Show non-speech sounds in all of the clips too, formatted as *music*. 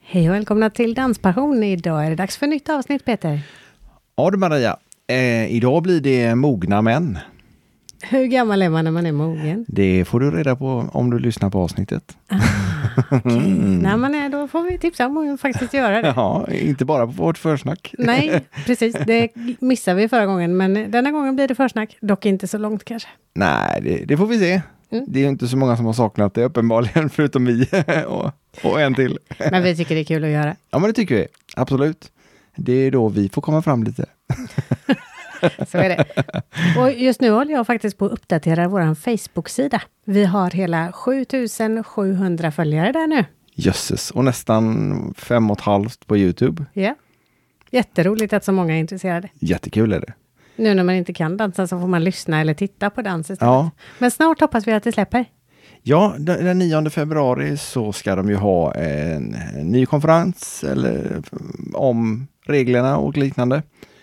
Hej och välkomna till Danspassion. Idag är det dags för nytt avsnitt, Peter. Ja du Maria, eh, idag blir det mogna män. Hur gammal är man när man är *laughs* mogen? Det får du reda på om du lyssnar på avsnittet. Okej, När man är då får vi tipsa om att faktiskt göra det. Ja, inte bara på vårt försnack. Nej, precis. Det missade vi förra gången, men denna gången blir det försnack. Dock inte så långt kanske. Nej, det, det får vi se. Mm. Det är ju inte så många som har saknat det uppenbarligen, *laughs* förutom vi och, och en till. Men vi tycker det är kul att göra. Ja men det tycker vi, absolut. Det är då vi får komma fram lite. Så är det. Och just nu håller jag faktiskt på att uppdatera vår Facebook-sida. Vi har hela 7700 följare där nu. Jösses, och nästan fem och ett halvt på Youtube. Ja. Jätteroligt att så många är intresserade. Jättekul är det. Nu när man inte kan dansa så får man lyssna eller titta på dans istället. Ja. Men snart hoppas vi att det släpper. Ja, den den 9 februari så ska de ju ha en, en ny konferens eller, om reglerna och liknande.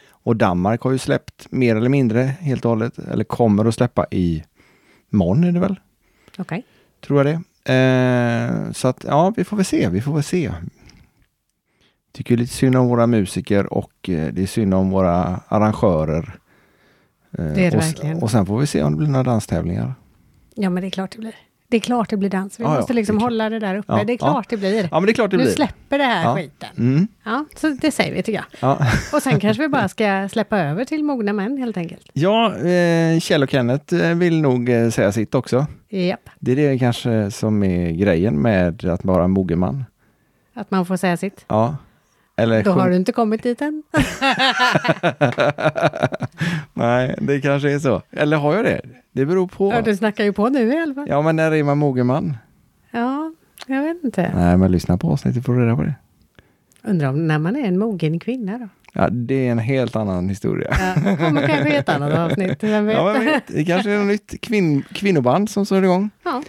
Och Danmark har ju släppt mer eller mindre helt och hållet, eller kommer att släppa i morgon är det väl, Okej. tror jag det. Eh, så att ja, vi får väl se, vi får väl se. Tycker lite synd om våra musiker och eh, det är synd om våra arrangörer. Eh, Det är det och, s- verkligen. och sen får vi se om det blir några danstävlingar. Ja, men det är klart det blir. Det är klart det blir dans. Vi Ja, ja, måste liksom det är klart. hålla det där uppe. Ja, det är ja. klart det blir. Ja, men det är klart det nu blir. släpper det här Ja. skiten. Mm, Ja, så det säger vi tycker jag. ja. Och *laughs* sen kanske vi bara ska släppa över till mogna män helt enkelt. Ja, eh, Kjell och Kenneth eh, vill nog eh, säga sitt också. Japp, Det är det kanske som är grejen med att vara en mogen man. att man får säga sitt. Ja. Eller Då sjung- har du inte kommit dit än. *laughs* Nej, det kanske är så. Eller har jag det? Det beror på. Ja, du snackar ju på nu i alla fall. Ja, men när är man mogen man? Ja, jag vet inte. Nej, men lyssna på avsnittet får du reda på det. Undrar om när man är en mogen kvinna då? Ja, det är en helt annan historia. Ja, det kommer kanske i ett annat avsnitt, vem vet? Ja, men vet, det kanske är något nytt kvinn, kvinnoband som står igång. Ja.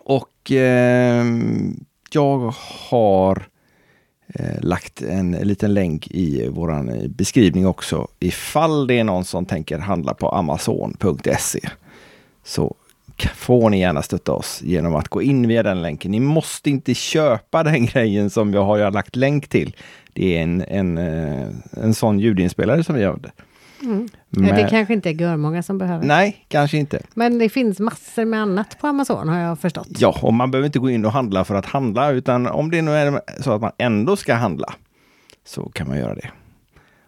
Och ehm, jag har eh, lagt en liten länk i vår beskrivning också. Ifall det är någon som tänker handla på amazon.se så k- får ni gärna stötta oss genom att gå in via den länken. Ni måste inte köpa *laughs* den grejen som jag har jag har lagt länk till. Det är en, en, eh, en sån ljudinspelare som vi gjorde. Mm. Ja, Det Men- kanske inte är många som behöver. Nej, kanske inte. Men det finns massor med annat på Amazon har jag förstått. Ja, och man behöver inte gå in och handla för att handla, utan om det nu är så att man ändå ska handla så kan man göra det.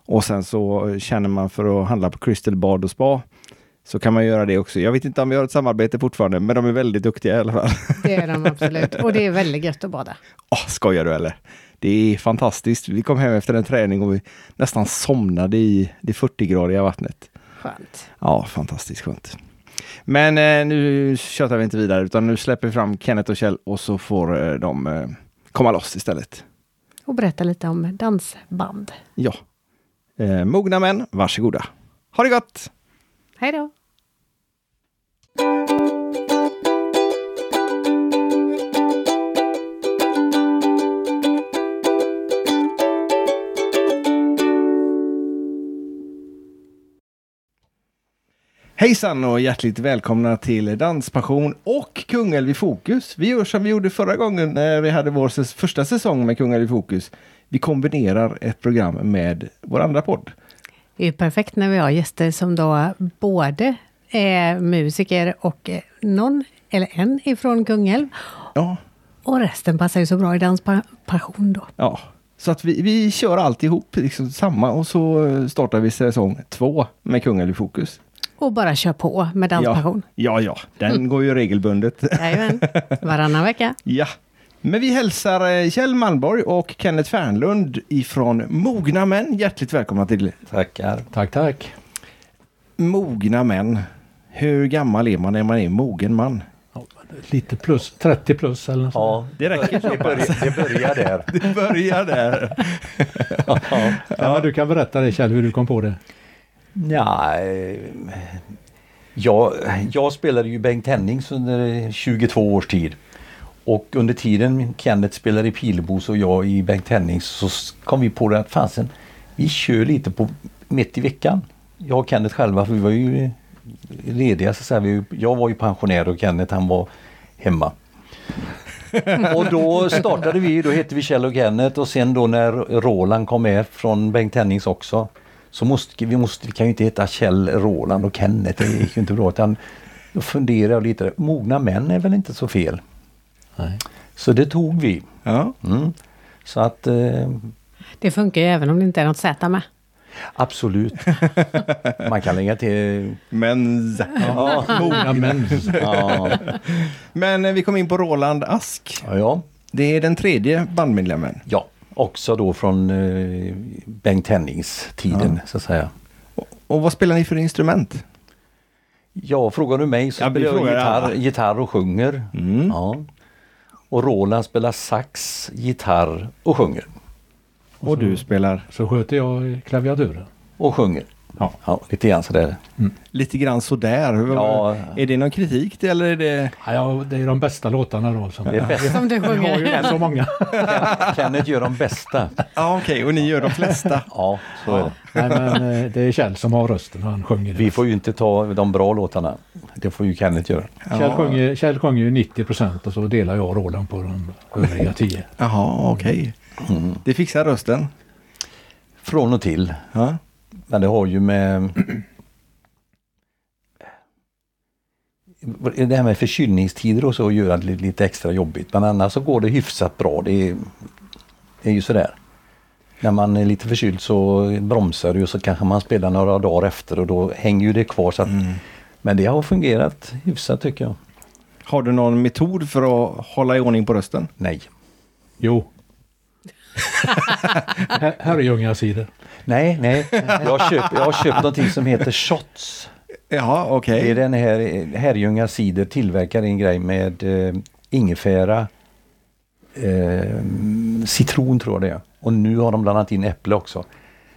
Och sen så eh, känner man för att handla på Crystal Bad och Spa så kan man göra det också. Jag vet inte om vi har ett samarbete fortfarande, men de är väldigt duktiga i alla fall. *laughs* Det är de absolut. Och det är väldigt gött att bada. Åh, skojar du eller? Det är fantastiskt. Vi kom hem efter en träning och vi nästan somnade i det 40-gradiga vattnet. Skönt. Ja, fantastiskt skönt. Men eh, nu tjötar vi inte vidare utan nu släpper vi fram Kenneth och Kjell och så får eh, de eh, komma loss istället. Och berätta lite om dansband. Ja. Eh, mogna män, varsågoda. Ha det gott! Hej då! Hejsan och hjärtligt välkomna till Danspassion och Kungälv i fokus. Vi gör som vi gjorde förra gången när vi hade vår säs- första säsong med Kungälv i fokus. Vi kombinerar ett program med vår andra podd. Det är ju perfekt när vi har gäster som då både är musiker och eh, någon eller en ifrån Kungälv. Ja, Och resten passar ju så bra i danspassion då. Ja, så att vi, vi kör alltihop liksom samma och så eh, startar vi säsong två med Kungälv i fokus. Och bara kör på med danspassion. Ja, ja, ja. den går ju regelbundet. *laughs* Jajamän. Varannan vecka. ja. Men vi hälsar eh, Kjell Malmborg och Kenneth Fernlund ifrån Mogna Män hjärtligt välkomna till Tackar. Tack, tack. Mogna Män. Hur gammal är man när man är mogen man? Lite plus, 30 plus eller något sånt. Ja, Det räcker så det börjar, det börjar där. Det börjar där. *laughs* Ja. ja. men Du kan berätta det Kjell, hur du kom på det. Nej, jag, jag spelade ju Bengt Hennings under 22 års tid. Och under tiden Kenneth spelade i Pilebos och jag i Bengt Hennings så s- kom vi på det att fasen, vi kör lite på mitt i veckan. Jag och Kenneth själva, för vi var ju eh, lediga så att säga. Vi- Jag var ju pensionär och Kenneth han var hemma. Och då startade vi, då hette vi Kjell och Kenneth och sen då när Roland kom med från Bengt Hennings också så måste vi, måste, vi kan ju inte heta Kjell, Roland och Kenneth, det gick ju inte bra. Utan då funderade jag lite, mogna män är väl inte så fel? Nej. Så det tog vi. Ja. Mm. Så att eh, Det funkar ju även om det inte är något Z med. absolut, man kan lägga till... Men, Ja, Ja, men, ja, men eh, vi kom in på Roland Ask. ja, Det är den tredje bandmedlemmen. ja. också då från eh, Bengt Hennings-tiden så att säga. Och, och vad spelar ni för instrument? Ja, frågar du mig så Ja, vi spelar jag frågar gitarr, alla. gitarr och sjunger. Ja. Och Roland spelar sax, gitarr och sjunger. Och du spelar? så sköter jag klaviaturen. Och sjunger. Ja. Ja, lite grann sådär. Lite grann sådär. Hur- Ja. Är det någon kritik det, eller är det... Ja, ja, det är de bästa låtarna då. Som, Det är *laughs* bäst. Som du *laughs* vi har ju sjunger. inte så många. Kenneth gör de bästa. Ja, okej. Och ni gör de flesta. Ja, så är det. Nej, men eh, det är Kjell som har rösten och han sjunger. Vi får ju inte ta de bra låtarna. Det får ju Kenneth göra. Kjell, sjunger, Kjell sjunger ju 90 procent och så delar jag och Roland på de övriga 10. *laughs* Jaha, okej. Det fixar rösten. Från och till. Ja. Men det har ju med... *clears throat* Det här med förkylningstider och så gör det lite extra jobbigt. Men annars så går det hyfsat bra. Det är, det är ju sådär. När man är lite förkyld så bromsar det och så kanske man spelar några dagar efter och då hänger ju det kvar. Så att, Men det har fungerat hyfsat tycker jag. Har du någon metod för att hålla i ordning på rösten? Nej. Jo. *laughs* Här- Herrljungasidor. Nej, nej. Jag har köpt, jag har köpt någonting som heter Shots. Jaha, okej. Det är den här Herrljunga cider tillverkar en grej med eh, ingefära, eh, citron tror jag det är. Och nu har de blandat in äpple också.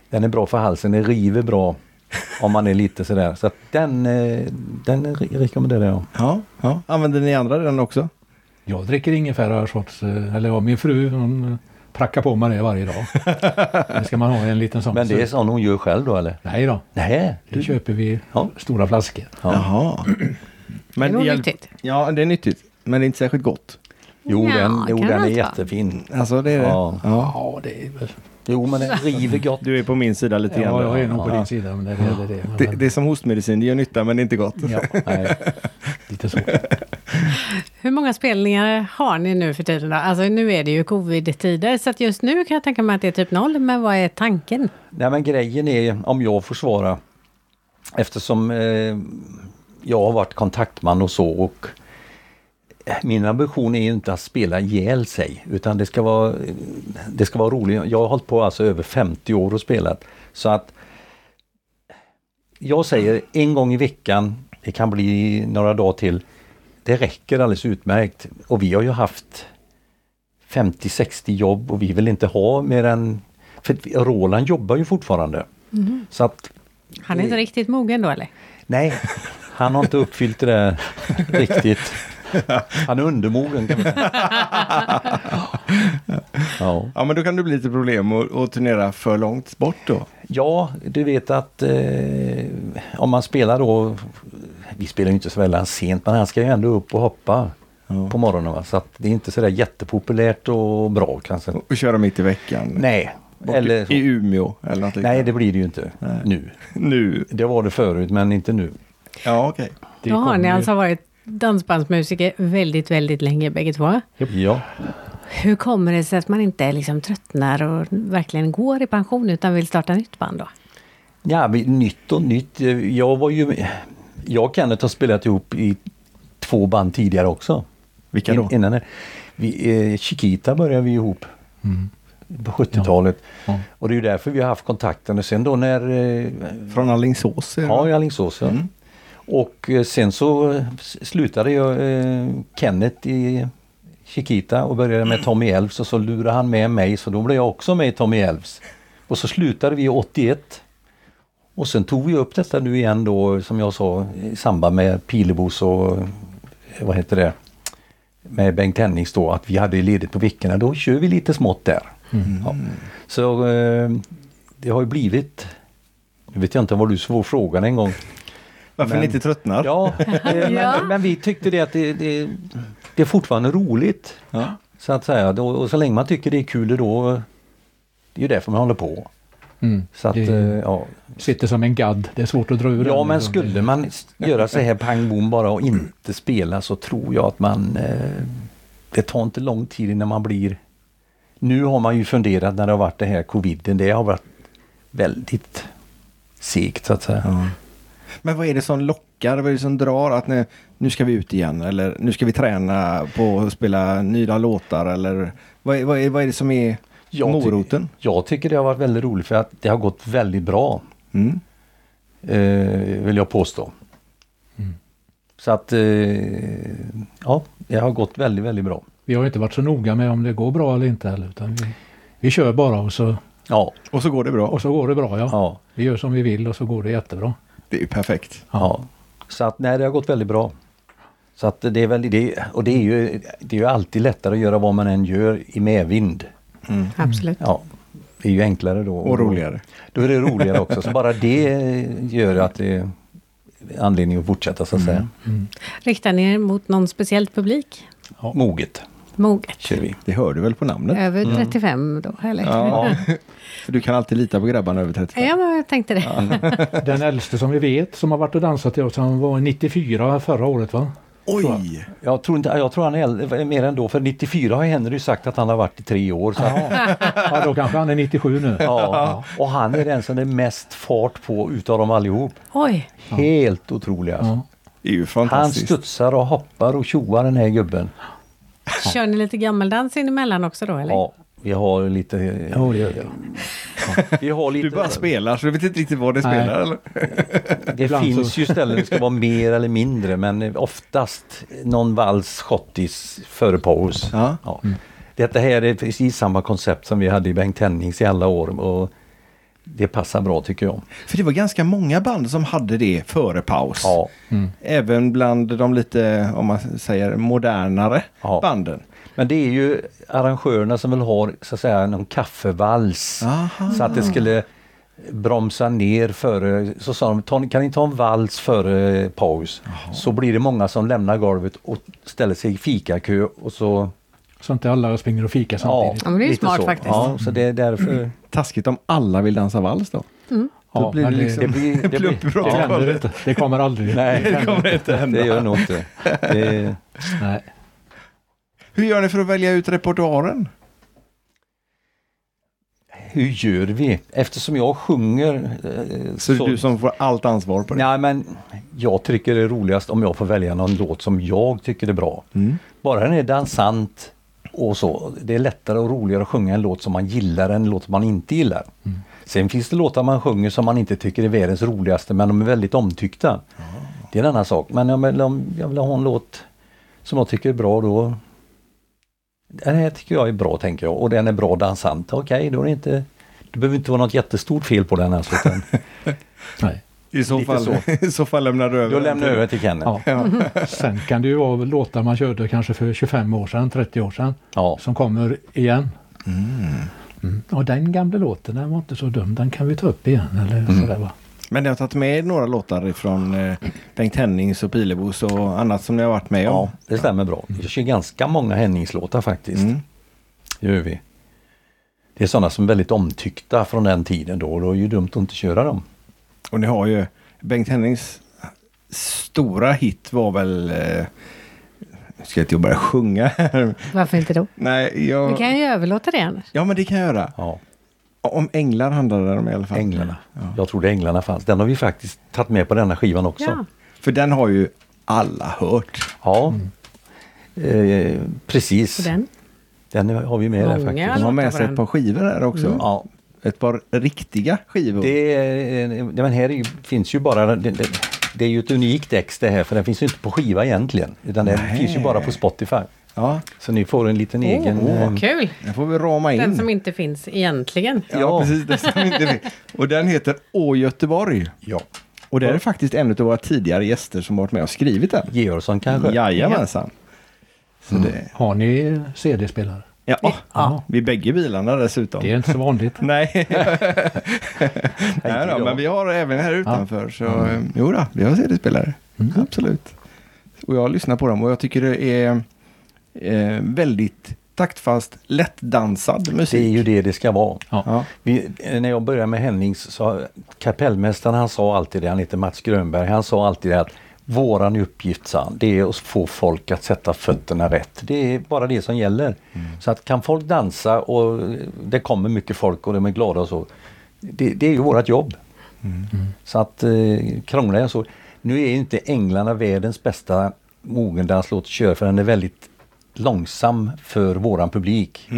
Den är bra för halsen, den river bra om man är lite sådär. Så att den, eh, den re- rekommenderar jag. Ja, ja. Använder ni andra den också? Jag dricker ingefära sorts, eh, eller ja, min fru hon eh, prackar på mig det *laughs* varje dag. Sen ska man ha en liten sån. Men det är så... sån hon gör själv då eller? Nej då, Nej. det köper vi Ja. stora flaskor. Ja. Jaha. *clears throat* Det är nog hjälp- nyttigt. Ja, det är nyttigt. Men det är inte särskilt gott. Jo, Ja, den, jo, kan den allt är vara. jättefin. Alltså det är det. Ja. Ja. Ja, det är väl... Jo, *laughs* men den river gott. Du är på min sida lite grann. Ja, jag är Ja. nog på din sida. Men det, det, det, det, men, det, det är som hostmedicin, det gör nytta men det är inte gott. Ja, *laughs* Nej. lite så. Hur många spelningar har ni nu för tiden då? Alltså nu är det ju covid-tider, så att just nu kan jag tänka mig att det är typ noll, men vad är tanken? Nej men grejen är, om jag får svara, eftersom eh, jag har varit kontaktman och så och eh, min ambition är ju inte att spela ihjäl sig utan det ska vara, det ska vara roligt. Jag har hållit på alltså över 50 år och spelat. Så att jag säger en gång i veckan, det kan bli några dagar till, det räcker alldeles utmärkt. Och vi har ju haft 50-60 jobb och vi vill inte ha mer än... För att vi- Roland jobbar ju fortfarande. Så att, Han är inte riktigt mogen då eller? nej, han har inte uppfyllt det där riktigt. Han är undermogen kan man säga. Ja. *laughs* Ja men då kan det bli lite problem att, att turnera för långt bort då. Ja, du vet att eh, om man spelar då, vi spelar ju inte så väldigt sent, men han ska ju ändå upp och hoppa på morgonen. Va? Så att det är inte sådär jättepopulärt och bra kanske. Och köra mitt i veckan. Nej, Bort eller I så. Umeå eller något Nej, liknande. det blir det ju inte nu. Nu. Det var det förut, men inte nu. Ja okej. Det Då har kommer ni ju- alltså varit dansbandsmusiker väldigt, väldigt länge bägge två. Ja. Hur kommer det sig att man inte liksom tröttnar och verkligen går i pension utan vill starta nytt band då? Ja, men nytt och nytt. Jag var ju... Jag och Kenneth har spelat ihop i två band tidigare också. Vilka då? In- Innan det. Vi, eh, Chiquita började vi ihop på 70-talet. Ja. Ja. Och det är ju därför vi har haft kontakten. Och sen då när... Eh, Från Alingsås? är det? ja, i Alingsås. Ja. Och eh, sen så eh, s- slutade jag eh, Kenneth i Chiquita och började med Tommy Elfs och så lurade han med mig så då blev jag också med i Tommy Elfs. Och så slutade vi 81. Och sen tog vi upp detta nu igen då som jag sa i samband med Pilebos och eh, vad heter det? Med Bengt Hennings då att vi hade ledigt på veckorna. Då kör vi lite smått där. Ja. Så eh, det har ju blivit nu vet jag inte vad du svår frågan en gång. Varför Men- *laughs* ni inte tröttnar? Ja, eh, Ja. men, men vi tyckte det att det, det, det är fortfarande roligt. Ja. Så att säga. Då- Och så länge man tycker det är kul då, det är ju därför man håller på. Mm. Så att, Det- eh, ja. Sitter som en gadd. Det är svårt att dra ur ja den, men liksom. skulle man s- göra så här pang bom bara och inte spela så tror jag att man, eh, det tar inte lång tid innan man blir nu har man ju funderat när det har varit det här coviden, det har varit väldigt segt så att säga. Men vad är det som lockar? Vad är det som drar? Att nu, nu ska vi ut igen eller nu ska vi träna på att spela nya låtar eller vad är, vad är, vad är det som är Jag ty- moroten? Jag tycker det har varit väldigt roligt för att det har gått väldigt bra. Mm. eh, vill jag påstå. Mm. Så att eh, ja, det har gått väldigt, väldigt bra. Vi har ju inte varit så noga med om det går bra eller inte heller. Utan vi, vi kör bara och så, Ja, Och så går det bra. och så går det bra. Ja. ja, Vi gör som vi vill och så går det jättebra. Det är ju perfekt. ja. Så att nej, det har gått väldigt bra. Så att det är väl det, och det är ju, det är ju alltid lättare att göra vad man än gör i medvind. Absolut. Ja, det är ju enklare då. Och roligare. Då är det roligare också, så bara det gör att det är anledning att fortsätta Mm. så att säga. Riktar ni er mot någon speciell publik? Moget Moget. kör vi. Det hör du väl på namnet? Över 35 då, eller? Ja. För du kan alltid lita på grabbarna över Eh. 35. Ja, men jag tänkte det. Den äldste som vi vet som har varit och dansat till oss, han var 94 förra året va? Oj! Jag tror, inte, jag tror han är äldre, mer än då, för 94 har Henry sagt att han har varit i tre år. Så att, Ja, då kanske han är 97 nu. Ja, och han är den som det är mest fart på utav dem allihop. Oj, Helt otrolig alltså. Ja. Det är ju Han fantastiskt. studsar och hoppar och tjoar den här gubben. kör ni lite gammeldans inemellan också då, eller? Ja, vi har lite... Ja, det gör vi. Ja, vi har lite Du bara spelar så du vet inte riktigt vad det Nej. spelar eller? det Ibland finns så- ju ställen det ska vara mer eller mindre men oftast någon vals schottis före paus. Ja. Mm. Detta här är precis samma koncept som vi hade i Bengt Hennings i alla år och det passar bra tycker jag. För det var ganska många band som hade det före paus. Ja. Även bland de lite, om man säger, modernare Ja. banden. Men det är ju arrangörerna som vill ha så att säga någon kaffevals. Aha. Så att det skulle bromsa ner före, så sa de, "Ta- kan ni ta en vals före paus? Så blir det många som lämnar golvet och ställer sig i fikakö och så... Så inte alla springer och fikar samtidigt. Ja, men det är ju lite smart så. faktiskt. Ja, så det är därför... Mm. Taskigt om alla vill dansa vals då. Ja, då blir men det liksom- Det blir... Det, blir, det, bra. händer inte. det kommer aldrig. nej, det kommer inte hända. Det gör nog inte. Det, Nej. Hur gör ni för att välja ut repertoaren? hur gör vi? Eftersom jag sjunger... eh, Så, det är du som får allt ansvar på det? Nej, men jag tycker det är roligast om jag får välja någon låt som jag tycker är bra. Mm. Bara den är dansant och så. Det är lättare och roligare att sjunga en låt som man gillar än en låt som man inte gillar. Mm. Sen finns det låtar man sjunger som man inte tycker är världens roligaste men de är väldigt omtyckta. Det är en annan sak. Men om jag- om jag vill ha en låt som jag tycker är bra då den här tycker jag är bra tänker jag och den är bra dansant. Okej, då är det inte det behöver inte vara något jättestort fel på den alltså. *laughs* Utan Nej. I, så lite fall, *laughs* I så fall lämnar du över. då den lämnar jag till- över till Kenneth. Ja. Sen kan det ju vara låtar man körde kanske för 25 år sedan, 30 år sedan, Ja. som kommer igen. Mm. Och den gamla låten, den var inte så dum, den kan vi ta upp igen. Eller sådär, va? Men ni har tagit med några låtar från eh, Bengt Hennings och Pilebos och annat som ni har varit med om. Ja, det stämmer bra. Vi kör ganska många Henningslåtar faktiskt. Mm. Det gör vi. Det är sådana som är väldigt omtyckta från den tiden då och då är det ju dumt att inte köra dem. Och ni har ju Bengt Hennings stora hit var väl... Eh, nu ska jag inte börja sjunga *laughs* här. Varför inte då? Nej, Vi jag... kan ju överlåta det annars. Ja, men det kan jag göra. Ja, Om änglar handlade det om i alla fall. Änglarna. Jag trodde Änglarna fanns. Den har vi faktiskt tagit med på denna skivan också. Ja. Ja. För den har ju alla hört. Eh, precis. Och Den. den? har vi med där Många. faktiskt. De har med låtar sig var ett par skivor här också. Ja. Ett par riktiga skivor. Mm. Det är, eh, nej, men här är ju, finns ju bara... Det, det, det är ju ett unikt ex det här för den finns ju inte på skiva egentligen. Utan den Nej. finns ju bara på Spotify. Ja, Så ni får en liten egen... eh, Åh, kul! den får vi rama in. Den som inte finns egentligen. Ja, Ja. precis. Den som inte fick. Och den heter Å Göteborg. Ja. Och det är faktiskt en av våra tidigare gäster som varit med och skrivit den. Georgsson kanske? Jajamensan. Så det, Har ni CD-spelare? ja, åh, Ja. Vi bägge bilarna dessutom. Det är inte så vanligt. *laughs* Nej, Nej då, jag. men vi har även här utanför. Så, eh, mm. Mm. Jo då, vi har CD-spelare. Absolut. Och jag lyssnar på dem och jag tycker det är eh, väldigt taktfast, lättdansad Det musik. är ju det det ska vara. Ja. Vi, när jag började med Hennings, så, kapellmästaren han sa alltid det, han heter Mats Grönberg, han sa alltid det att våran uppgift, sa han, det är att få folk att sätta fötterna rätt. Det är bara det som gäller. Mm. Så att kan folk dansa och det kommer mycket folk och de är glada och så, det, det är ju vårt jobb. Mm. Så att eh, krånglar jag så. Nu är ju inte Änglarna världens bästa mogendanslåt att köra för den är väldigt långsam för våran publik.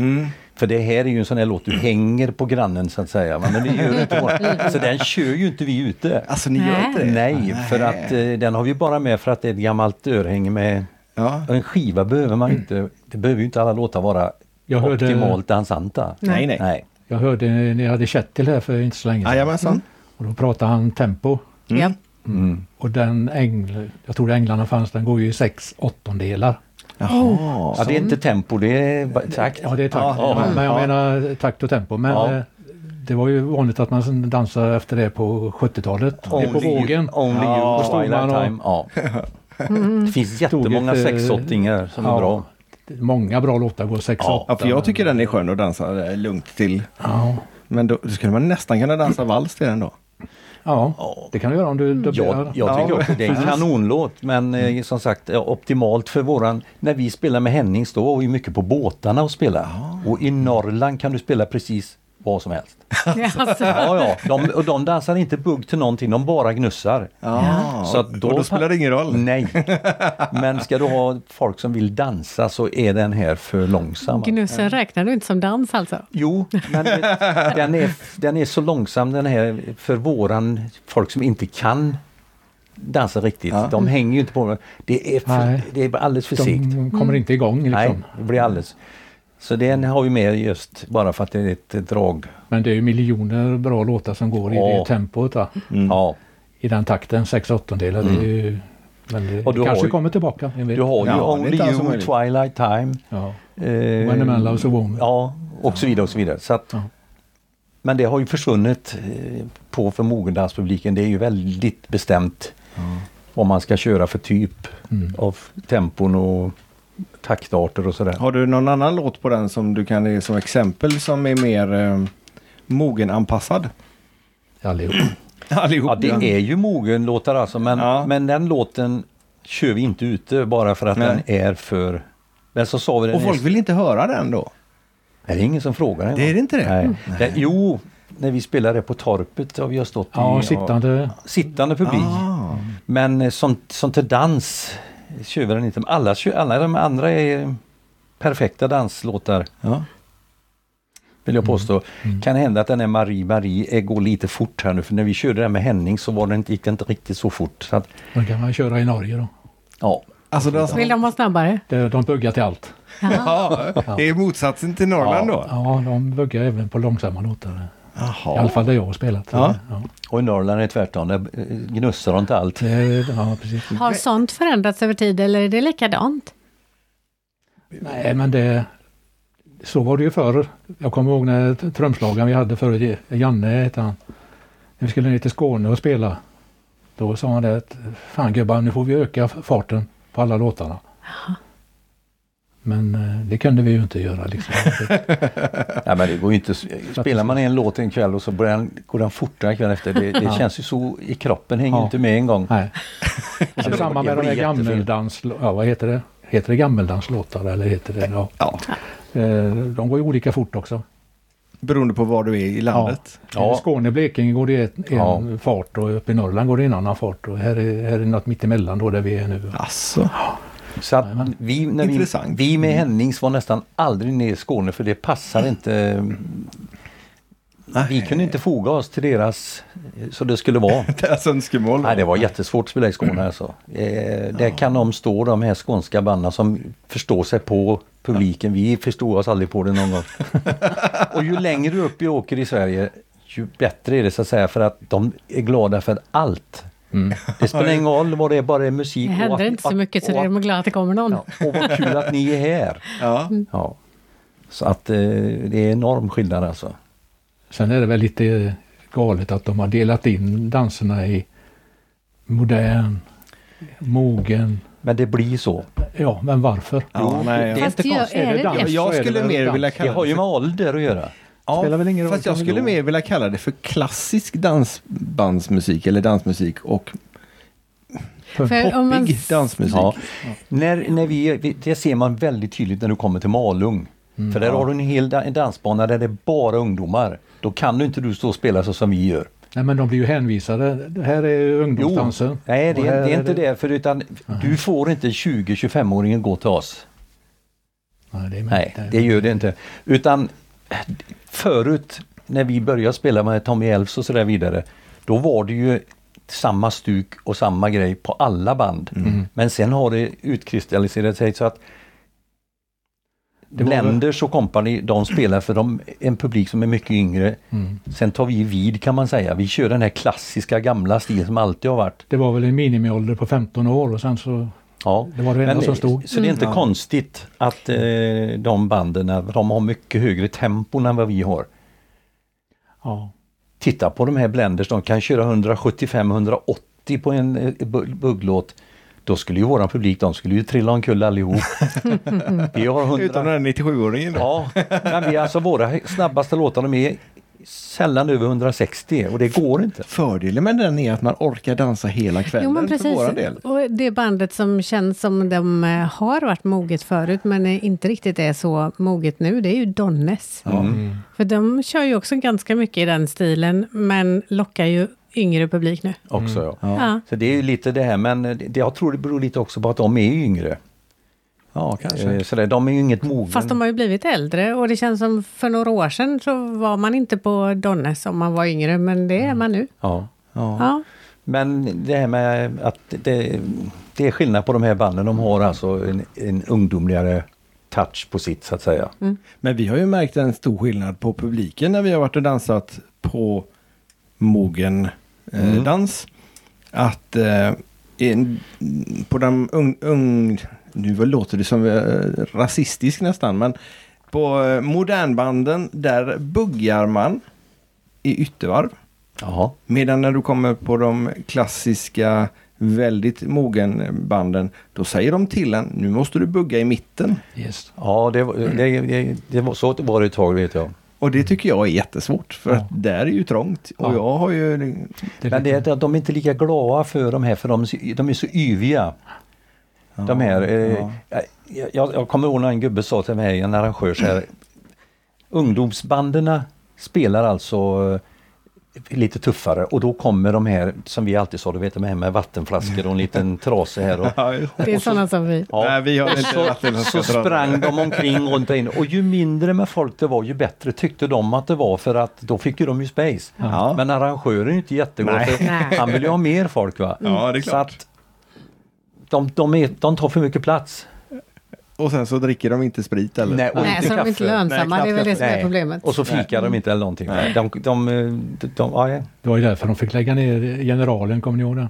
För det här är ju en sån här låt du hänger på grannen så att säga. va? Men det gör inte våran. Så den kör ju inte vi ute. Alltså ni gör Nej. inte det? Nej, för att eh, den har vi bara med för att det är ett gammalt örhänge med Ja. och en skiva behöver man ju inte, det behöver ju inte alla låtar vara Jag hörde- optimalt dansanta. Nej, nej. nej. Jag hörde ni hade Kjetil här för inte så länge sedan. Jajamensan. Mm. Och då pratade han tempo. Ja. Och den ängl, jag tror det änglarna fanns, den går ju i sex åttondelar. Jaha. Ja, det är inte tempo, det är bara takt. Ja, det är takt. Ja, ja. men jag Ja. menar takt och tempo. Men Ja. eh, det var ju vanligt att man sen dansade efter det på 70-talet. Det är på Only you- vågen. Only Ja, you, då stod Twilight man och- time. Ja. Det finns jättemånga Tog ett, eh, sexåttingar som är ja. bra. Många bra låtar går sex Ja. åtta. Ja, för jag tycker den är skön att dansa eh, lugnt till. Ja. Men då, då skulle man nästan kunna dansa vals till den då. ja, det kan du göra om du Jag, dubbelar. jag tycker också det är en kanonlåt men eh, Mm. som sagt eh, optimalt för våran... När vi spelade med Hennings då var vi mycket på båtarna och spela. Och i Norrland kan du spela precis vad *laughs* som helst. Alltså, Ja, ja. De, och de dansar inte bugg till någonting, de bara gnussar. Ja. Så att då, och då spelar det ingen roll. *laughs* Nej. Men ska du ha folk som vill dansa så är den här för långsam. Gnussen räknar du inte som dans alltså? Jo, men det- *laughs* den är, den är så långsam den här för våran folk som inte kan dansa riktigt. De hänger ju inte på den. Det är, för, Nej. det är alldeles för segt. De kommer inte igång liksom. Mm. Nej, det blir alldeles... Så den har vi med just bara för att det är ett ett drag. Men det är ju miljoner bra låtar som går i Ja. det tempot. Va? Mm. Ja. I den takten, sex åttondelar. Det är ju, men det, Mm. Och du det kanske har ju- kommer tillbaka. vem vet. Du har Ja, ju det är Only inte alls You, omöjligt. Twilight Time. Ja. Eh, When a man loves a woman. Ja, och så vidare och så vidare. Så att, Ja. Men det har ju försvunnit eh, på för mogendanspubliken. Det är ju väldigt bestämt vad man ska köra för typ Mm. av tempon och taktarter och sådär. Har du någon annan låt på den som du kan ge som exempel som är mer eh, mogenanpassad? Allihop. Allihop. Ja, det är ju mogenlåtar alltså men, Ja. men den låten kör vi inte ute bara för att Nej. den är för... Men så sa vi den Och är- folk vill inte höra den då? Nej, det är ingen som frågar den. Det är det inte det? Nej. Det, jo, när vi spelade på torpet har vi har stått Ja, i... sittande. sittande publik. Ah. Men eh, som, som till dans kör vi den inte. Men Alla, kör- alla de andra är perfekta danslåtar Ja. vill Mm. jag påstå. Kan hända att den här Marie Marie eh, går lite fort här nu för när vi körde den med Henning så var den, inte- gick den inte riktigt så fort. Så att, Då kan man köra i Norge då. ja. Alltså, det, alltså, Vill de ha snabbare? De, de buggar till allt. ja, det är motsatsen till Norrland då? Ja, de buggar även på långsamma låtar. I alla Jaha. fall där jag har spelat. Ja. Ja, Och i Norrland är det tvärtom, där eh, gnussar de inte allt. det, är- ja precis. Har sånt förändrats över tid eller är det likadant? Nej, men det... Så var det ju förr. Jag kommer ihåg när t- trumslagaren vi hade förr, Janne hette han. När vi skulle ner till Skåne och spela. Då sa han det att Fan gubbar, nu får vi öka f- farten på alla låtarna. Men eh, det kunde vi ju inte göra liksom. Det- Nej, men det går ju inte. att- Spelar man en låt en kväll och så börjar den, går den fortare kvällen efter. Det, det Ja. känns ju så i kroppen, hänger Ja. inte med en gång. *laughs* Nej. Och så Det samma med de blir där jättefel. gammeldanslåtarna, ja vad heter det? Heter det gammeldanslåtar eller heter det? Ja. Ja. Eh, De går ju olika fort också. Beroende på var du är i landet. Ja. I Skåne Blekinge går det en Ja. fart och uppe i Norrland går det en annan fart. Och här är, här är något mittemellan då där vi är nu. Alltså. Så att Jajamän. vi, när vi, Intressant. vi med Hennings var nästan aldrig ner i Skåne för det passar inte. Vi kunde inte foga oss till deras så det skulle vara. *laughs* Deras önskemål. Nej, det var jättesvårt att spela i Skåne alltså. Eh, där kan de stå de här skånska banden som förstår sig på publiken. Vi förstår oss aldrig på det någon gång. Och ju längre upp vi åker i Sverige ju bättre är det så att säga för att de är glada för allt. Det spelar ingen roll vad det är, bara det är musik. Det och händer att- inte så att- mycket så och det är att- de glada att det kommer någon. Ja, och vad kul att ni är här! Ja. Ja. Så att eh, det är enorm skillnad alltså. Sen är det väl lite galet att de har delat in danserna i modern, mogen, Men det blir så. Ja, men varför? Ja, nej, det- ja. Fast jag- konstigt. är det dans Jag, så är jag det skulle väl mer dans. vilja Det kalla har ju det med ålder att göra. Ja, spelar väl ingen roll fast jag kanske skulle då. mer vilja kalla det för klassisk dansbandsmusik eller dansmusik och För om man, poppig dansmusik. Ja. När, när vi, vi- det ser man väldigt tydligt när du kommer till Malung. För där har du en hel da- en dansbana där det är bara ungdomar. Då kan du inte du stå och spela så som vi gör. Nej, men de blir ju hänvisade. Det här är ju ungdomsdansen. nej det, Alltså? Och det här är inte det. För utan du får inte 20-25-åringen gå till oss. Nej, det, är Nej, det gör det inte. Utan förut när vi började spela med Tommy Elfs och sådär vidare. Då var det ju samma stuk och samma grej på alla band. Mm. Men sen har det utkristalliserat sig så att var väl- Blenders och kompani, de spelar för de, en publik som är mycket yngre. Mm. Sen tar vi vid kan man säga. Vi kör den här klassiska gamla stilen som alltid har varit. det var väl en minimiålder på 15 år och sen så Ja. det var det enda som stod. Så det är inte Mm. konstigt att eh, de banden, de har mycket högre tempon än vad vi har. Ja. Titta på de här blenders, de kan köra 175-180 på en eh, bu- bugglåt. Då skulle ju våran publik, de skulle ju trilla *laughs* omkull allihop. vi har 100... Utan den här 97-åringen. då. Ja, men vi, alltså våra hö- snabbaste låtar de är sällan över 160 och det går inte. Fördelen med den är att man orkar dansa hela kvällen jo, men för precis. våran del. Och det bandet som känns som de eh, har varit moget förut, men eh, inte riktigt är så moget nu, det är ju Donnes. För de kör ju också ganska mycket i den stilen, men lockar ju yngre publik nu. Mm. Också, ja. Ja. Så det är ju lite det här, men eh, det, jag tror det beror lite också på att de är yngre. Ja, Eh, Sådär, de är ju inget mogen. Mm. Fast de har ju blivit äldre och det känns som för några år sedan så var man inte på Donnes om man var yngre, men det är man nu. ja. Ja. Men det här med att det, det är skillnad på de här banden. De har alltså en, en ungdomligare touch på sitt så att säga. Mm. Men vi har ju märkt en stor skillnad på publiken när vi har varit och dansat på mogen eh, Mm. dans. Att eh, en, på den ung, ung... Nu vad låter det som eh, rasistisk nästan, men på eh, modernbanden där buggar man i yttervarv. Jaha. Medan när du kommer på de klassiska väldigt mogen banden, då säger de till en, nu måste du bugga i mitten. Yes. Ja, det, var- det, det, det var, så var det ett tag vet jag. Och det tycker jag är jättesvårt för Ja. att där är ju trångt. Och Ja. jag har ju... Det är Men det lite- är att de är inte lika glada för de här för de, är så- de är så yviga. De här, eh, jag, jag, jag kommer ihåg när en gubbe sa till mig, en arrangör så här. Ungdomsbanderna spelar alltså eh, lite tuffare och då kommer de här som vi alltid sa, du vet de här med vattenflaskor och en liten trase här. *laughs* Och, Ja, just det. Det är sådana som vi. Ja. Nej, vi har inte vatten som så ska dra. sprang de omkring runt och in och ju mindre med folk det var ju bättre tyckte de att det var för att då fick ju de ju space. Ja. Men arrangören är ju inte jättegod Nej. för Nej. han vill ju ha mer folk va. Ja, det är klart. Så att de, de, är, de tar för mycket plats. Och sen så dricker de inte sprit eller? Nej, och Nej, inte så de är kaffe. inte lönsamma, Nej, det är väl det knappt som är Nej. problemet. Och så fikar de inte eller någonting. va? De, de, de, de, ja, ja. Det var ju därför de fick lägga ner generalen, kommer ni ihåg det?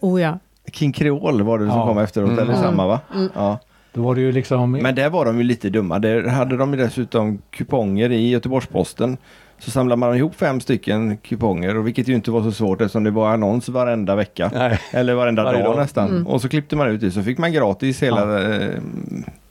Oh ja. King Creole var det som Ja. kom efteråt, eller samma va? Ja. Då var det ju liksom... Men där var de ju lite dumma. Där hade de ju dessutom kuponger i Göteborgs-Posten. Så samlade man ihop fem stycken kuponger, och vilket ju inte var så svårt eftersom det var annons varenda vecka. Nej. Eller varenda Varje dag, dag. nästan. Mm. Och så klippte man ut det, så fick man gratis hela eh,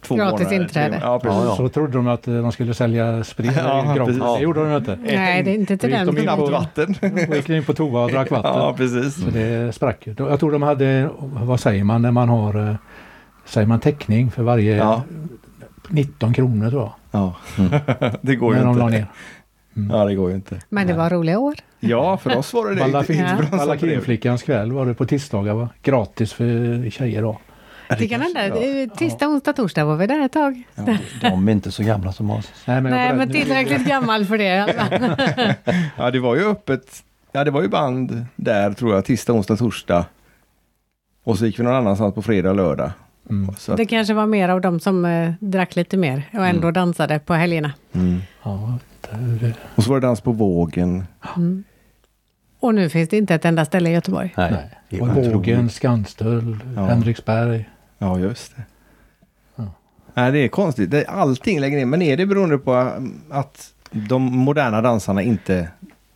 två Gratis månader. tre inträde. månader. Ja, precis. Ja, Så trodde de att eh, de skulle sälja sprit Ja, gratis. precis. Det gjorde de inte. Nej, det är inte till Då gick den de in nivån. Knappt vatten. *laughs* Då gick de in på toa och drack vatten. ja, precis. Mm. Så det sprack ju. Jag tror de hade, vad säger man när man har, eh, säger man täckning för varje Ja. 19 kronor tror jag. Ja, *laughs* det går Mm. När ju de la inte. Mm. ner. Ja, det går ju inte. Men det var roliga år. Ja, för oss var det det. Inte- inte för de som drev. Ballakinflickans kväll var det på tisdagar va? Gratis för tjejer då. Det kan hända. Eh, Tisdag, onsdag, torsdag var vi där ett tag. De är inte så gamla som oss. Nej men, Nej, jag, men tillräckligt gammal för det. i alla fall. *laughs* Ja, det var ju öppet. Ja, det var ju band där tror jag, tisdag, onsdag, torsdag. Och så gick vi någon annanstans på fredag och lördag. Mm, Så att, Det kanske var mer av dem som eh, drack lite mer och ändå dansade på helgerna. ja, det, och så var det dans på vågen. Och nu finns det inte ett enda ställe i *laughs* Göteborg. Nej. nej. Det Och var Bågen, Skanstöl, Ja. Henriksberg. Ja, just det. Ja. Nej, det är konstigt. mm, Det- Allting lägger in. Men är det beroende på um, att de moderna dansarna inte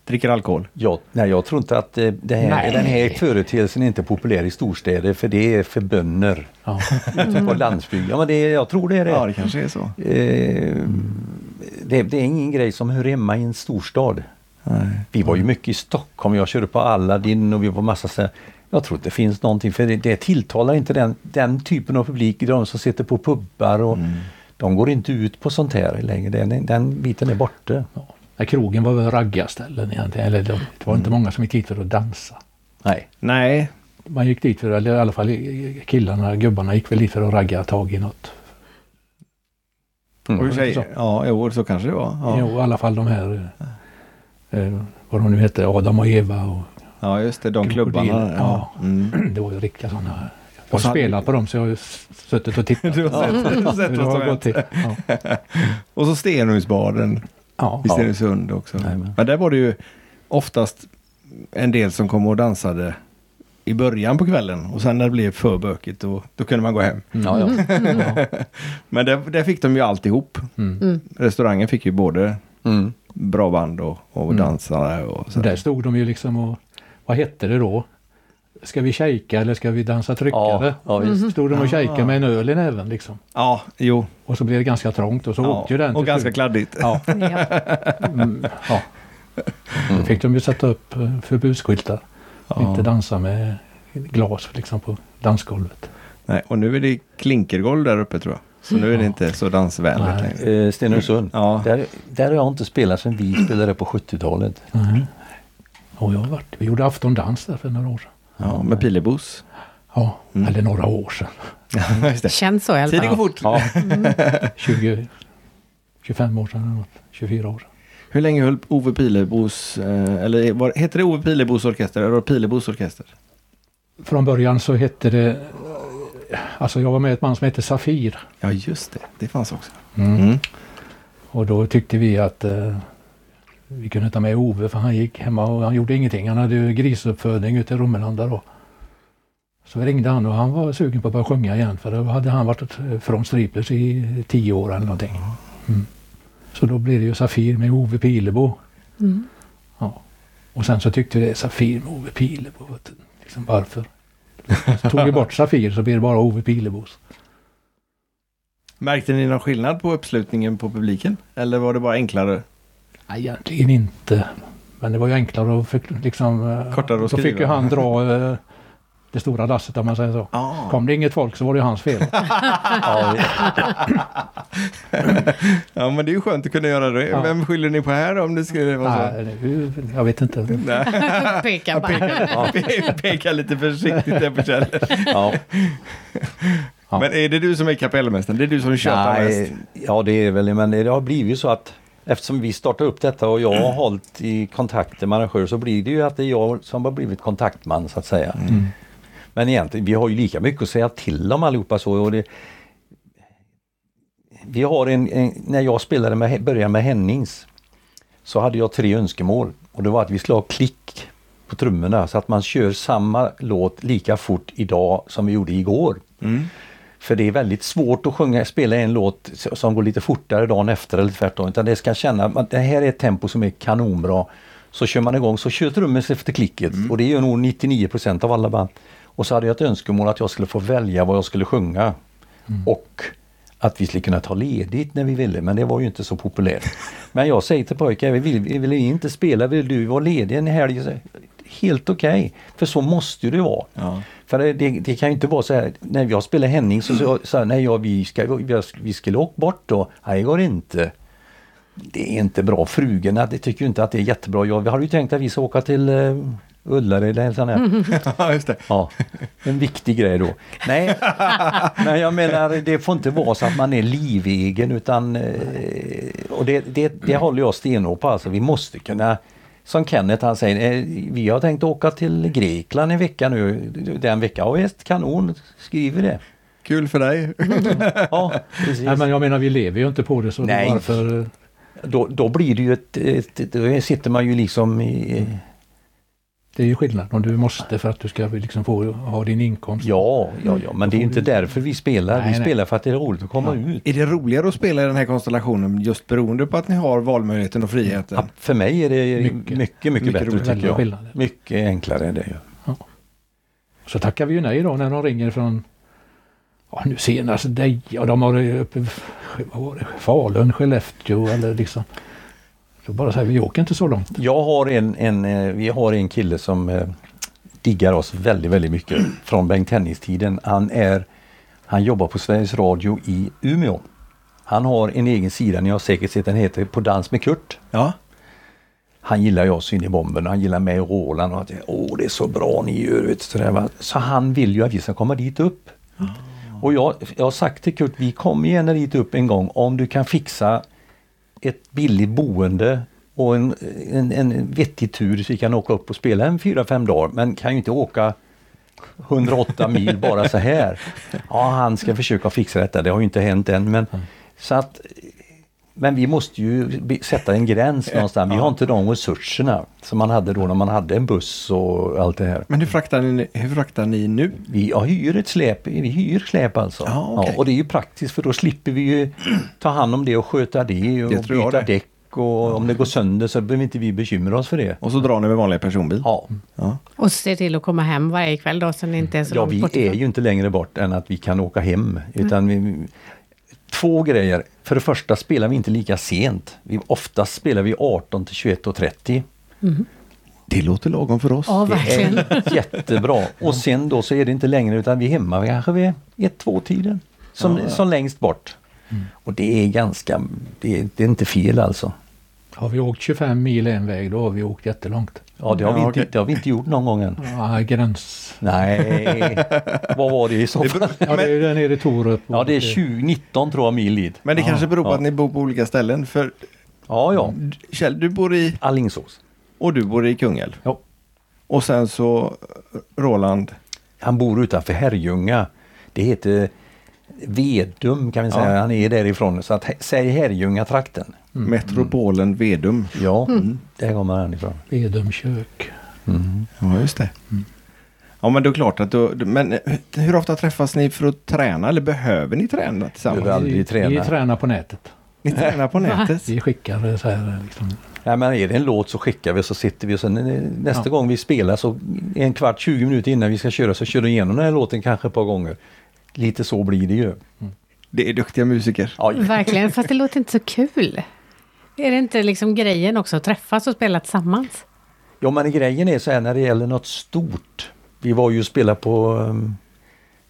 dricker alkohol. Jag, nej, jag tror inte att eh, det här, Nej. den här företeelsen är inte populär i storstäder för det är för bönder Ja. ute på landsbygden. Ja, men det, är- jag tror det är det. det kanske är så. Eh, det. Det är ingen grej som hör hemma i en storstad. Nej. Vi var ju mycket i Stockholm, jag körde på Aladdin och vi var på massa ställen. Jag tror inte det finns någonting för det, det tilltalar inte den, den typen av publik, de som sitter på pubbar och Mm. de går inte ut på sånt här längre. Den, den biten är borta. Ja. Nej, Krogen var väl raggarställen egentligen. Eller det det var inte Mm. många som gick dit för att dansa. Nej. Nej, Man gick dit för, eller i alla fall killarna, gubbarna gick väl dit för att ragga tag i något. och Mm. i och för sig, Så. ja, jo, så kanske det var. Jo, Ja, i alla fall de här, eh, vad de nu hette, Adam och Eva och *clears throat* ja just det, de Krokodil. klubbarna. Ja. Ja. Mm. det var ju riktiga sådana. Jag har Och så hade- spelat på dem så jag har ju s- suttit och *laughs* tittat. *laughs* Du har sett- du har sett hur vad det som har gått till. Ja. Och så Stenungsbaden Ja. *laughs* i Stenungsund också. Jajamän. Men där var det ju oftast en del som kom och dansade i början på kvällen och sen när det blev för bökigt då, då kunde man gå hem. Ja, ja. Men där, där fick de ju alltihop. Mm. Restaurangen fick ju både Mm. bra band och, och Mm. dansare. Och Så så. där stod de ju liksom och, vad hette det då? Ska vi shejka eller ska vi dansa tryckare? Mm. Ja, ja, visst. Stod de och Ja. Mm. shejkade med en öl i näven liksom. Ja, jo. Och så blev det ganska trångt och så Ja, åkte ju den och till ganska slut. kladdigt. Ja, Ja. mm, ja. Då fick de ju sätta upp eh, förbudsskyltar. Mm. Ja. Inte dansa med glas liksom på dansgolvet. Nej, och nu är det klinkergolv där uppe tror jag. Så nu är det inte så dansvänligt Nej. längre. Eh, Stenungsund, Ja. där, där har jag inte spelat sedan vi spelade på 70-talet. Mm. Nej. Och jag har varit. Vi gjorde aftondans där för några år sedan. Ja, med pilebos. *laughs* Ja, Mm. eller några år sedan. Just det. Känns så i alla Tiden går fall. fort. 20, 25 år sedan eller något. 24 år sedan. Hur länge höll Ove Pilebos, eh, eller var, heter det Ove Pilebos orkester? Eller var det Pilebos orkester? Från början så hette det... Alltså jag var med i ett band som hette Safir. Ja, just det. Det fanns också. Mm. Mm. Och då tyckte vi att eh, vi kunde ta med Ove för han gick hemma och han gjorde ingenting. Han hade ju grisuppfödning ute i Romelanda då. Så ringde han och han var sugen på att börja sjunga igen för då hade han varit eh, från Striplers i tio år eller någonting. Mm. Så då blev det ju Safir med Ove Pilebo. Mm. Ja. Och sen så tyckte vi det Safir med Ove Pilebo. vet du. Liksom, varför? Så tog vi bort Safir så blev det bara Ove Pilebos. Märkte ni någon skillnad på uppslutningen på publiken? Eller var det bara enklare? Nej, egentligen inte. Men det var ju enklare att förkl- liksom... eh, Kortare att Då skriva. fick ju han dra eh, det stora lasset om man säger så. Kom det inget folk så var det ju *laughs* hans fel. Ja, Ja, men det är ju skönt att kunna göra det. Ja. Vem skyller ni på här om det skulle vara *laughs* så? Nej, nu- jag vet inte. Nej. Peka Jag bara. pekar, Ja. pe- pekar lite försiktigt där på Kjell. ja. Ja. Men är det du som är kapellmästaren? Det är du som tjötar mest? Nej, ja det är väl men det har blivit så att eftersom vi startade upp detta och jag har hållit i kontakter med arrangörer så blir det ju att det är jag som har blivit kontaktman så att säga. Mm. Men egentligen, vi har ju lika mycket att säga till om allihopa så. Och det, vi har en, en, när jag spelade med, började med Hennings så hade jag tre önskemål och det var att vi skulle ha klick på trummorna så att man kör samma låt lika fort idag som vi gjorde igår. För det är väldigt svårt att sjunga, spela en låt s- som går lite fortare dagen efter eller tvärtom. Utan det ska känna att det här är ett tempo som är kanonbra. Så kör man igång så kör trummen sig efter klicket och det gör nog 99 av alla band. Och så hade jag ett önskemål att jag skulle få välja vad jag skulle sjunga. Och att vi skulle kunna ta ledigt när vi ville men det var ju inte så populärt. Men jag säger till pojkar, vill, vill vi inte spela, vill du vara ledig en helg? Så- Helt okej, för så måste ju det vara. Ja. För det, det, det kan ju inte vara så här, när jag spelar Henning så sa så, här, nej ja, vi, ska, vi, ska- vi skulle åka bort då. Nej, det går inte. Det är inte bra. Frugorna det tycker ju inte att det är jättebra. Jag har ju tänkt att vi ska åka till uh, Ullared eller sån här. *laughs* Ja, just det. Ja, en viktig grej då. Nej, men jag menar det får inte vara så att man är livegen utan eh, och det, det, det håller jag stenhårt på alltså. Vi måste kunna som Kenneth han säger, eh, vi har tänkt åka till Grekland en vecka nu, den veckan. Ja visst, kanon, skriver det. Kul för dig. Ja, precis. Nej, men jag menar vi lever ju inte på det så Nej. Nej. varför... eh, Då, då blir det ju ett, ett, ett, då sitter man ju liksom i, Det är ju skillnad om du måste för att du ska liksom få ha din inkomst. Ja, ja, ja, men det är inte därför vi spelar. Nej, vi nej. spelar för att det är roligt att komma ut. Är det roligare att spela i den här konstellationen just beroende på att ni har valmöjligheten och friheten? Ja, för mig är det mycket, Mycket. mycket, eh, Mycket bättre roligare. tycker jag. Skillnad. Mycket enklare är det ju. Så tackar vi ju nej då när de ringer från ja, nu senast Deja och de har det uppe i vad var det, Falun, Skellefteå eller liksom. Så bara säger vi, vi åker inte så långt. Jag har en, en, eh, vi har en kille som eh, diggar oss väldigt, väldigt mycket *clears throat* från Bengt Tennis-tiden. Han, är, han jobbar på Sveriges Radio i Umeå. Han har en egen sida, ni har säkert sett den, heter På dans med Kurt. Ja. Han gillar jag så in i bomben och han gillar mig och Roland. Och att, Åh, det är så bra ni gör. Vet, du, så, där, va? så han vill ju att vi ska komma dit upp. Och jag, jag har sagt till Kurt, vi kommer gärna dit upp en gång om du kan fixa ett billigt boende och en, en, en vettig tur så vi kan åka upp och spela en fyra fem dagar. Men kan ju inte åka 108 mil bara så här. Ja, han ska försöka fixa detta. Det har ju inte hänt än. Men, så att, men vi måste ju be- sätta en gräns någonstans. Vi har inte de resurserna som man hade då när man hade en buss och allt det här. Men hur fraktar ni, hur fraktar ni nu? Vi ja, hyr ett släp, vi hyr släp alltså. Ja, okej. och det är ju praktiskt för då slipper vi ju *clears throat* ta hand om det och sköta det och Det tror jag byta det. däck och om det går sönder så behöver inte vi bekymra oss för det. Och så drar ni med vanliga personbil. Ja, Och se till att komma hem varje kväll då, så ni inte är så ja långt vi bort är ifrån. ju inte längre bort än att vi kan åka hem. Utan Mm. vi, två grejer. För det första spelar vi inte lika sent. Vi, oftast spelar vi 18 till 21.30. Det låter lagom för oss. Ja, verkligen. är *laughs* jättebra. Och sen då så är det inte längre utan vi är hemma kanske vid ett, två tiden som, som längst bort. Och det är ganska, det är, det är inte fel alltså. Har vi åkt 25 mil en väg då har vi åkt jättelångt. Ja, det har, vi, Ja, inte, okej. det har vi inte gjort någon gång än. Ja, gräns. Nej, vad var det i så fall? *laughs* Ja, det är ju där nere i Torup. och- Ja, det är 20, 19 tror jag mil dit. Men det kanske beror på ja. att ni bor på olika ställen. För Ja, ja. Kjell, du bor i Allingsås. och du bor i Kungälv. Ja. Och sen så eh, Roland. Han bor utanför Herrljunga. Det heter Vedum kan vi säga. Han är därifrån. Så att, he- säg Herrljunga-trakten. Mm. Metropolen Vedum. Ja, där kommer han ifrån. Vedumkök. Ja, just det. Mm. Ja, men det är klart att du, Men eh, hur ofta träffas ni för att träna? Eller behöver ni träna tillsammans? Behöver. aldrig Vi- Vi träna. tränar på nätet. Ni tränar *laughs* på nätet? Vi skickar så här liksom. Nej men är det en låt så skickar vi och så sitter vi och sen eh, nästa gång vi spelar så en kvart, 20 minuter innan vi ska köra så kör du igenom den här låten kanske ett par gånger. Lite så blir det ju. Det är duktiga musiker. Ja, Mm. Verkligen, fast det låter inte så kul. Är det inte liksom grejen också att träffas och spela tillsammans? ja men grejen är så här när det gäller något stort. Vi var ju och spelade på um,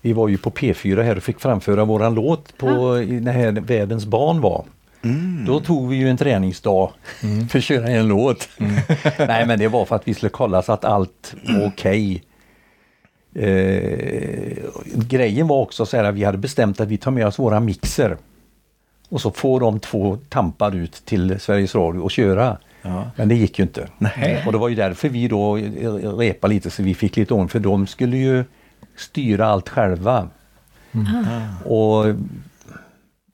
Vi var ju på P4 här och fick framföra våran låt på i den här Världens barn var. Då tog vi ju en träningsdag för att köra en låt. *laughs* Nej men det var för att vi skulle kolla så att allt var okej. Eh, grejen var också så här att vi hade bestämt att vi tar med oss våra mixer. Och så får de två tampar ut till Sveriges Radio och köra. Men det gick ju inte. *laughs* Och det var ju därför vi då eh, repade lite så vi fick lite ordning för de skulle ju styra allt själva. Och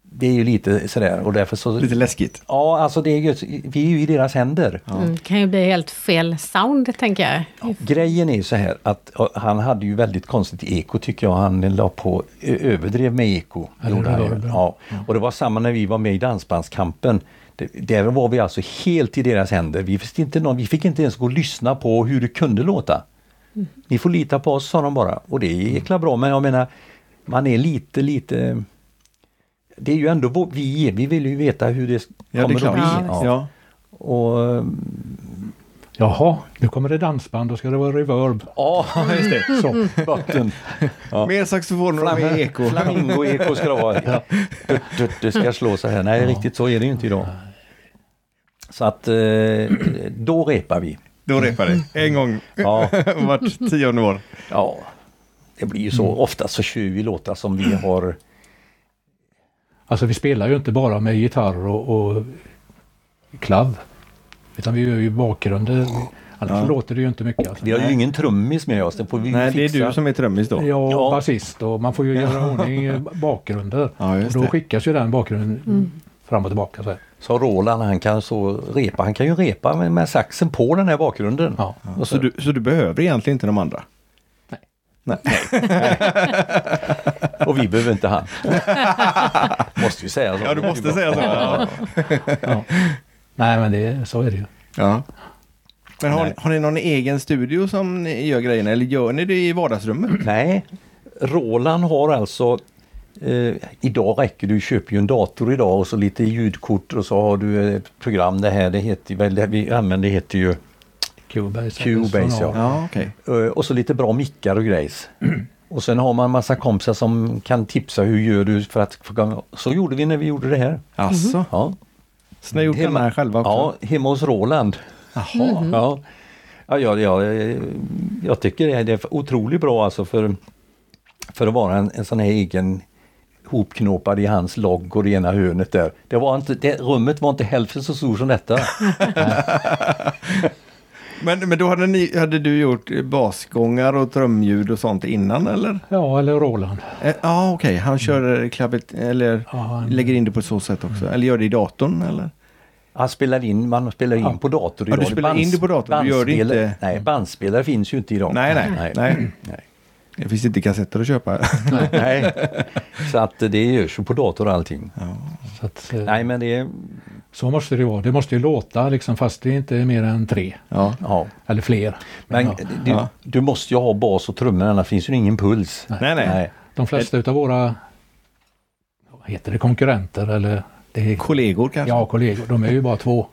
det är ju lite sådär och därför så... Lite läskigt. Ja, alltså det är ju, vi är ju i deras händer. Mm, det kan ju bli helt fel sound, tänker jag. Grejen är ju så här att och, han hade ju väldigt konstigt eko tycker jag. Han la på, ö- överdrev med eko. Ja, det Gjorde han var ju. det bra. ja. Och det var samma när vi var med i Dansbandskampen. Det, där var vi alltså helt i deras händer. Vi, visste inte någon, vi fick inte ens gå och lyssna på hur det kunde låta. Ni får lita på oss, sa de bara. Och det är jäkla bra, men jag menar, man är lite, lite... Det är ju ändå vår, vi, vi vill ju veta hur det Ja, det är kommer att klart. bli. Ja. Ja. Och, Jaha, nu kommer det dansband, då ska det vara reverb. ja, just det. *laughs* Mm. Så. botten. Ja. Mer saxofoner och mer eko. Flamingo-eko ska det vara. Dutt, dutt, Det ska slå så här. Nej, riktigt så är det ju inte idag. Så att eh, då repar vi. Då repar det. En gång *laughs* Ja, vart tionde år. ja. det blir ju Mm. så. Ofta så kör vi låtar som vi har. Alltså vi spelar ju inte bara med gitarr och, och klav. Utan vi gör ju bakgrunder. Annars låter det ju inte mycket. Alltså. Vi har ju ingen trummis med oss. Det får vi ju Nej, det fixa. är du som är trummis då. Jag Ja. och basist och man får ju göra ordning eh, bakgrunder. Ja, just och det. då Mm. skickas ju den bakgrunden fram och tillbaka. Så här. Så Roland han kan så repa, han kan ju repa med, med saxen på den här bakgrunden. Ja. Och Så så, du, så du behöver egentligen inte de andra? och vi *laughs* behöver inte han. måste ju säga så. Ja, du måste säga så. Ja. Ja. Nej, men det, så är det ju. Ja. Men har, har ni någon egen studio som ni gör grejerna eller gör ni det i vardagsrummet? Nej, Roland har alltså eh, idag räcker det, du köper ju en dator idag och så lite ljudkort och så har du ett program det här, det heter väl, det vi använder heter ju Cubase. Cubase, ja. Ja, okej. Eh, Och så lite bra mickar och grejs. Och sen har man massa kompisar som kan tipsa hur gör du för att... Så gjorde vi när vi gjorde det här. Alltså, Ja, Så ni har gjort den här själva också? ja hemma hos Roland. Jaha. Ja. Ja, ja, ja, eh, jag tycker det är- det är otroligt bra alltså för, för att vara en, en sån här egen hopknåpad i hans logg och det ena hörnet där. Det var inte, det, rummet var inte hälften så stort som detta. Men, men då hade, ni, hade du gjort eh, basgångar och trumljud och sånt innan eller? Ja, eller Roland. Eh, Ja, okej. Han kör eh, klabbet, eller Ja, han- lägger in det på så sätt också. Eller gör det i datorn eller? Han spelar in, man spelar in Ja. på dator Ja, idag. du spelar in det på dator, du gör det bandspelare- inte- Nej, bandspelare finns ju inte idag. Nej, nej. nej. nej. Det finns inte kassetter att köpa. Nej. *laughs* Så att det görs ju på dator och allting. Så, att, eh, Nej men det är, så måste det ju vara. Det måste ju låta liksom, fast det inte är mer än tre *laughs* ja. ja. eller fler. Men ja, du, Ja. du måste ju ha bas och trummor annars finns ju ingen puls. Nej, nej. de flesta utav våra, vad heter det, konkurrenter eller det är, Kollegor kanske? ja, kollegor, de är ju bara två.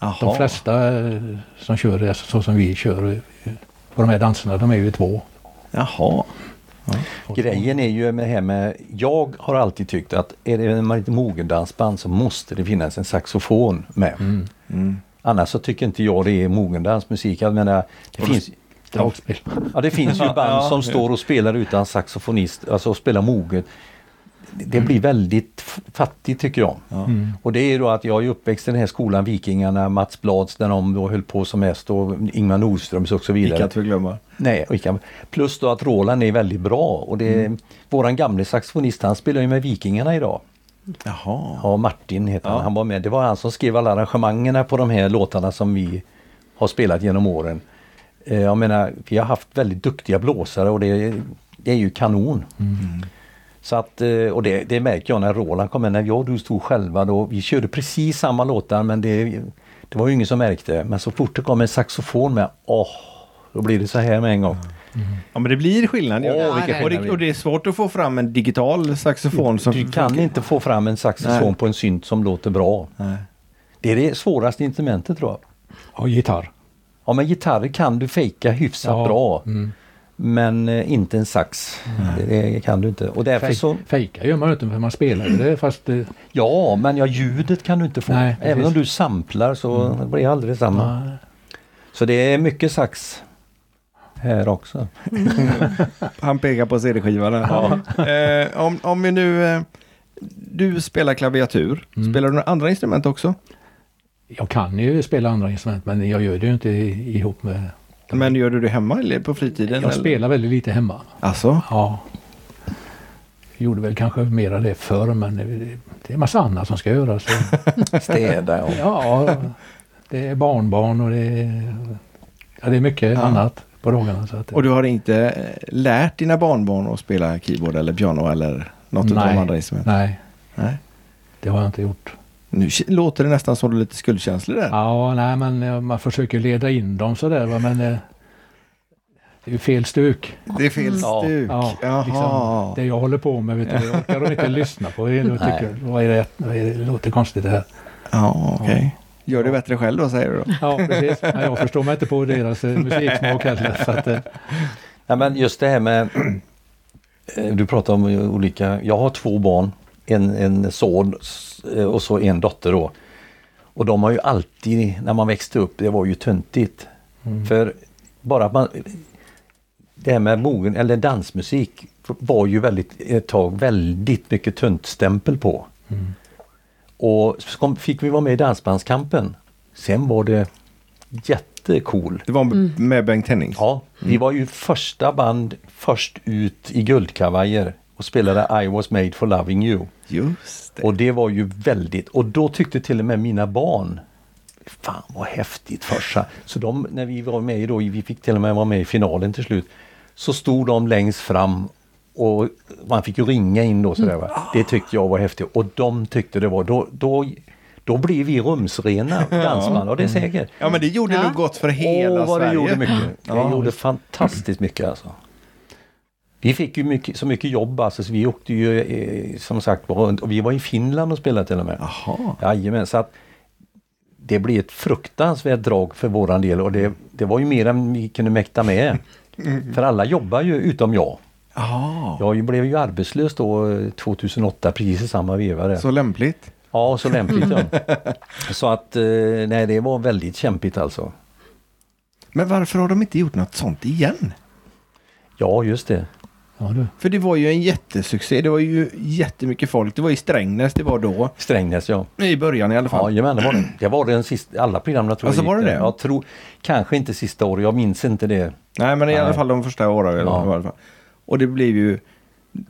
Jaha. De flesta eh, som kör det så som vi kör eh, på de här danserna, de är ju två. Jaha. Grejen är ju med det här med, jag har alltid tyckt att är det ett mogendansband så måste det finnas en saxofon med. Mm. Mm. Annars så tycker inte jag det är mogendansmusik. Jag menar, det finns, Dragspel. Ja, det finns ju band som står och spelar utan saxofonist, alltså och spelar moget. Det det blir väldigt f- fattigt tycker jag. Och det är då att jag är uppväxt i den här skolan, Vikingarna, Mats Blads när de då höll på som mest och Ingvar Nordströms och så vidare. Icke att förglömma. Nej, och Ica. Plus då att Roland är väldigt bra och det, våran gamle saxofonist han spelar ju med Vikingarna idag. Jaha. Ja, Martin heter han. Han var med. Det var han som skrev alla arrangemangerna på de här låtarna som vi har spelat genom åren. Eh, Jag menar, vi har haft väldigt duktiga blåsare och det, det är ju kanon. Mm. Så att, eh, och det, det märker jag när Roland kom in, när jag och du stod själva då, vi körde precis samma låtar men det, det var ju ingen som märkte. Men så fort det kom en saxofon med, åh, då blir det så här med en gång. Mm. Ja, men det blir skillnad. Åh, ja. vilken och, det, skillnad. och det är svårt att få fram en digital saxofon som... Du kan inte få fram en saxofon Nej. på en synt som låter bra. Nej. Det är det svåraste instrumentet tror jag. Och gitarr. Ja men gitarr kan du fejka hyfsat Ja, bra. mm. Men eh, inte en sax. Det, det kan du inte. Och därför så, Fej- Fejka gör man ju inte för man spelar ju det fast eh, ja men ja, ljudet kan du inte få. Nej, Även precis. Mm. om du samplar så blir det aldrig samma. nej. Så det är mycket sax här *laughs* också. Han pekar på CD-skivan. där. *laughs* Eh, om, om vi nu... Eh, du spelar klaviatur. Spelar du några andra instrument också? jag kan ju spela andra instrument men jag gör det ju inte i- ihop med... Men gör du det hemma eller på fritiden? Jag eller? spelar väldigt lite hemma. Alltså? Ja. Gjorde väl kanske mera det förr men det- det är massa annat som ska göras. *laughs* Städa och... Ja, det är barnbarn och det är, ja, det är mycket annat på dagarna. Så att, Och du har inte eh, lärt dina barnbarn att spela keyboard eller piano eller något av de andra instrumenten? Nej, Nej. det har jag inte gjort. Nu k- låter det nästan som du har lite skuldkänslor där. Ja, nej, men eh, man försöker leda in dem sådär va, men eh, det är ju fel stuk. Det är fel Ja, stuk. Ja, Jaha. liksom, det jag håller på med vet du, det orkar de inte *laughs* lyssna på. Det, jag tycker, vad är det, vad är det, det låter konstigt det här. Ja, okej. Gör det bättre själv då, säger du då? Ja, precis. Nej, jag förstår mig inte på deras eh, musiksmak heller. Så att, eh, Ja, men just det här med... Eh, Du pratar om eh, olika... Jag har två barn. En, en son s- eh, och så en dotter då. Och de har ju alltid, när man växte upp, det var ju töntigt. För bara att man... Det här med mogen, eller dansmusik var ju väldigt, ett tag väldigt mycket töntstämpel på. Och så kom, fick vi vara med i Dansbandskampen. Sen var det jättecool. Det var med Bengt Hennings? Ja, vi var ju första band först ut i guldkavajer och spelade I was made for loving you. Just det. Och det var ju väldigt, och då tyckte till och med mina barn Fan vad häftigt farsa! Så de, när vi var med då, vi fick till och med vara med i finalen till slut. Så stod de längst fram och man fick ju ringa in då sådär. Va? Det tyckte jag var häftigt och de tyckte det var, då, då, då blev vi rumsrena dansband, ja det är säkert. Ja, men det gjorde Ja. nog gott för hela Åh, vad Sverige. det gjorde mycket. Det Ja. gjorde fantastiskt mycket alltså. Vi fick ju mycket, så mycket jobb alltså, så vi åkte ju eh, som sagt var runt och vi var i Finland och spelade till och med. Jaha. Jajamän, så att det blev ett fruktansvärt drag för våran del och det, det var ju mer än vi kunde mäkta med. Mm. För alla jobbar ju utom jag. Ja, Jag blev ju arbetslös då eh, 2008 precis i samma veva. Där. så lämpligt. Ja, så lämpligt ja. Så att eh, nej, det var väldigt kämpigt alltså. Men varför har de inte gjort något sånt igen? Ja, just det. Ja, du. För det var ju en jättesuccé. Det var ju jättemycket folk. Det var i Strängnäs det var då. Strängnäs ja. I början i alla fall. Jajamän, det var det. Det var den sista, alla programmen tror Alltså, jag var gick det där. det? Jag tror, kanske inte sista året, jag minns inte det. Nej, men i alla Nej. fall de första åren. Ja. i alla fall. Och det blev ju...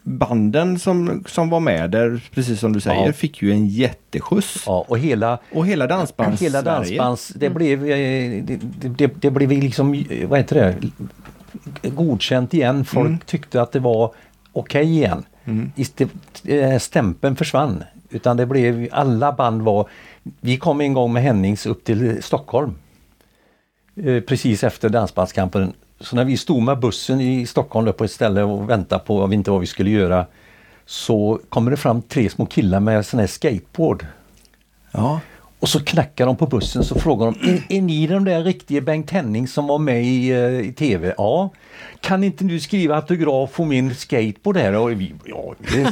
Banden som, som var med där, precis som du säger, Ja. fick ju en jätteskjuts. Ja, och hela, Och hela dansbands hela Sverige. dansbands... Det blev, eh, det, det- det, det blev liksom, eh, vad heter det, godkänt igen. Folk tyckte att det var okej igen. Iste- eh, Stämpeln försvann. Utan det blev, alla band var... Vi kom en gång med Hennings upp till Stockholm. eh, precis efter Dansbandskampen. Så när vi stod med bussen i Stockholm där på ett ställe och väntade på om vi inte vad vi skulle göra så kommer det fram tre små killar med sån här skateboard. Ja. Och så knackar de på bussen så frågar de är, är ni den där riktiga Bengt Henning som var med i, eh, i TV? Ja. Kan inte du skriva autograf på min skateboard här? Och vi, ja, det,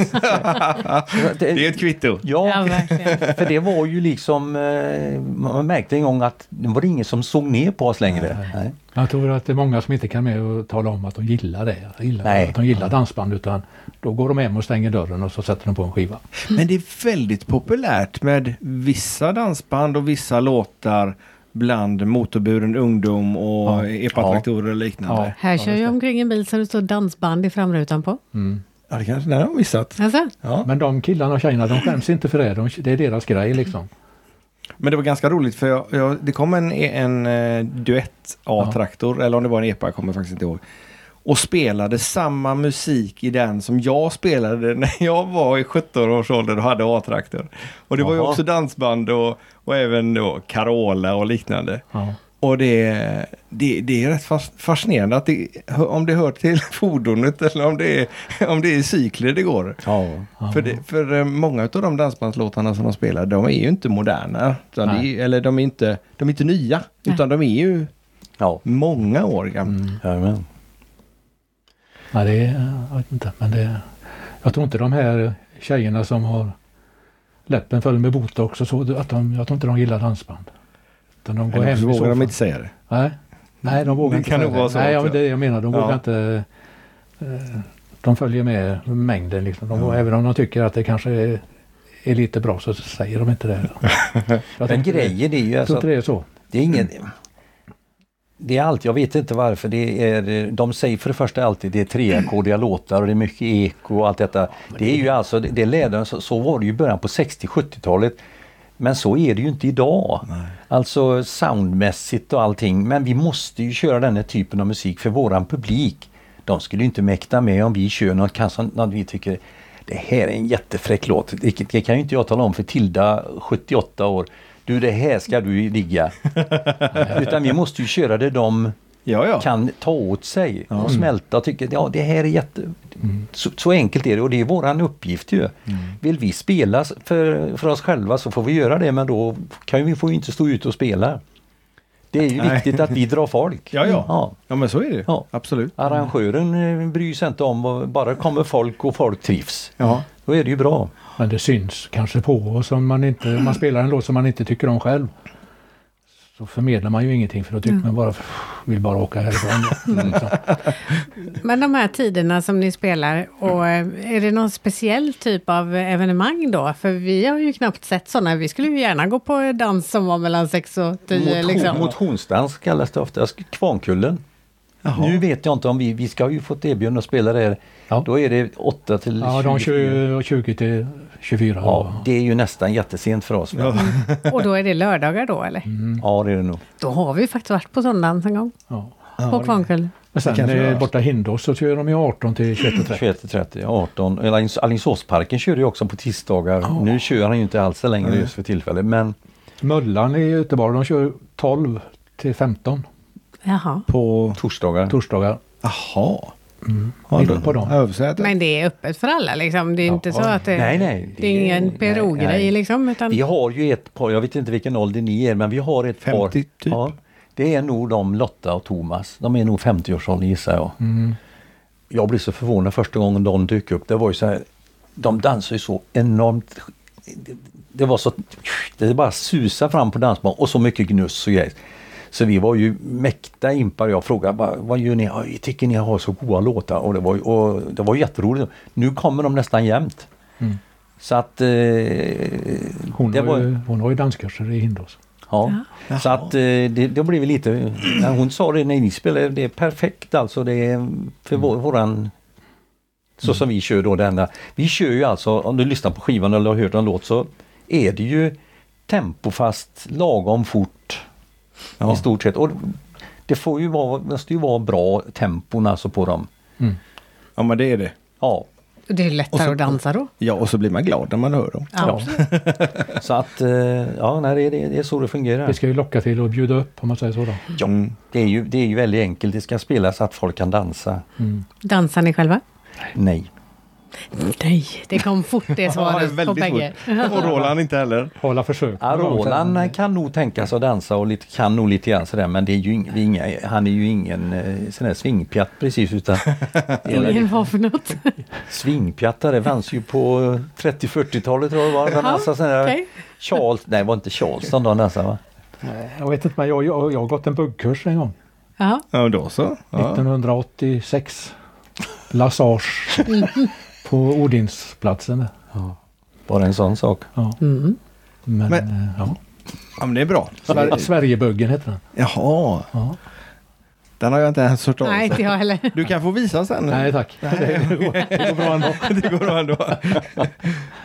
det, Det är ett kvitto. Ja, Ja, verkligen. för det var ju liksom eh, man märkte en gång att det var ingen som såg ner på oss längre. Nej. Jag tror att det är många som inte kan med och tala om att de gillar det, att de gillar, Nej. att de gillar dansband utan då går de hem och stänger dörren och så sätter de på en skiva. Men det är väldigt populärt med vissa dansband och vissa låtar bland motorburen ungdom och epatraktorer och liknande. Ja. Här kör jag omkring en bil som det står dansband i framrutan på. Ja, det kanske den har jag missat. Alltså, Men de killarna och tjejerna de skäms inte för det, de, det är deras grej liksom. Men det var ganska roligt för jag, jag, det kom en, en eh, duett A-traktor, eller om det var en epa, jag kommer faktiskt inte ihåg. Och spelade samma musik i den som jag spelade *laughs* när jag var i 17-årsåldern och hade A-traktor. Och det var ju Jaha. också dansband och, och även då Carola och liknande. Ja. Och det, det, det är rätt fas- fascinerande att det, om det hör till *laughs* fordonet eller om det är, om det är i cykler det går. Ja. För, det, för eh, många av de dansbandslåtarna som de spelar, de är ju inte moderna. Utan det är, eller de är inte, de är inte nya, utan de är ju Ja. många år gamla. Mm. Jajamän. Nej, det är, eh, jag vet inte, men det, jag tror inte de här tjejerna som har läppen full med botox och så, att de, jag tror inte de gillar dansband. Utan de går Eller hem så i vågar de soffan. inte säga det. Nej, Nej de vågar Det inte kan säga nog vara så Nej, ja, också. men det är det jag menar. De Ja. vågar inte... eh, De följer med mängden. Liksom. De, Även om de tycker att det kanske är, är lite bra så säger *laughs* de inte det. jag Men tänkte- grejen är ju Jag alltså tror att inte det är så. det är ingen... Det är allt, jag vet inte varför. Det är, de säger för det första alltid det är treackordiga låtar och det är mycket eko och allt detta. Det är ju alltså, det är ledaren, så, så var det ju i början på 60-70-talet. Men så är det ju inte idag. Alltså soundmässigt och allting. Men vi måste ju köra den här typen av musik för våran publik. De skulle ju inte mäkta med om vi kör något, kanske något vi tycker det här är en jättefräck låt. Det, det kan ju inte jag tala om för Tilda, 78 år. Du det här ska du ligga. *laughs* Utan vi måste ju köra det de Ja, Mm. ja. kan ta åt sig och smälta och tycka ja det här är jätte... Mm. Så, så enkelt är det och det är våran uppgift ju. Vill vi spela s- för, för oss själva så får vi göra det men då kan ju, vi får ju inte stå ute och spela. Det är ju Nej. viktigt att vi drar folk. Ja, ja. ja. Ja, men så är det ju. Ja. Absolut. Arrangören eh, bryr sig inte om, vad- bara kommer folk och folk trivs. Ja. Då är det ju bra. Men det syns kanske på oss om man, inte, om man spelar en låt som man inte tycker om själv. Så förmedlar man ju ingenting för då tycker man bara vill bara *laughs* åka härifrån. Mm. Liksom. men de här tiderna som ni spelar, och eh, är det någon speciell typ av evenemang då? För vi har ju knappt sett sådana. Vi skulle ju gärna gå på dans som var mellan 6 och 10. Motion, liksom. Motionsdans kallas det ofta, Kvarnkullen. Jaha. Nu vet jag inte om vi, vi ska ju fått erbjudande att spela där. Ja. Då är det 8 till Ja, de 20, 20 till 24. Ja, det är ju nästan jättesent för oss. Ja, Och då är det lördagar då eller? ja det är det nog. Då har vi ju faktiskt varit på Sundance en gång. Ja. på Kvarnkull. Men sen kanske eh, görs. borta i Hindås så kör de ju 18 till 21.30. 21-30, 18. Eller Allingsås- Alingsåsparken kör ju också på tisdagar. Nu kör han ju inte alls det längre just för tillfället. Men Möllan i Göteborg, de kör 12 till 15 Jaha. På... torsdagar. torsdagar. Jaha. Mitt på dem. Övsätet. Men det är öppet för alla liksom. Det är inte så att det, Nej, nej. det är ingen nej, nej. PRO-grej liksom. Utan, Vi har ju ett par, jag vet inte vilken ålder ni är, men vi har ett par. 50 typ. Ja, det är nog de, Lotta och Thomas. De är nog 50-årsåldern gissar jag. Jag blev så förvånad första gången de dök upp. Det var ju så här, de dansar ju så enormt. Det, det var så, det bara susade fram på dansbanan och så mycket gnuss och grejer. Så vi var ju mäkta impar. Jag frågade bara, vad gör ni? "Ja, Jag tycker ni har så goda låtar och det var, ju- och det var jätteroligt. Nu kommer de nästan jämt. Så att eh, Mm. Hon, det har ju, var, hon har ju danskurser i Hindås. ja. Så att eh, det, det blev lite, när hon sa det när ni spelade, det är perfekt alltså det är för Mm. vår, våran så som vi kör då denna. Vi kör ju alltså, om du lyssnar på skivan eller har hört en låt så är det ju tempofast, lagom fort i stort sett. Och det får ju vara, måste ju vara bra tempon alltså på dem. Ja, men det är det. Ja, det är lättare Och så- att dansa då. Ja, och så blir man glad när man hör dem. Ja. så att eh, ja, nej, det, det, det är så det fungerar. Det ska ju locka till och bjuda upp om man säger så. Då. Ja, det, är ju, det är ju väldigt enkelt. Det ska spelas så att folk kan dansa. Mm. Dansar ni själva? Nej. Nej, det kom fort det Ja, svaret på väldigt bägge. fort. Och Roland inte heller. Hålla försök. Ja, Roland kan nog tänka sig att dansa och lite, kan nog lite grann sådär men det är ju ing, det är inga, han är ju ingen eh, sån där svingpjatt *laughs* precis utan Ingen var för något. svingpjattare fanns ju på eh, 30-40-talet tror jag det var. Han Ja, dansade sån *laughs* där okej. Charles, nej det var inte Charleston då han dansade va? Jag vet inte, men jag, jag, jag har gått en buggkurs en gång. Ja. Ja, då så. Ja. 1986. Lassage. på Odinsplatsen. Bara en sån sak. Ja. Men, Men- eh, ja. ja, men det är bra. Sver- Sverigebuggen heter den. Jaha. Ja. Den har jag inte ens hört Nej, av. inte jag heller. Du kan få visa sen. Nej tack. *laughs* Det går- det går bra ändå. *laughs* det går bra ändå.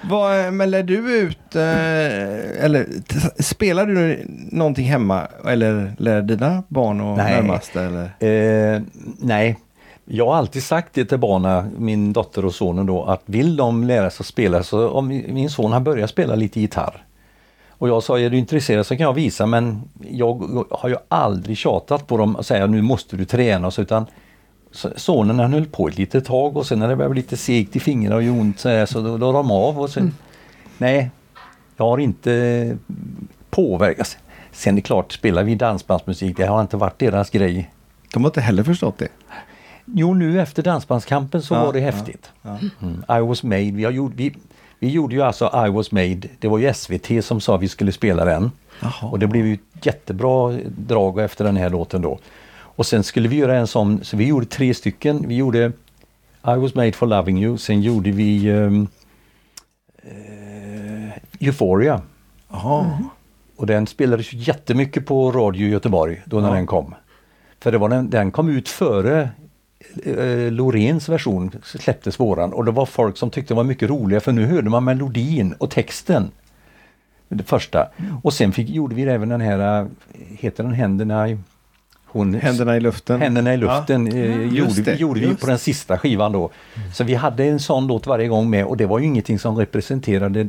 Vad, men lär du ut, eh, eller t- spelar du någonting hemma? Eller lär dina barn och Nej. närmaste? Eller? Eh, nej, jag har alltid sagt det till barnen, min dotter och sonen då, att vill de lära sig att spela så om min son han börjar spela lite gitarr. Och jag sa, är du intresserad så kan jag visa men jag har ju aldrig tjatat på dem och säga nu måste du träna oss utan så- sonen han höll på ett litet tag och sen när det började bli lite segt i fingrarna och gjorde ont så, här, så då la de av och sen Nej, jag har inte påverkats. Sen är det klart, spelar vi dansbandsmusik, det har inte varit deras grej. De har inte heller förstått det. Jo, nu efter Dansbandskampen så Ja, var det ja, häftigt. Mm. I was made. Vi, har gjort, vi, vi gjorde ju alltså I was made. Det var ju SVT som sa vi skulle spela den. Och det blev ju ett jättebra drag efter den här låten då. Och sen skulle vi göra en sån, så vi gjorde tre stycken. Vi gjorde I was made for loving you. Sen gjorde vi ehm, eh, Euphoria. Mm. Och den spelades ju jättemycket på radio i Göteborg då när den kom. För det var den, den kom ut före eh, Loreens version släpptes våran och det var folk som tyckte det var mycket roligare för nu hörde man melodin och texten. Det första. Mm. Och sen fick, gjorde vi även den här, eh, heter den Händerna i... Hon, Händerna i luften. Händerna i luften eh, Just gjorde, det, vi, gjorde vi ju just Mm. på den sista skivan då. Så vi hade en sån låt varje gång med och det var ju ingenting som representerade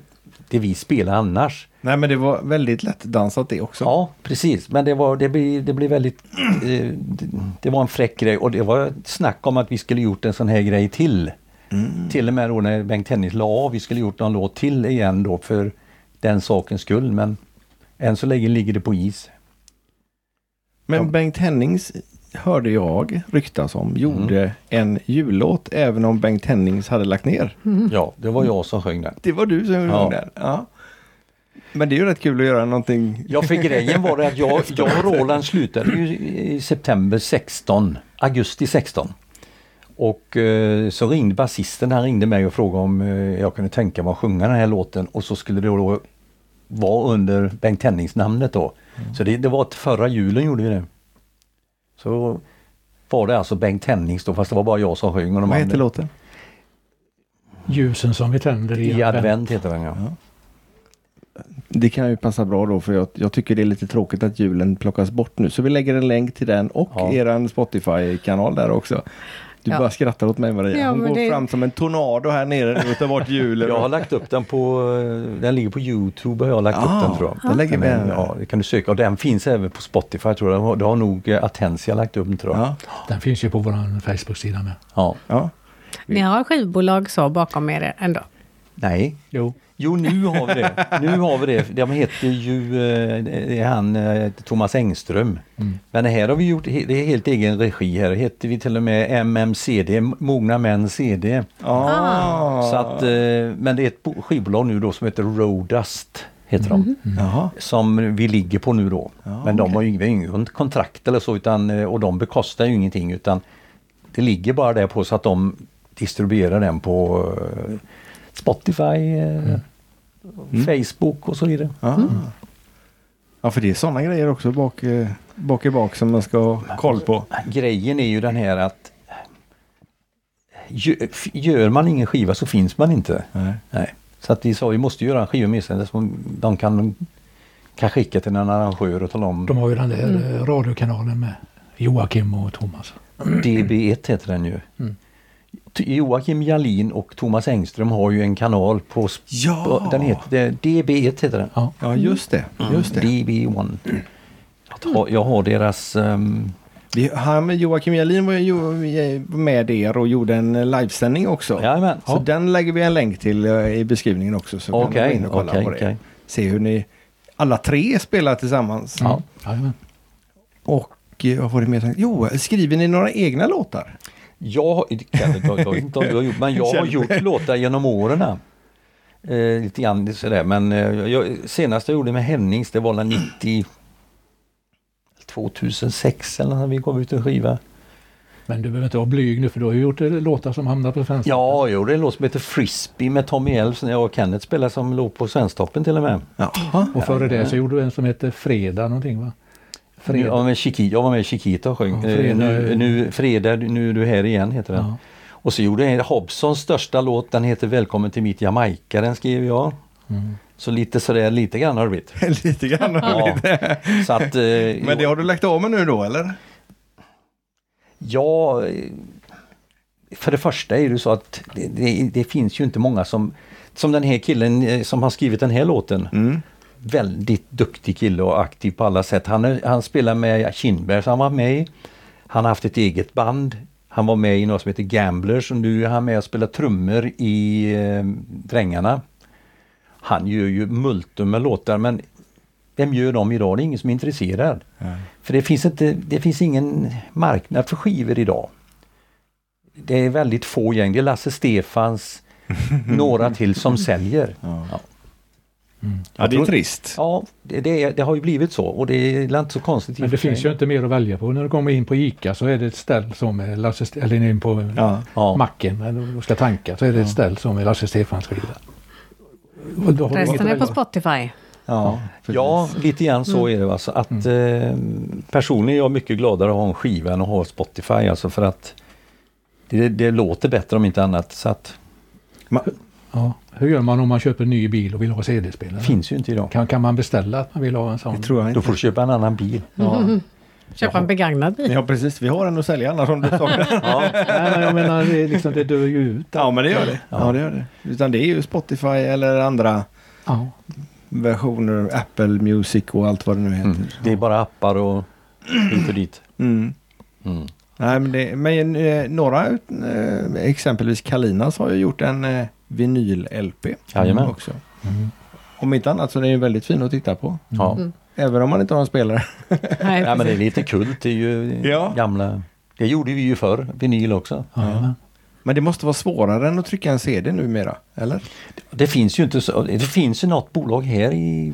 det vi spelade annars. Nej, men det var väldigt lätt dansat det också. Ja, precis. Men det, var, det, blev, det blev väldigt... Eh, det, det var en fräck grej och det var snack om att vi skulle gjort en sån här grej till. Till och med då när Bengt Hennis la av, vi skulle gjort någon låt till igen då för den sakens skull. Men än så länge ligger det på is. Men Bengt Hennings hörde jag ryktas om gjorde en jullåt även om Bengt Hennings hade lagt ner. Ja, det var jag som sjöng den. Det var du som gjorde Ja. den. Ja. Men det är ju rätt kul att göra någonting. Ja, för grejen var det att jag, jag och Roland slutade ju i september 16, augusti 16. Och eh, så ringde basisten, han ringde mig och frågade om eh, jag kunde tänka mig att sjunga den här låten och så skulle det då vara under Bengt Hennings namnet då. Så det, det var till förra julen gjorde vi det. Så var det alltså Bengt Hennings då, fast det var bara jag som sjöng. Men de Vad heter andra- låten? Ljusen som vi tänder i, I advent heter den ja. Det kan ju passa bra då för jag, jag tycker det är lite tråkigt att julen plockas bort nu. Så vi lägger en länk till den och Ja. eran Spotify-kanal där också. Du Ja. bara skrattar åt mig Maria. Ja, Hon men går det- fram som en tornado här nere nu och tar bort *laughs* julen. Jag har lagt upp den på, eh, den ligger på Youtube har jag lagt Ah, upp den tror jag. där lägger vi Den är- den. Ja, det kan du söka. Och den finns även på Spotify tror jag. Det har- Det har nog eh, Atensia lagt upp den tror jag. ja, Den finns ju på vår Facebook-sida med. Ja. ja. Ni har skivbolag så bakom er ändå? Nej. Jo, Jo, nu har vi det. Nu har vi det. De heter ju eh, det är han eh, Thomas Engström. Men här har vi gjort, he- det är helt egen regi här. Heter vi till och med MMCD, Mogna Män CD. Ah. Så att, eh, men det är ett bo- skivbolag nu då som heter Rodust. Heter de. Mm. Jaha. Som vi ligger på nu då. men de har ju ingen- ingen kontrakt eller så utan, eh, och de bekostar ju ingenting utan det ligger bara där på så att de distribuerar den på eh, Spotify, eh, Facebook och så vidare. Ah. Ja, för det är sådana grejer också bak, eh, bak i bak som man ska ha koll på. Grejen är ju den här att gö- f- gör man ingen skiva så finns man inte. Nej. Nej. Så att vi sa vi måste göra en skiva med sig som de kan, kan skicka till en arrangör och tala om. de har ju den där eh, radiokanalen med Joakim och Thomas. DB1 E heter den ju. Mm. T- Joakim Jalin och Thomas Engström har ju en kanal på... sp- Ja! på- Den heter, DB1 E heter den. Ja. Ja, just det. Mm. Just det. DB1. Att ha, jag har deras... ehm, Vi, han, Joakim Jalin var ju eh, med er och gjorde en eh, livesändning också. Jajamän. Så den lägger vi en länk till eh, i beskrivningen också. Så kan Okej, ni gå in och kolla okej, på det. okej. Se hur ni alla tre spelar tillsammans. Ja. Mm. Jajamän. Och eh, vad var det mer? jag tänkte? Jo, skriver ni några egna låtar? Jag har, det kan jag- jag vet inte om du har gjort, men jag har gjort låtar genom åren. Eh, lite grann sådär, men eh, jag, senast jag gjorde med Hennings, det var den 90... 2006 eller när vi gav ut en skiva. Men du behöver inte vara blyg nu för du har ju gjort eh, låtar som hamnar på svenska. Ja, jo, det är en låt som heter Frisbee med Tommy Elfs när jag och Kenneth spelade som låg på Svensktoppen till och med. Jaha. *laughs* Och före det så gjorde du en som hette Fredag någonting va? Nu, Fredag. ja, men Chiqui, jag var med i Chiquita och sjöng. Ja, Eh, Fredag nu, är- nu, fredag, nu är du här igen heter den. Ja. Och så gjorde jag Hobsons största låt, den heter Välkommen till mitt Jamaica, den skrev jag. Så lite sådär, lite grann har det blivit. Lite grann. *laughs* Ja. Så att, eh, Men det har du lagt av med nu då eller? Ja, eh, för det första är det så att det, det, det finns ju inte många som, som den här killen eh, som har skrivit den här låten. Väldigt duktig kille och aktiv på alla sätt. Han, är, han spelar med Kindberg, så han var med i. Han har haft ett eget band. Han var med i något som heter Gamblers och nu är han med och spelar trummor i eh, Drängarna. Han gör ju multum med låtar men vem gör dem idag? Det är ingen som är intresserad. För det finns, inte, det finns ingen marknad för skivor idag. Det är väldigt få gäng. Det är Lasse *laughs* Stefans några till som säljer. Ja, Ja, det är tror- trist. ja det, det, är- det har ju blivit så och det är väl inte så konstigt. i Men och det för finns sig. ju inte mer att välja på. När du kommer in på ICA så är det ett ställ som är Lasse, Ste- eller in på eh, Ja. Ja. macken när du ska tanka så är det ett ställ som är Lasse Stefans skiva. Och då har du inget Resten att är på välja. Spotify. Ja, ja lite grann så är det. Alltså, att, Mm. eh, personligen är jag mycket gladare att ha en skiva än att ha Spotify. Alltså, för att det, det låter bättre om inte annat. Så att, Ma- Ja. Hur gör man om man köper en ny bil och vill ha CD-spelare? det finns ju inte idag. Kan, kan man beställa att man vill ha en sån? det tror jag Då inte. får du köpa en annan bil. Köpa en begagnad bil. Ja, precis. Vi har en att sälja annars om du saknar. Nej, men jag menar det, är liksom, det dör ju ut. *laughs* Ja, men det gör det. Ja, det gör det. Utan det är ju Spotify eller andra Ja. versioner, Apple Music och allt vad det nu heter. Mm. Det är bara appar och hit och dit. Mm. Mm. Nej, men, det, men eh, några, eh, exempelvis Kalinas har ju gjort en eh, vinyl-LP Jajamän. också. Mm. Om inte annat så är den ju väldigt fin att titta på. Ja. Även om man inte har en spelare. *laughs* Nej, Nej, men det är precis. lite kult. Det är ju Ja. gamla... Det gjorde vi ju förr, vinyl också. Ja. Men det måste vara svårare än att trycka en CD numera, eller? Det finns ju inte så, det finns ju något bolag här i,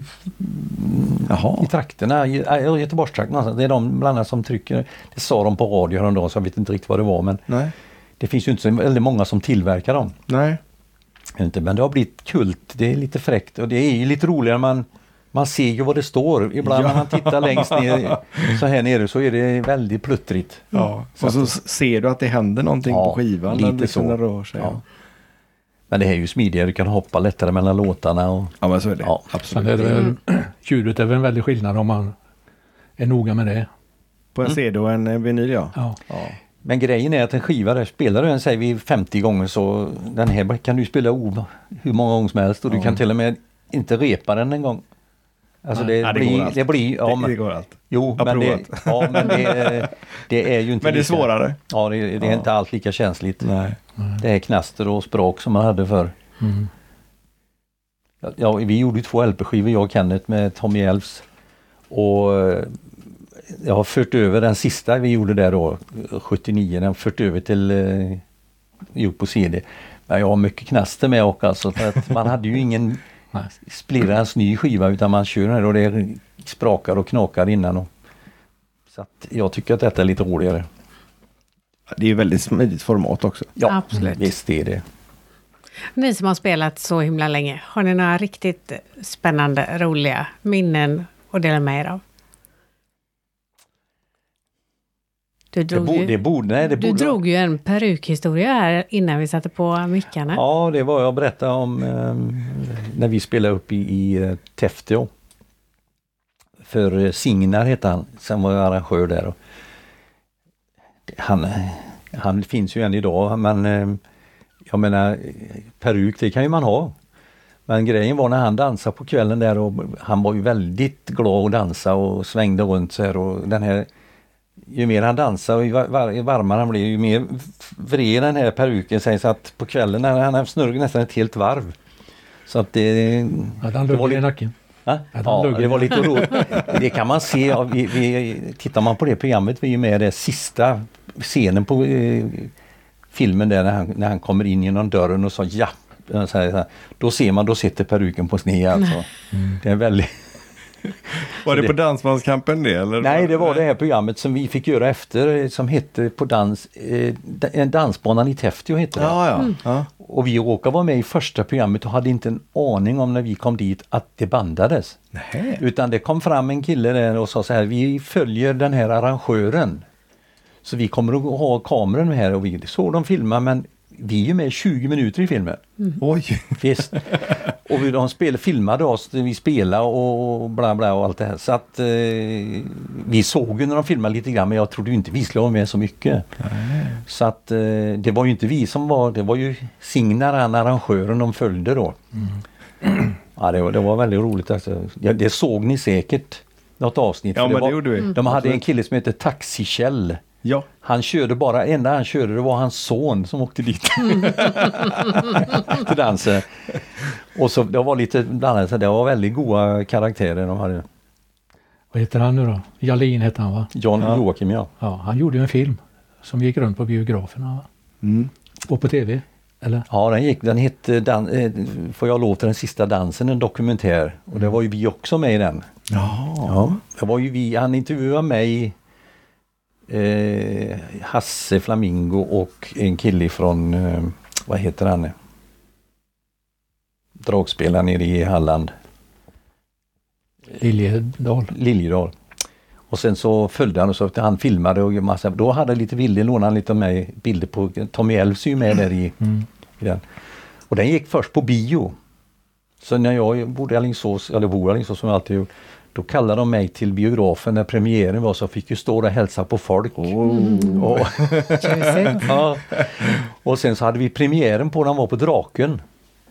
i trakterna, i äh, i Göteborgstrakten någonstans. Det är de bland annat som trycker, det sa de på radio häromdagen så jag vet inte riktigt vad det var men Nej. det finns ju inte så väldigt många som tillverkar dem. Nej. Inte, men det har blivit kult, det är lite fräckt och det är ju lite roligare man Man ser ju vad det står. Ibland när man tittar längst ner så här nere så är det väldigt pluttrigt. Ja. Och så ser du att det händer någonting Ja, på skivan när lite det liksom så. rör sig. Ja. Men det här är ju smidigare, du kan hoppa lättare mellan låtarna. Och, Ja, men så är det. Ja. Absolut. Sen är det väl, Mm. ljudet är väl en väldig skillnad om man är noga med det. På en CD och en eh, vinyl ja. Ja. men grejen är att en skiva, där spelar du den säger vi 50 gånger så den här kan du spela o- hur många gånger som helst och du kan till och med inte repa den en gång. Alltså det, Ja, det går blir... allt. det blir... Ja, det, men, det går allt. jo, Jag har men, det, provat. ja, *laughs* men det, det är ju inte Men det är lika- svårare. Ja, det, det är Ja. inte alls lika känsligt. Nej. Det är knaster och språk som man hade förr. Mm. Ja, Ja, vi gjorde ju två LP-skivor jag och Kenneth med Tommy Elfs. Och eh, jag har fört över den sista vi gjorde där då, 79, den har fört över till eh, gjort på CD. Men jag har mycket knaster med och alltså för att man hade ju ingen *laughs* Nej. splirrans ny skiva utan man kör den här och det sprakar och knakar innan. Och, så att jag tycker att detta är lite roligare. Det är ju väldigt smidigt format också. Ja, Absolut. visst det är det. Ni som har spelat så himla länge, har ni några riktigt spännande, roliga minnen att dela med er av? Du Det drog, borde, det ju, borde, nej, det du borde drog ju en perukhistoria här innan vi satte på mickarna. Ja, det var jag berättade om eh, när vi spelade upp i, i eh, Täfteå. För eh, Signar hette han, sen var jag arrangör där. Och han, eh, han finns ju än idag men eh, jag menar eh, peruk det kan ju man ha. Men grejen var när han dansade på kvällen där och han var ju väldigt glad att dansa och svängde runt så här och den här ju mer han dansar och ju var- var- ju varmare han blir ju mer vred den här peruken sig så att på kvällen när han snurrar nästan ett helt varv. Så att det... Hade han det var lugg i lite- nacken? Va? Ja, den Ja, lugg. det var lite roligt. Det kan man se. ja, Vi, vi, tittar man på det programmet, vi är med det sista scenen på eh, filmen där när han, när han kommer in genom dörren och så ja. eh, Så här, så här. Då ser man, då sitter peruken på sned alltså. Det är väldigt... Var det, det- på Dansbandskampen det eller? Nej, det var det här programmet som vi fick göra efter eh, som hette på dans... Eh, da- eh, Dansbanan i Täfteå hette det. Ja, ja. ja. Och vi råkade vara med i första programmet och hade inte en aning om när vi kom dit att det bandades. Nej. Utan det kom fram en kille där och sa så här, vi följer den här arrangören. Så vi kommer att ha kameran här och vi såg de filma men vi är ju med 20 minuter i filmen. Oj. *laughs* Visst. Och vi- de spel, filmade oss, vi spelade och och bla bla och allt det här. Så att eh, vi såg ju när de filmade lite grann men jag trodde ju inte vi skulle vara med så mycket. Så att eh, det var ju inte vi som var, det var ju Signar, han arrangören, de följde då. Mm. Ja, det, var- det var väldigt roligt alltså. ja, Det såg ni säkert något avsnitt. Ja, för men det var, gjorde vi. De hade en Absolut. kille som hette Taxi-Kjell. Ja. Han körde bara, enda han körde det var hans son som *laughs* åkte dit. till dansen. Och så det var lite blandat, så det var väldigt goda karaktärer de hade. Vad heter han nu då? Jalin heter han va? John Joakim ja. Ja, han gjorde ju en film som gick runt på biograferna va? Mm. och på tv. Eller? Ja, den, gick, den hette dan, eh, Får jag lov till den sista dansen, en dokumentär. Och det var ju vi också med i den. Ja. Ja. Det var ju vi, han intervjuade mig, eh, Hasse Flamingo och en kille från, eh, vad heter han? nu? Dragspelaren nere i Halland, Liljedahl. Liljedahl. Och sen så följde han och så att han filmade och massa, då hade han lite bilder, lånade han lite av mig, bilder på, Tommy Elfs är ju med där i, Mm. i den. Och den gick först på bio. Så när jag bodde i Alingsås, eller bor i Alingsås som jag alltid gjort, då kallade de mig till biografen när premiären var så jag fick ju stå där och hälsa på folk. Och, Tjusigt. *laughs* ja. och sen så hade vi premiären på den var på Draken.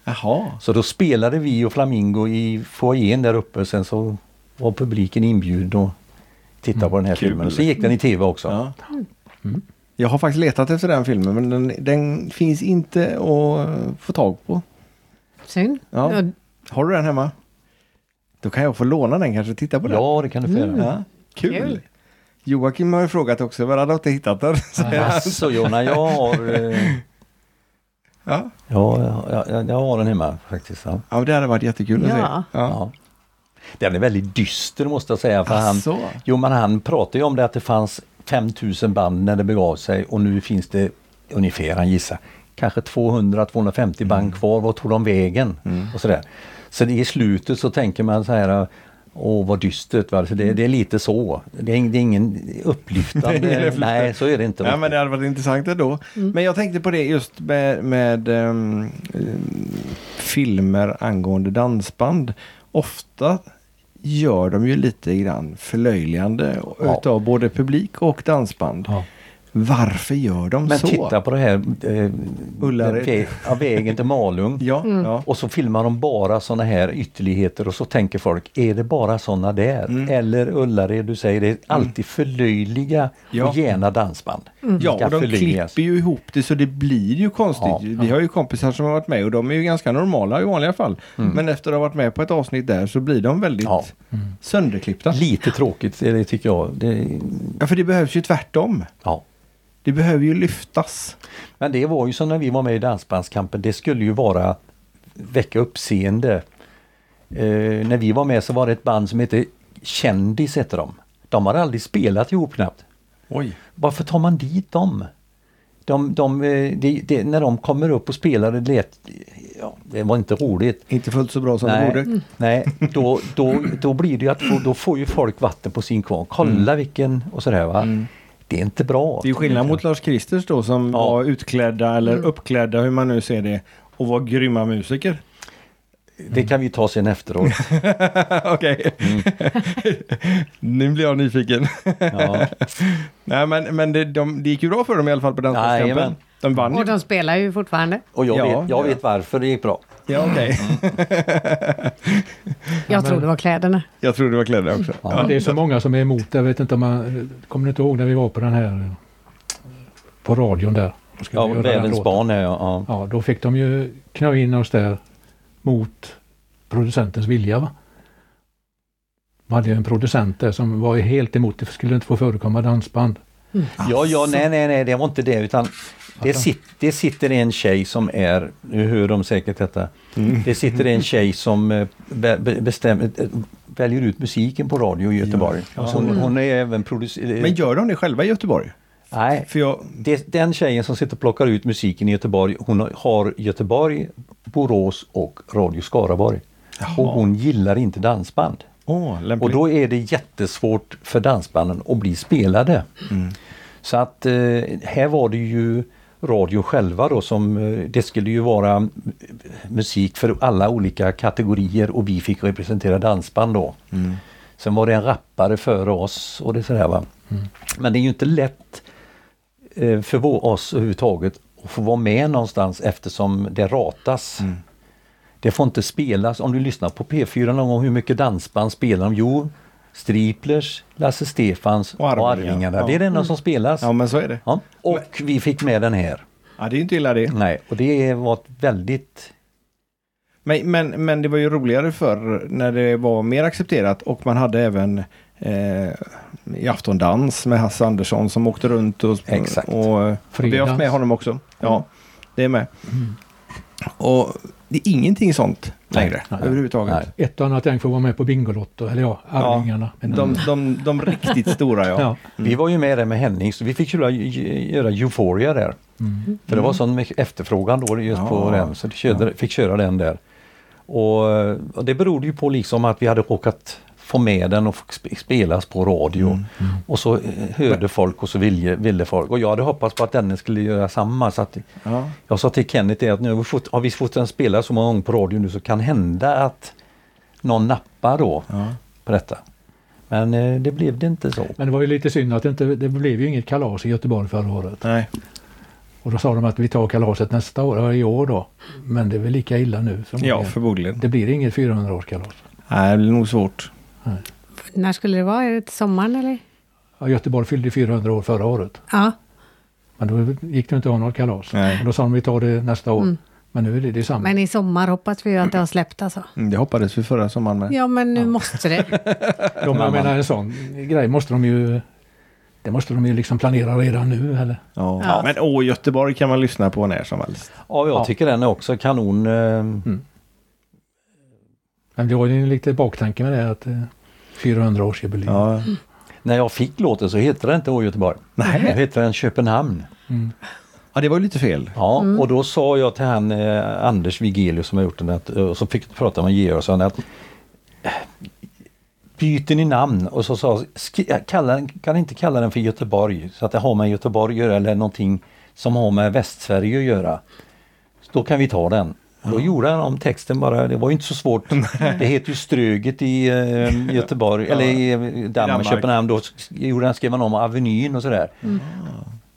Jaha. Så då spelade vi och Flamingo i foajén där uppe sen så var publiken inbjuden och tittade på den här Mm, kul. filmen. Sen gick den i tv också. Ja. Mm. Jag har faktiskt letat efter den filmen men den, den finns inte att få tag på. Synd. Ja. Ja. Har du den hemma? Då kan jag få låna den kanske och titta på den. Ja, det kan du få göra. Ja, Kul. Kul. Joakim har ju frågat också, men han har inte hittat den. Så- Jaså Alltså, Jonna, jag har, eh, Ja. ja, jag, jag, jag har den hemma faktiskt. Ja. ja, men det hade varit jättekul att Ja. se. Ja. Alltså, Ja. Den är väldigt dyster måste jag säga. För han, Asså. jo, men han pratade ju om det att det fanns 5000 band när det begav sig och nu finns det ungefär, han gissar, kanske Mm. 200-250 band kvar. Vad tog de vägen? Och sådär. Så det- i slutet så tänker man så här, Åh vad dystert. Va? Så det, det är lite så. Det är, ing- det är ingen *laughs* Det är upplyftande. det. Nej, så är det inte. Ja, men det hade varit intressant ändå. Men jag tänkte på det just med, med ehm, ehm, filmer angående dansband. Ofta gör de ju lite grann förlöjligande Ja. utav både publik och dansband. Ja. Varför gör de Men så? titta på det här. Eh, Ullared. vä- ja, vägen till Malung. *laughs* Ja, ja. Och så filmar de bara sådana här ytterligheter och så tänker folk, är det bara sådana där? Mm. Eller Ullared, du säger det, är alltid förlöjliga Ja. Mm. och gärna dansband. Ja, Ska och de förlöjligas. klipper ju ihop det så det blir ju konstigt. Ja. Vi har ju kompisar som har varit med och de är ju ganska normala i vanliga fall. Men efter att ha varit med på ett avsnitt där så blir de väldigt Mm. Ja. sönderklippta. Lite tråkigt är det tycker jag. Det, Ja, för det behövs ju tvärtom. ja. Det behöver ju lyftas. Men det var ju som när vi var med i Dansbandskampen, det skulle ju vara väcka uppseende. Eh, när vi var med så var det ett band som hette Kändis hette de. De har aldrig spelat ihop knappt. Oj. Varför tar man dit dem? De, de, eh, det- det- när de kommer upp och spelar, det lät, ja, det var inte roligt. Inte fullt så bra som det Nej, borde. nej då, då, då blir det ju att få, då får ju folk vatten på sin kvarn. Kolla vilken och sådär va. Det är inte bra. Mm. Det är ju skillnad mot Lars Kristers då som Ja. var utklädda eller uppklädda hur man nu ser det och var grymma musiker. *laughs* Det kan vi ta sen efteråt. Okej. Mm. *laughs* nu blir jag nyfiken. Ja. Nej men, men det, de, det gick ju bra för dem i alla fall på Jajamän. Dansbandskampen. De vann ju. Och de spelar ju fortfarande. Och jag, Ja, vet, jag ja. vet varför det gick bra. Ja okej. Jag tror det var kläderna. *laughs* Jag tror det var klädda också. Mm. Ja, det är så många som är emot det. Jag vet inte om man, kommer ni inte ihåg när vi var på den här eh, på radion där? Då skulle Ja, vi göra den Världens låten. barn är jag. Ja. Ja, då fick de ju knö in oss där mot producentens vilja. Va? Man hade ju en producent där som var ju helt emot, det skulle inte få förekomma dansband. ja, ja, Alltså. nej, nej, nej, det var inte det utan det, sit, det sitter en tjej som är, nu hör de säkert detta, Mm. det sitter en tjej som eh, be, be, bestämmer, eh, väljer ut musiken på radio i Göteborg. Hon, hon är även Mm. Men producent. gör de det själva i Göteborg? Nej, För jag... det, den tjejen som sitter och plockar ut musiken i Göteborg, hon har- har Göteborg, Borås och Radio Skaraborg. Och hon gillar inte dansband. Åh, lämpligt. Och då är det jättesvårt för dansbanden att bli spelade. Så att eh, här var det ju radio själva då som eh, det skulle ju vara eh, musik för alla olika kategorier och vi fick representera dansband då. Sen var det en rappare före oss och det sådär va. Men det är ju inte lätt eh, för vår, oss överhuvudtaget att få vara med någonstans eftersom det ratas. Mm. Det får inte spelas. Om du lyssnar på P4 någon gång, hur mycket dansband spelar de? Jo, Striplers, Lasse Stefans och Och Arvingarna. Arvingarna. Ja. Det är det enda som spelas. Ja men så är det. Ja. Och vi fick med den här. Ja det är ju inte illa det. Nej, och det var ett väldigt... Men, men, men det var ju roligare förr när det var mer accepterat och man hade även eh, i Aftondans med Hasse Andersson som åkte runt och... Exakt. Och, och vi har haft Fridans. med honom också. Mm. Ja, det är med. Och det är ingenting sånt längre Nej. överhuvudtaget. Nej. Ett och annat gäng får vara med på Bingolotto, eller ja, Arvingarna. Men, De, de, de riktigt stora ja. *laughs* ja. Mm. Vi var ju med där med Henning, så vi fick göra, göra Euphoria där. För det var sån mycket efterfrågan då just på den, så vi körde, fick köra den där. Och, och det berodde ju på liksom att vi hade råkat få med den och få sp- spelas på radio. Och så eh, hörde folk och så ville, ville folk. Och jag hade hoppats på att den skulle göra samma. Så att Ja. Jag sa till Kenneth det att nu har vi fått, har vi fått den spela så många gånger på radio nu så kan hända att någon nappar då på detta. Men eh, det blev det inte så. men det var ju lite synd att det, inte, det blev ju inget kalas i Göteborg förra året. Nej. Och då sa de att vi tar kalaset nästa år, ja, i år då. Men det är väl lika illa nu. Som det Ja, är. förmodligen. Det blir inget 400-årskalas. Nej, det blir nog svårt. När skulle det vara? Är det till sommaren eller? Ja, Göteborg fyllde 400 år förra året. Ja. Men då gick det inte att ha något kalas. Nej. Och då sa de vi tar det nästa år. Men nu är det detsamma. Men i sommar hoppas vi ju att det har släppt alltså. Mm, Det hoppades vi förra sommaren med. Ja, men nu måste det. de, jag menar en sån grej måste de ju... Det måste de ju liksom planera redan nu eller? Ja. Men åh, Göteborg kan man lyssna på när som helst. Ja, jag Ja. tycker den är också kanon. eh, Men det var ju en liten baktanke med det att eh, 400-årsjubileum. Ja. När jag fick låten så hette den inte Å Göteborg. Nej. Då hette den Köpenhamn. ja, det var ju lite fel. Ja, och då sa jag till han eh, Anders Vigelius som har gjort den, att, eh, och så fick jag prata med Georg och sa han att eh, byter ni namn och så sa sk- kalla, kan ni inte kalla den för Göteborg så att det har med Göteborg att göra eller någonting som har med Västsverige att göra. Så då kan vi ta den. Och Då gjorde han om texten bara, det var ju inte så svårt. Det heter ju Ströget i eh, Göteborg, eller i eh, Danmark, Danmark. Köpenhamn. Då sk- gjorde han, skrev han om Avenyn och sådär.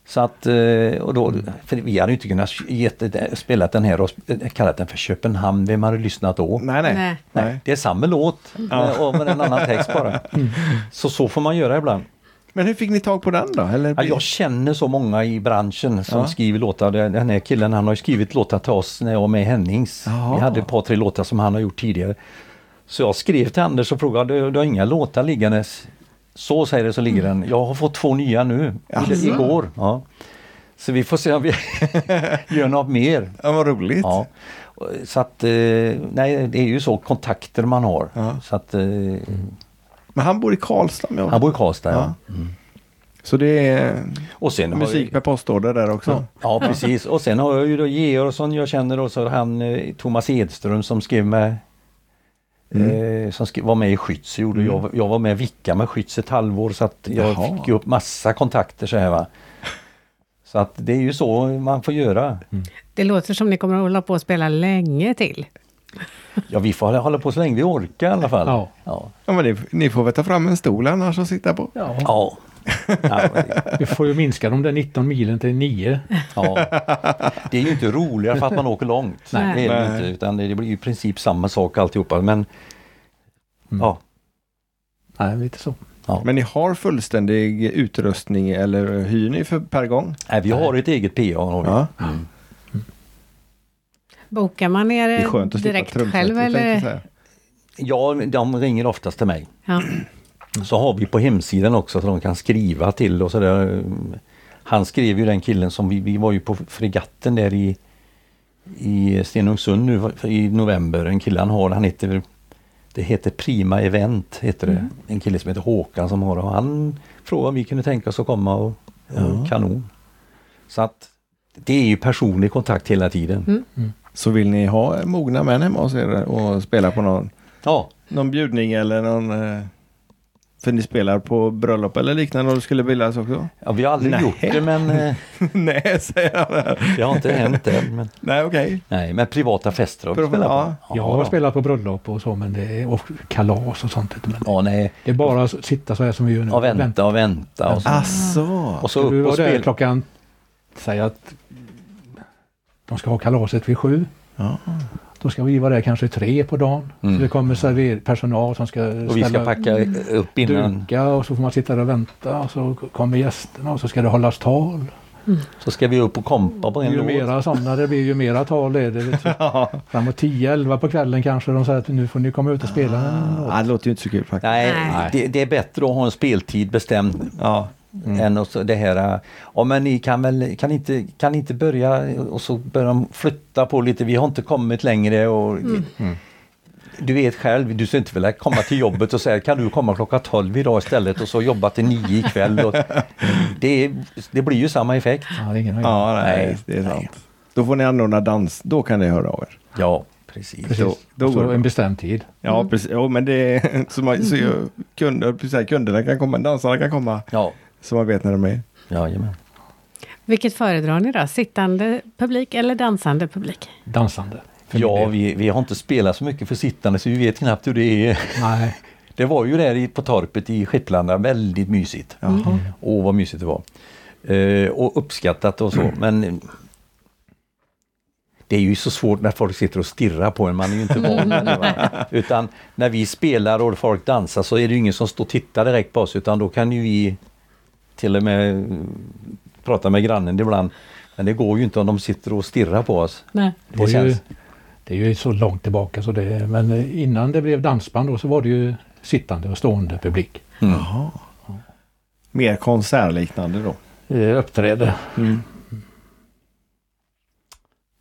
Så att, eh, och då, för vi hade ju inte kunnat gett, spelat den här och sp- kallat den för Köpenhamn, vem hade lyssnat då? Nej, nej. Nej. nej. Det är samma låt men- och med en annan text bara. Så så får man göra ibland. Men hur fick ni tag på den då? Eller Ja, jag känner så många i branschen som Ja. skriver låtar. Den den här killen han har ju skrivit låtar till oss när jag var med i Hennings. Jaha. Vi hade ett par tre låtar som han har gjort tidigare. Så jag skrev till Anders och frågade, "Du- du har inga låtar liggandes? Så säger det så ligger den. Jag har fått två nya nu, Jaså? i igår. Ja. Så vi får *laughs* se om vi gör något mer. Ja, vad roligt. Ja. Och- Så att, eh, nej det är ju så kontakter man har. Ja. Så att, eh, Men han bor i Karlstad om jag han bor i Karlstad. Ja. Så det är Och sen har musik jag, per postorder där också. ja, precis. Och sen har jag ju då Georgsson jag känner och så han eh, Thomas Edström som skrev med Eh, som skri- var med i Schütz. Gjorde jag, jag var med och vicka med Schütz ett halvår så att jag Jaha. fick ju upp massa kontakter så här va. Så att det är ju så man får göra. Det låter som ni kommer att hålla på och spela länge till. Ja vi får hålla- hålla på så länge vi orkar i alla fall. Ja. Ja. Ja, men det, ni får väl ta fram en stol annars att sitta på. Ja, ja. ja vi får ju minska de där 19 milen till 9. Ja. Det är ju inte roligare för att man åker långt. Nej. Det, är det, ju Nej. inte, utan det det blir ju i princip samma sak alltihopa. Men ja, Mm. Nej, lite så. Men ni har fullständig utrustning eller hyr ni för, per gång? nej, vi har ett eget PA. Har vi. Ja. Bokar man er Det är skönt att slippa Eh, direkt trumsetet. själv tänkte jag eller? säga. Ja, de ringer oftast till mig. Ja. Så har vi på hemsidan också så de kan skriva till och sådär. Han skrev ju den killen som vi, vi var ju på fregatten där i, i Stenungsund nu i november. En kille han har, han heter Det heter Prima Event heter det. En kille som heter Håkan som har det. Och han frågade om vi kunde tänka oss att komma och ja. kanon. Så att det är ju personlig kontakt hela tiden. Så vill ni ha eh, mogna män hemma hos er eh, och spela på någon, Ja, någon bjudning eller någon... eh, För ni spelar på bröllop eller liknande och det skulle bildas också? ja, vi har aldrig Nej. gjort det men eh, Nej, säger han. *laughs* där. *laughs* det har inte hänt än. Men, Nej, okej. nej, men privata fester har vi Prov- spelat på. ja. Jag har spelat på bröllop och så, men det är, och kalas och sånt. Men Ja, nej. det är bara att sitta så här som vi gör nu. Och vänta och vänta. Och så, Asså. och så Du upp var och där spela. klockan, säg att de ska ha kalaset vid sju. Ja. Då ska vi vara där kanske tre på dagen. Mm. Så det kommer server- personal som ska Och vi ska packa upp innan. duka och så får man sitta där och vänta och så kommer gästerna och så ska det hållas tal. Så ska vi upp och kompa på en Ju låt. mera sådana det blir ju mera tal är *laughs* det. Vet du. Framåt 10-11 på kvällen kanske de säger att nu får ni komma ut och spela. en Ah. låt. Ja, det låter ju inte så kul faktiskt. Nej, Nej. Det, det är bättre att ha en speltid bestämd. mm, Ja. Än och så det här, äh, ja men ni kan väl, kan ni inte, kan ni inte börja och så börjar de flytta på lite, vi har inte kommit längre och Du vet själv, du skulle inte vilja komma till jobbet och säga kan du komma klockan 12 idag istället och så jobba till 9 ikväll. Och det, är- det blir ju samma effekt. Ja, det är ingen aning. Ja, nej, Nej, det är sant. Då får ni anordna dans, då kan ni höra av er. Ja, precis. Då, Precis. då Och går så det. en bestämd tid. Ja, precis. Jo, men det är, *laughs* så, man, så ju- kunder, precis, här, kunderna kan komma, dansarna kan komma, Ja, så man vet när de är. jajamän. Vilket föredrar ni då? Sittande publik eller dansande publik? Dansande. För min Ja, del. vi, vi har inte spelat så mycket för sittande så vi vet knappt hur det är. Nej. Det var ju där i- på torpet i Skipplanda, väldigt mysigt. Mm. Åh vad mysigt det var. Eh, och uppskattat och så Mm. men eh, det är ju så svårt när folk sitter och stirrar på en, man är ju inte van med det. *laughs* Va? Utan när vi spelar och folk dansar så är det ju ingen som står och tittar direkt på oss utan då kan ju vi till och med eh, prata med grannen ibland. Men det går ju inte om de sitter och stirrar på oss. Nej. Det, är ju, känns- det är ju så långt tillbaka så det är, men eh, innan det blev dansband då så var det ju sittande och stående publik. Mm. Mer konsertliknande då. Eh, Uppträde.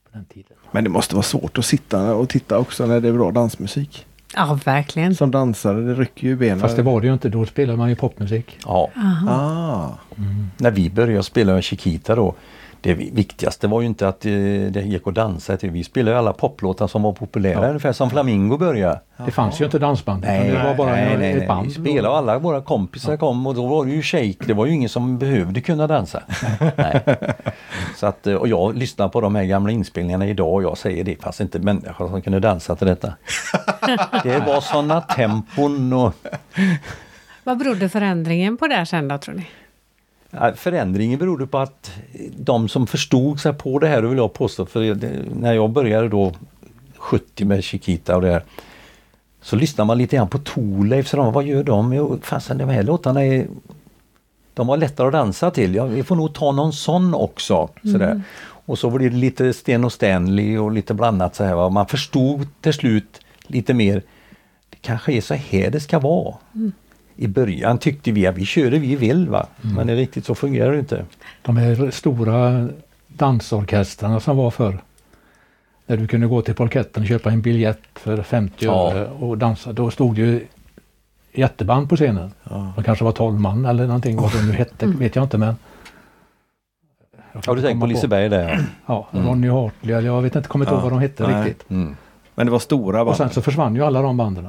På den tiden. Men det måste vara svårt att sitta och titta också när det är bra dansmusik. Ja, verkligen. Som dansare, det rycker ju benen. Mm. Eh, Fast det var det ju inte, då spelade man ju popmusik. Ja. Ah. när vi började spela med Chiquita då, Det viktigaste var ju inte att eh, det gick att dansa till. Vi spelade ju alla poplåtar som var populära, ungefär som Flamingo började. Det fanns ju inte dansband. utan Nej, det var bara nej, en- nej, ett nej. band. Vi spelade och alla våra kompisar kom och då var det ju shake. Det var ju ingen som behövde kunna *laughs* dansa. nej. Så att, eh, och jag lyssnar på de här gamla inspelningarna idag och jag säger det fanns inte människor som kunde dansa till *laughs* detta. det var sådana tempon och Vad berodde förändringen på där sen då, tror ni? Ja, Förändringen berodde på att de som förstod sig på det här, det vill jag påstå, för det- när jag började då 70 med Chiquita och det här, så lyssnade man lite grann på Thorleif, så de, vad gör de? Jo, fasen de här låtarna är de var lättare att dansa till. Ja, vi får nog ta någon sån också. Sådär. Och så var det lite Sten och Stanley och lite blandat så här. Va? Man förstod till slut lite mer. Det kanske är så här det ska vara. I början tyckte vi att vi kör det vi vill va. Men det är riktigt så fungerar det inte. De här stora dansorkestrarna som var förr. Där du kunde gå till parketten och köpa en biljett för 50 Ja. öre och dansa. Då stod ju jätteband på scenen. De kanske var 12 man eller någonting, vad de nu hette vet jag inte men. Jag Har du tänkt på Liseberg där? ja. Ja, Ronny Hartley, eller jag vet inte, kommer inte ihåg vad de hette Nej. riktigt. Mm. Men det var stora Och band. sen så försvann ju alla de banden.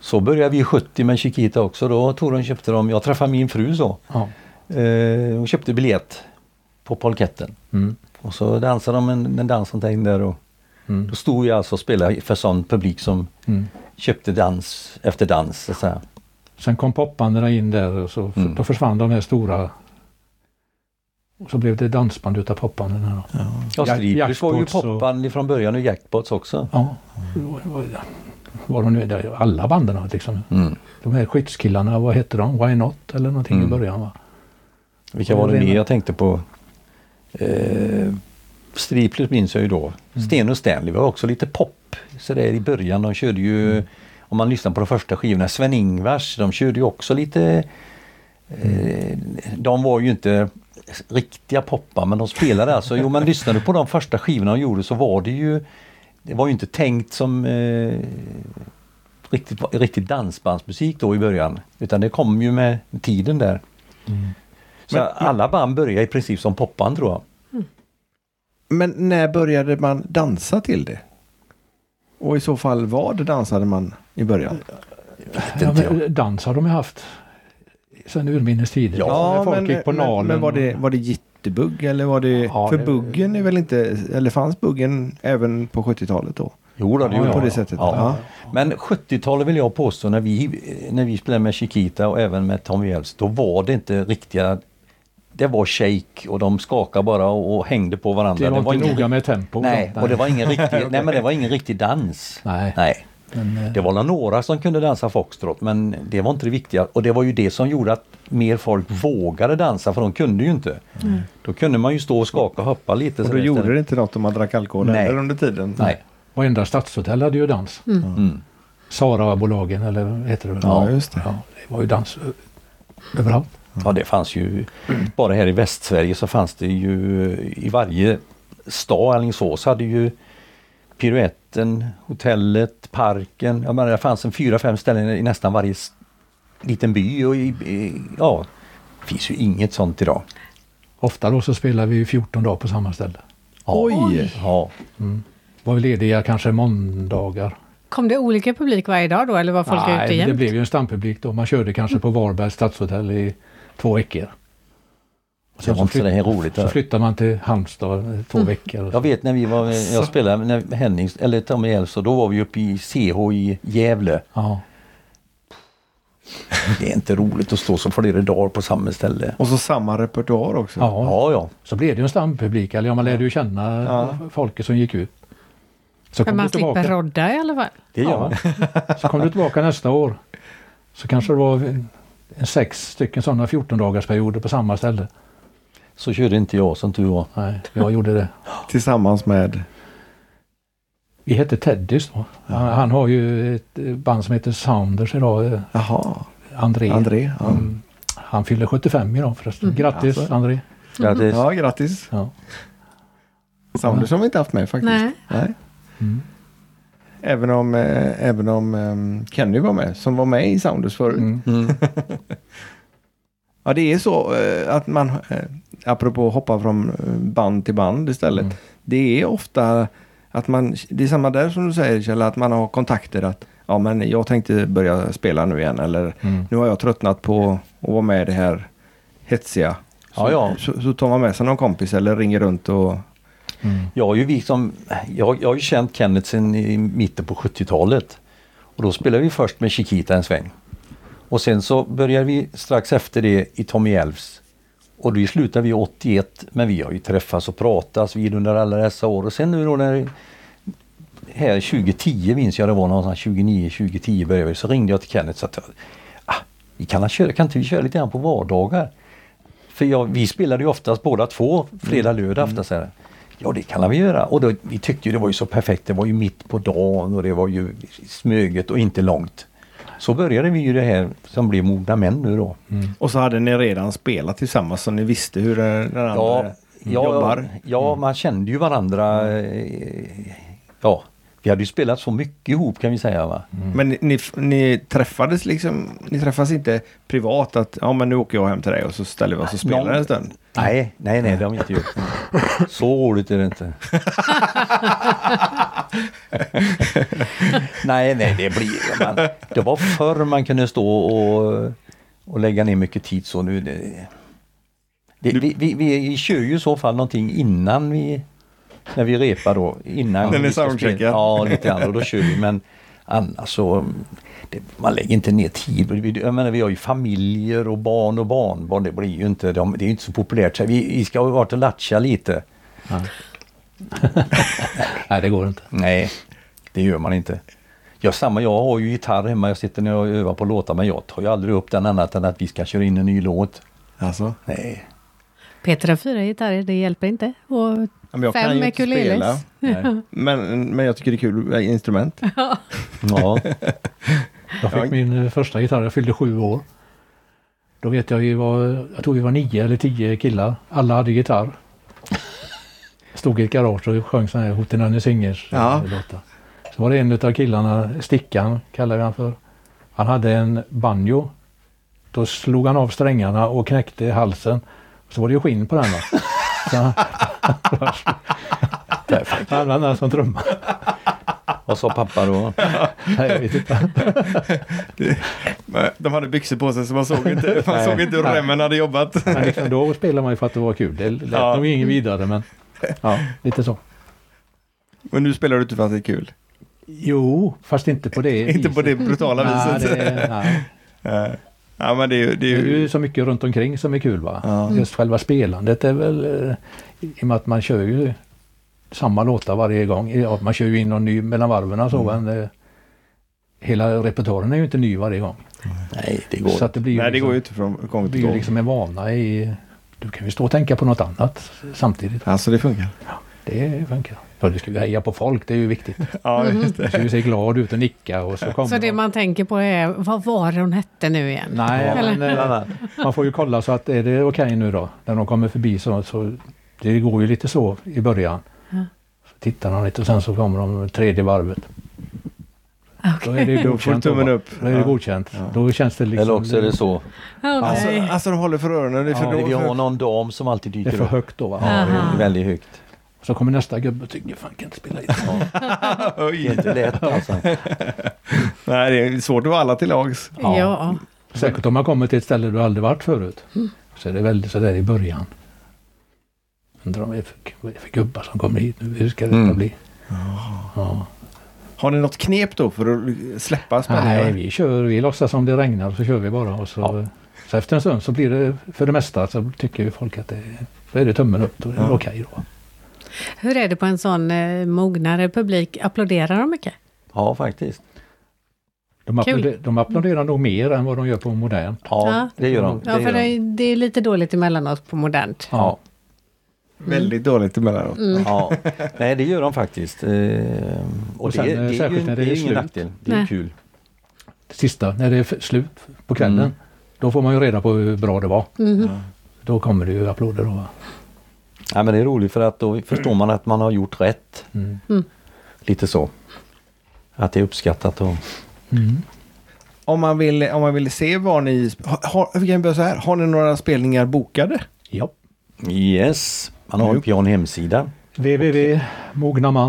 Så började vi 70 med Chiquita också. Då Torun köpte dem. Jag träffade min fru så. Ja. Eh, hon köpte biljett på polketten. Mm. Och så dansade de en, en dansomtäng där och Mm. då stod vi alltså och spelade för sån publik som Mm. köpte dans efter dans. Så här. Sen kom popbanden in där och så Mm. då försvann de här stora. Och så blev det dansband utav popbanden. Här då. Ja, Ja, Stripers var ju jackpots och- popband från början och jackpots också. Ja, var de nu, där- alla banden liksom. Mm. De här skyddskillarna, vad hette de? Why Not eller någonting Mm. i början va? Vilka var det mer jag tänkte på? Eh, Striplers minns jag ju då. Sten och Stanley var också lite pop. Så där i början, de körde ju, om man lyssnar på de första skivorna, Sven-Ingvars, de körde ju också lite eh, De var ju inte riktiga poppar men de spelade alltså. Jo men lyssnade du på de första skivorna de gjorde så var det ju Det var ju inte tänkt som eh, riktigt, riktigt dansbandsmusik då i början. Utan det kom ju med tiden där. Så alla band börjar i princip som popband tror jag. Men när började man dansa till det? Och i så fall vad dansade man i början? Ja, men eh, dans har de ju haft sen urminnes tider. Ja, När folk men, gick på men, Nalen. men var det, var det jittebugg eller var det... Ja, för det- buggen är väl inte... Eller fanns buggen även på 70-talet då? Jo då, det Ja, gjorde på jag. det sättet, Ja. ja. Men 70-talet vill jag påstå när vi, när vi spelade med Chiquita och även med Tommy Elfs, då var det inte riktiga det var shake och de skakade bara och, och hängde på varandra. det var, inte ingen- noga med tempo. Nej, då. och det var ingen riktig, nej, men det var ingen riktig dans. Nej. nej. Men, eh, Det var några som kunde dansa foxtrot men det var inte det viktiga. Och det var ju det som gjorde att mer folk vågade dansa för de kunde ju inte. Då kunde man ju stå och skaka och hoppa lite. Och så då där gjorde istället. det inte något om man drack alkohol Nej. eller under tiden? Nej. Varenda stadshotell hade ju dans. Mm. Sarabolagen eller vad heter det? Ja, just det. Ja, det var ju dans ö- överallt. Ja det fanns ju, bara här i Västsverige så fanns det ju i varje stad, Alingsås hade ju piruetten, hotellet, parken. Jag menar, det fanns en fyra, fem ställen i nästan varje s- liten by. Och i, i, ja, det finns ju inget sånt idag. Ofta då så spelade vi ju 14 dagar på samma ställe. Oj! Ja. Var vi lediga kanske måndagar. Kom det olika publik varje dag då, eller var folk ute Nej, men jämt? det blev ju en stampublik då. Man körde kanske på Varbergs stadshotell i två veckor. Det var inte så det här roligt. Så där. flyttade man till Halmstad eh, två Mm. veckor. Jag vet när vi var, jag spelade med Hennings, eller Tommy Elfs och då var vi uppe i CH i Gävle. Ja. Det är inte roligt att stå så flera dagar på samma ställe. Och så samma repertoar också? ja. Ja, ja. Så blev det ju en stampublik. Eller ja, man lärde ju känna Ja. folket som gick ut. Så Men kom, du man slipper tillbaka, rodda i alla fall. Det gör man. Ja. så kom du tillbaka nästa år. Så kanske det var en, en sex stycken sådana 14-dagarsperioder på samma ställe. Så körde inte jag som tur var. Nej, jag gjorde det. Tillsammans med... Vi hette Teddys då. Han, han har ju ett eh, band som heter Sounders idag. eh, Jaha, André. André. Ja, Mm. Han fyller 75 idag förresten. Grattis Alltså. André. Ja, det, ja grattis. Ja. Sounders har vi inte haft med faktiskt. Nej. Mm. Även om, eh, även om eh, Kenny var med, som var med i Sounders förut. Mm. mm. Ja, det är så eh, att man, eh, apropå hoppa från eh, band till band istället, Mm. det är ofta att man, det är samma där som du säger Kjell, att man har kontakter att ja men jag tänkte börja spela nu igen eller Mm. nu har jag tröttnat på att vara med i det här hetsiga. Så, Ja, ja. så, så tar man med sig någon kompis eller ringer runt och Mm. Jag har ju liksom, jag, jag har ju känt Kenneth sen i mitten på 70-talet. Och då spelade vi först med Chiquita en sväng. Och sen så började vi strax efter det i Tommy Elfs. Och då slutade vi 81, men vi har ju träffats och pratats vid under alla dessa år. Och sen nu då när, här 2010 minns jag det var någonstans, 29, 2010 började vi. Så ringde jag till Kenneth så att, ah, vi kan, köra, kan inte vi köra lite grann på vardagar? För jag, vi spelade ju oftast båda två, fredag, lördag, afton. så här. Ja, det kan vi göra. Och då, vi tyckte ju det var ju så perfekt. Det var ju mitt på dagen och det var ju smöget och inte långt. Så började vi ju det här som blev Mogna Män nu då. Och så hade ni redan spelat tillsammans så ni visste hur den den andra Ja, Mm. ja, jobbar. ja, man kände ju varandra. eh, Ja, vi hade ju spelat så mycket ihop kan vi säga. Va? Men ni- ni, ni träffades liksom, ni träffas inte privat att ja men nu åker jag hem till dig och så ställer vi oss och spelar Någon- en stund. Nej, nej, nej, det har vi inte gjort. *laughs* Så roligt är det inte. *laughs* nej, nej, det blir man, Det var förr man kunde stå och, och lägga ner mycket tid så nu. Det, det, vi, vi, vi kör ju i så fall någonting innan vi, när vi repar då. Innan Den vi är ska spela. soundcheckad. Ja, lite grann och då kör vi. Men annars så, det, man lägger inte ner tid. Vi- Jag menar vi har ju familjer och barn och barnbarn. Det blir ju inte, de, det är ju inte så populärt. Så vi, vi ska ha varit och latcha lite. Nej, det går inte. Nej, det gör man inte. Jag, samma, jag har ju gitarr hemma, jag sitter när jag övar på låtar men jag tar ju aldrig upp den annat än att vi ska köra in en ny låt. Alltså? Nej. Peter har fyra gitarrer, det hjälper inte. Och men jag kan fem ju inte spela. ukuleles. *laughs* Nej. Men, men jag tycker det är kul eh, instrument. Ja. Jag fick Jag- min eh, första gitarr, jag fyllde sju år. Då vet jag ju vad, jag tror vi var nio eller tio killar. Alla hade gitarr. Stod i ett garage och sjöng sådana här Hoten Annie Singers eh, Ja. låtar. Så var det en av killarna, Stickan kallar vi han för. Han hade en banjo. Då slog han av strängarna och knäckte halsen. Så var det ju skinn på den. Va? Så han, *laughs* han använde den som trumma. Vad sa pappa då? Nej, jag vet inte. De hade byxor på sig så man såg inte, man såg inte hur remmen hade jobbat. Men liksom, då spelar man ju för att det var kul. Det lät Ja. nog ingen vidare men ja, lite så. Men nu spelar du inte för att det är kul. Jo, fast inte på det *laughs* Inte på viset. det brutala Nej, viset. det, nej. Eh, Ja men det är ju... Det det är är ju ju så mycket runt omkring som är kul va. Ja. Just själva spelandet är väl eh, i och med att man kör ju samma låtar varje gång. Ja, man kör ju in någon ny mellan varven och så Mm. men eh, hela repertoaren är ju inte ny varje gång. Nej, det går Så att det blir ju, Nej det liksom, går ju inte från gång det blir till ju gång. liksom en vana i... Du kan ju stå och tänka på något annat samtidigt. Alltså det funkar. Det funkar. Ja, du ska ju heja på folk, det är ju viktigt. Ja *laughs* just det. Du ska ju se glad ut och nicka och så kommer Så det de. man tänker på är, vad var det hon hette nu igen? Nej, Eller? men, eh, man får ju kolla så att är det okej nu då? När de kommer förbi så, så det går ju lite så i början. Ja. Så tittar de lite och sen så kommer de tredje varvet. Då Okej. är det Då ju får godkänt. Då, tummen va? upp. då är det Ja. godkänt. Då känns det liksom... Eller också är det så. Åh, Alltså, nej. alltså de håller för öronen. Det är för, Ja, då, Vi har för, någon dam som alltid det är dyker för upp. högt då va? Ja, det är väldigt högt. Så kommer nästa gubbe och tycker fan kan inte spela *laughs* gitarr. Det är inte lätt alltså. nej det är svårt att vara alla till lags. ja. Säkert om man kommer till ett ställe du aldrig varit förut. Mm. Så är det väldigt sådär i början. Undrar om det är för, vad är det för gubbar som kommer hit nu. Hur ska detta Mm. bli? Ja. Har ni något knep då för att släppa Nej, spänningen? vi kör. Vi låtsas som det regnar och så kör vi bara. Och så, Ja. så efter en stund så blir det för det mesta så tycker ju folk att det då är det tummen upp. Då är det Ja. okej då. Hur är det på en sån eh, mognare publik? Applåderar de mycket? Ja, faktiskt. De, Kul. applåder, de applåderar nog mer än vad de gör på modern. Ja, Ja. det gör de. Ja, Det för gör de. det, det är lite dåligt emellanåt på modernt. Ja. Väldigt dåligt emellanåt. Mm. Ja, nej det gör de faktiskt. Eh, och Och sen, det, eh, det, är ju, särskilt när det det är är ju ingen slut. nackdel. Det är Nej. kul. Sista, när det är f- slut på kvällen. Mm. Mm-hmm. Då får man ju reda på hur bra det var. Mhm. Då kommer det ju applåder då. va? Ja, men det är roligt för att då förstår man att man har gjort rätt. Mm. Lite så. Att det är uppskattat. Och, Mm. om man vill, om man vill se vad ni... Har, har, vi kan börja så här. Har ni några spelningar bokade? Ja. Yes, man har en pian hemsida.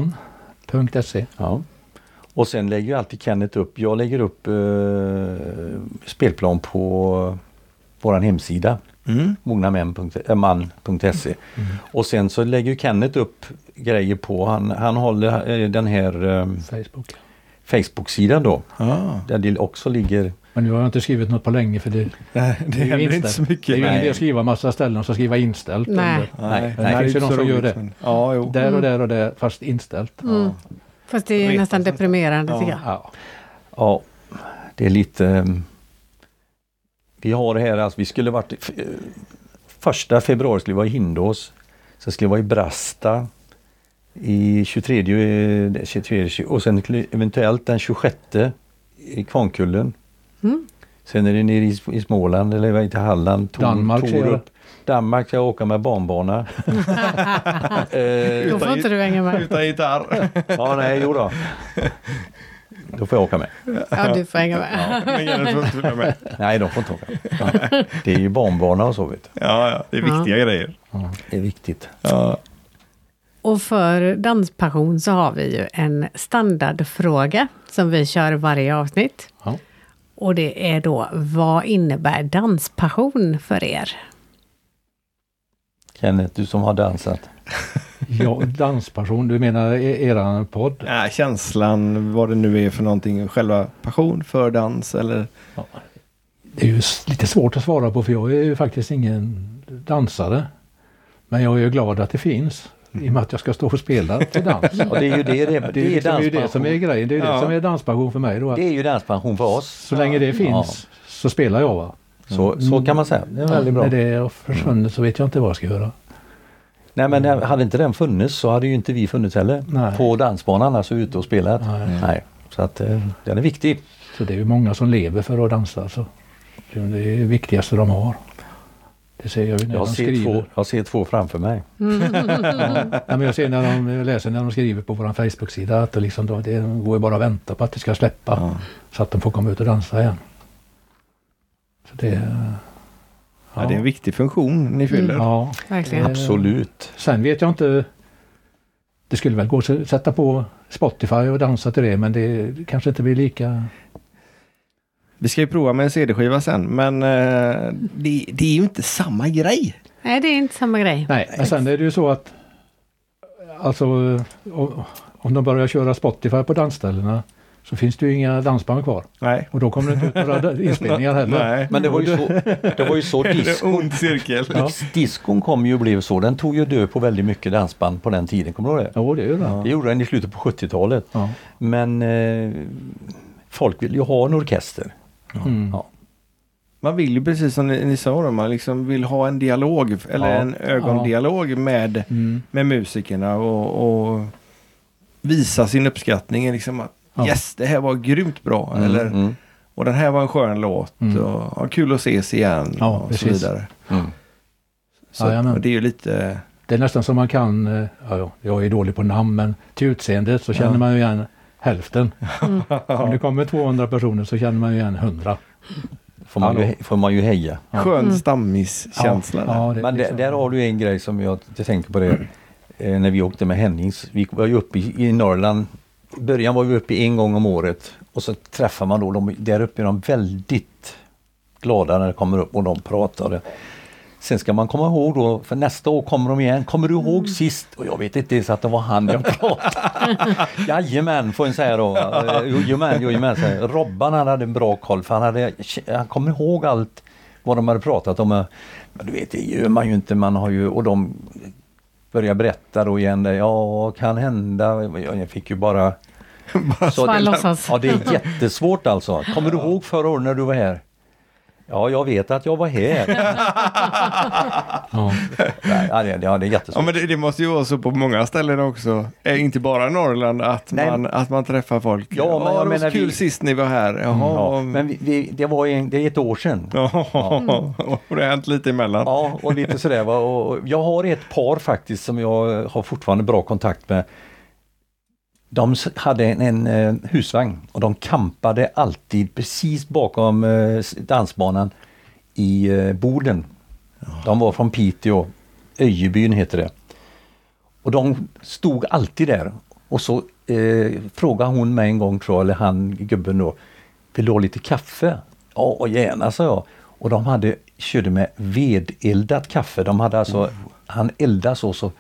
www.mognaman.se Ja. Och sen lägger ju alltid Kenneth upp, jag lägger upp eh, spelplan på våran hemsida. eh, Mm. mognaman.se Och sen så lägger ju Kenneth upp grejer på, han, han håller eh, den här eh, Facebook. Facebook-sidan då. Ah. Där det också ligger Men nu har jag inte skrivit något på länge för det, Nej, det är ju händer inte så inställt. mycket. det är ju ingen nej. idé att skriva massa ställen och så skriva inställt. Nej. under. Nej, Nej, nej, det är finns ju inte de så som roligt, gör det. men- Ja, *laughs* jo. Där och där och där, fast inställt. Mm. Fast det är Retas nästan nästan. deprimerande Ja. tycker jag. Ja. Ja, det är lite... ehm, Vi har det här, alltså, vi skulle varit... i- f- eh, Första februari skulle vi vara i Hindås. Sen skulle vi vara i Brasta i 23, eh, 23 och sen skulle- eventuellt den 26 i Kvarnkullen. Mm. Sen är det nere i, i Småland eller vad heter Halland, Tor, Danmark ska jag göra. Torup. Danmark ska jag åka med barnbana. eh, Då får inte du hänga med. Utan *laughs* gitarr. ja, nej, jo då. Då får jag åka med. Ja, du får hänga med. Men Kenneth får inte följa med. Nej, de får inte åka. Ja. Det är ju barnbarn och så vet du. Ja, ja, det är viktiga grejer. Det är viktigt. Ja. Och för Danspassion så har vi ju en standardfråga som vi kör i varje avsnitt. Ja. Och det är då, vad innebär danspassion för er? Kenneth, du som har dansat. ja, dansperson, du menar e- eran podd? Nej, känslan, vad det nu är för någonting, själva passion för dans eller... Det är ju s- lite svårt att svara på för jag är ju faktiskt ingen dansare. Men jag är ju glad att det finns i och med att jag ska stå och spela till dans. Och det är ju det, det, Det är, det är liksom ju det som är danspassion. grejen, det är ju Ja. det som är danspassion för mig då. Att Det är ju danspassion för oss. så länge det finns så spelar jag va. Så, så kan man säga. Det är väldigt bra. När Mm. det har försvunnit så vet jag inte vad jag ska göra. Nej men den- hade inte den funnits så hade ju inte vi funnits heller. Nej. På dansbanan alltså ute och spelat. Nej. Så att eh, den är viktig. Så det är ju många som lever för att dansa. Så det är det viktigaste de har. Det ser jag ju när Jag de ser, skriver. två, jag ser två framför mig. Nej, men jag ser när de jag läser när de skriver på vår Facebook-sida att det, liksom, då- det går ju bara att vänta på att det ska släppa. Så att de får komma ut och dansa igen. Så det, Ja. det är en viktig funktion ni fyller. ja. Eh. Verkligen. Absolut. Sen vet jag inte. Det skulle väl gå att sätta på Spotify och dansa till det men det kanske inte blir lika. Vi ska ju prova med en CD-skiva sen, men eh, det, det är ju inte samma grej. Nej, det är inte samma grej. Nej, men sen är det ju så att alltså om- om de börjar köra Spotify på dansställena så finns det ju inga dansband kvar. Nej. Och då kommer det inte ut några inspelningar heller. Nej. *laughs* Men det var *laughs* ju så, det var ju så disco ond cirkel. Ja. Diskon kom ju och blev så. Den tog ju död på väldigt mycket dansband på den tiden. Kommer du ihåg det? Jo, det är ju det. Det gjorde den i slutet på 70-talet. Ja. Men eh, folk vill ju ha en orkester. Mm. Ja. Man vill ju precis som ni, ni sa, då, man liksom vill ha en dialog eller Ja. en ögondialog med, Mm. med musikerna och, och visa sin uppskattning. Liksom att, Ja. Yes, det här var grymt bra. Mm, Eller, mm, Och den här var en skön låt. Mm. Och, ja, kul att ses igen. Ja, och så precis. vidare. mm. Så Jajamän. att, och det är ju lite... Det är nästan som man kan, eh, ja, ja, jag är dålig på namn, men till utseendet så känner man ju igen *laughs* hälften. Om det kommer 200 personer så känner man ju igen 100. Får, man ju, Hallå. får man ju heja. Skön stammiskänsla. där. Ja, det är Men där, liksom- där har du en grej som jag, jag tänker på *clears throat* det. Eh, när vi åkte med Hennings. Vi var ju uppe i, i Norrland. I början var vi uppe en gång om året. Och så träffar man då dem. Där uppe är de väldigt glada när det kommer upp och de pratar. Det. Sen ska man komma ihåg då, för nästa år kommer de igen. Kommer du ihåg Mm. sist? Och jag vet inte ens att det var han *laughs* jag pratade Jajamän, får en säga då. Eh, Jojomän, jojomän. säger jag. Robban han hade en bra koll för han, hade, han kom ihåg allt vad de hade pratat om. Men du vet, det gör man ju inte. Man har ju, och de börjar berätta då igen. det, Ja, kan hända. Jag fick ju bara... Så Bara låtsas. ja, det är jättesvårt alltså. Kommer du ihåg förra året när du var här? Ja, jag vet att jag var här. Ja. Ja, det, ja, det är Ja, jättesvårt. men det, det måste ju vara så på många ställen också. Eh, inte bara Norrland, att, Nej. man, att man träffar folk. Ja, men jag det var menar så kul vi- sist ni var här. Jaha. Mm. Ja, men vi, vi, det var en, det är ett år sedan. *laughs* Ja, och det har hänt lite emellan. Ja, och lite sådär. Va? Och och jag har ett par faktiskt som jag har fortfarande bra kontakt med. De s- hade en, en eh, husvagn och de kampade alltid precis bakom eh, s- dansbanan i eh, Boden. De var från Piteå, Öjebyn heter det. Och de stod alltid där. Och så eh, frågade hon mig en gång, tror jag, eller han, gubben då, vill du ha lite kaffe? Ja, och gärna, sa jag. Och de hade, körde med vedeldat kaffe. De hade alltså, han eldade så, så.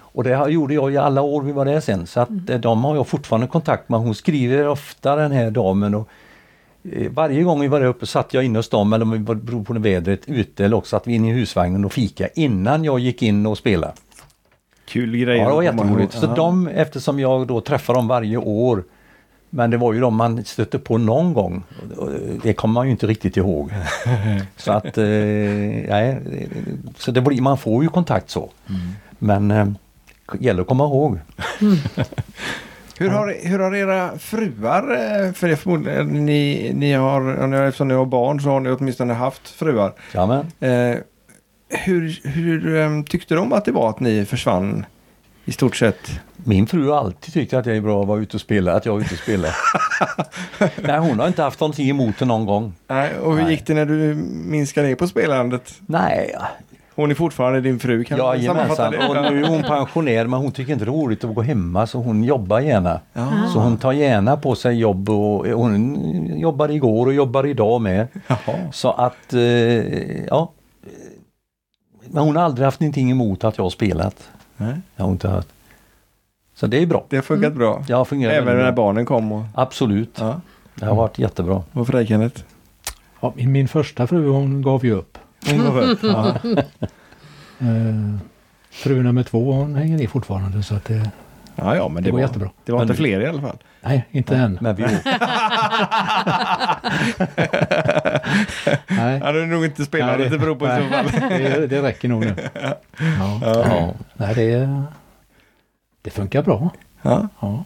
Och det här gjorde jag i alla år vi var där sen. Så att eh, de har jag fortfarande kontakt med. Hon skriver ofta den här damen. Och, eh, varje gång vi var där uppe satt jag inne hos dem, eller om vi var- beror på det vädret, ute eller också satt vi inne i husvagnen och fika innan jag gick in och spelade. Kul grej. Ja, det var att komma jätteroligt. ihåg. Så Ja. de, eftersom jag då träffar dem varje år, men det var ju de man stötte på någon gång. Och Det kommer man ju inte *laughs* riktigt ihåg. så att, eh, nej, så det blir, man får ju kontakt så. Mm. Men eh, gäller att komma ihåg. Hur har, hur har era fruar, eh, för det är förmodligen ni, ni har, om ni har- eftersom ni har barn så har ni åtminstone haft fruar. Jamen. Eh, hur hur eh, tyckte de att det var att ni försvann i stort sett? Min fru har alltid tyckt att jag är bra att vara ute och spela, att jag är ute *laughs* och spela. nej, hon har inte haft någonting emot det någon gång. Nej, och hur Nej. gick det när du minskade ner på spelandet? Nej, Hon är fortfarande din fru, kan man sammanfatta jajamensan. det? Och nu är hon pensionär men hon tycker inte det är roligt att gå hemma så hon jobbar gärna. Ja. Så hon tar gärna på sig jobb och hon jobbar igår och jobbar idag med. Jaha. Så att, eh, ja. Men hon har aldrig haft någonting emot att jag har spelat. Nej. Jag har inte haft. Så det är bra. Det har funkat bra. Jag har fungerat Även väldigt när bra. barnen kom och... Absolut. Ja. Det har varit jättebra. Vad för dig Kenneth? Ja, min, min första fru hon gav ju upp. Hon var för. Ja. Eh, fru nummer två hon hänger i fortfarande så att det, det, ja, ja, men det, går var jättebra. Det var Men- inte fler i alla fall. Nej, inte än. Men vi *laughs* Nej. Han hade nog inte spelat, Nej, det beror på i så nej, fall. *laughs* Det, det räcker nog nu. Ja. ja. Nej, det, det funkar bra. Ja. Ja.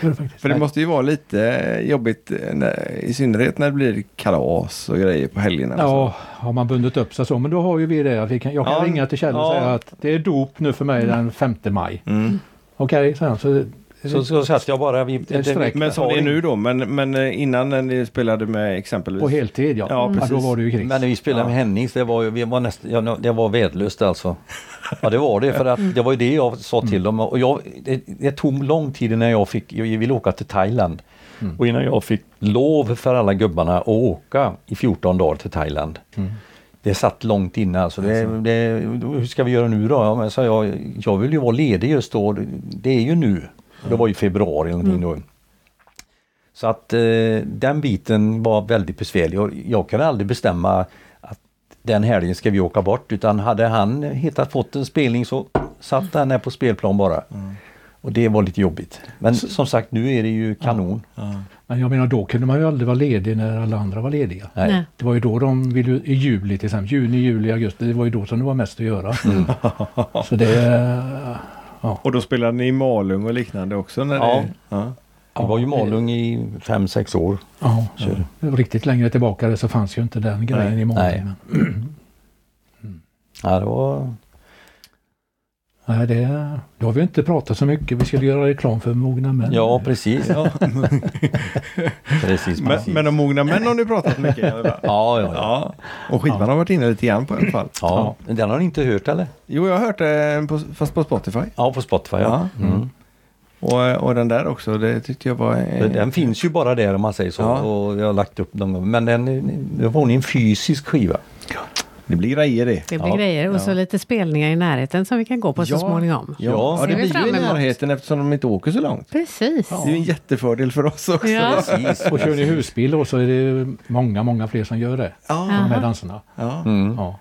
Det gör det faktiskt. För det måste ju vara lite jobbigt, eh, när- i synnerhet när det blir kalas och grejer på helgerna. och så. Ja, har man bundit upp sig så. Men då har ju vi det. att Vi kan, jag kan Ja, ringa till Kjell och ja. säga att det är dop nu för mig den 5 maj. Mm. Okej, säger han. Så, Så, så satt jag bara vid... Ett streck. Men som det är nu då, men, men eh, innan när ni spelade med exempelvis... på heltid ja. Ja, precis. då var det ju kris. Men när vi spelade med Hennings, det var, ju- vi var, näst, ja, det var värdelöst alltså. Ja det var det, för att det var ju det jag sa till dem. Och jag, det, det tog lång tid innan jag fick, jag ville åka till Thailand. Och innan jag fick lov för alla gubbarna att åka i 14 dagar till Thailand. Det satt långt inne alltså. Det, det, hur ska vi göra nu då? Ja, men, sa jag, jag vill ju vara ledig just då. Det är ju nu. Det var ju februari eller någonting då. Så att eh, den biten var väldigt besvärlig. Jag, jag kunde aldrig bestämma att den helgen ska vi åka bort utan hade han hittat fått en spelning så satt han där på spelplan bara. Och det var lite jobbigt. Men som sagt nu är det ju kanon. Men jag menar då kunde man ju aldrig vara ledig när alla andra var lediga. Nej. Nej. Det var ju då de ville, i juli till exempel, juni, juli, augusti, det var ju då som det var mest att göra. Mm. *laughs* Så det, Och då spelade ni i Malung och liknande också? När Ja. Ni... ja. Det var ju Malung i 5-6 år. ja, riktigt längre tillbaka så fanns ju inte den grejen i många. Nej. Men, Ja, det var... nej, det, då har vi inte pratat så mycket, vi skulle göra reklam för mogna män. Ja precis. *laughs* *laughs* precis, Men, precis. men om mogna män har ni pratat mycket? eller? Ja, ja, ja. ja. Och skivan har varit inne lite grann på i alla fall. ja. Den har ni inte hört eller? Jo, jag har hört det, på, fast på Spotify. Ja, på Spotify. Ja. Ja. Mm. Och, och den där också, det tyckte jag var... eh, Den- Den finns ju bara där om man säger så. Ja. Och jag har lagt upp någon gång. Men den, det var en fysisk skiva. Mm. Det blir grejer det. Det blir Ja, grejer. Och så lite spelningar i närheten som vi kan gå på så Ja. småningom. Ja, Ja, ja ser det vi blir fram ju i emot. närheten eftersom de inte åker så långt. Precis. Det är ju en jättefördel för oss också. Ja. Precis. Och kör ni husbil då så är det många, många fler som gör det. Ja. På de här Aha. danserna. Ja. Mm. Ja.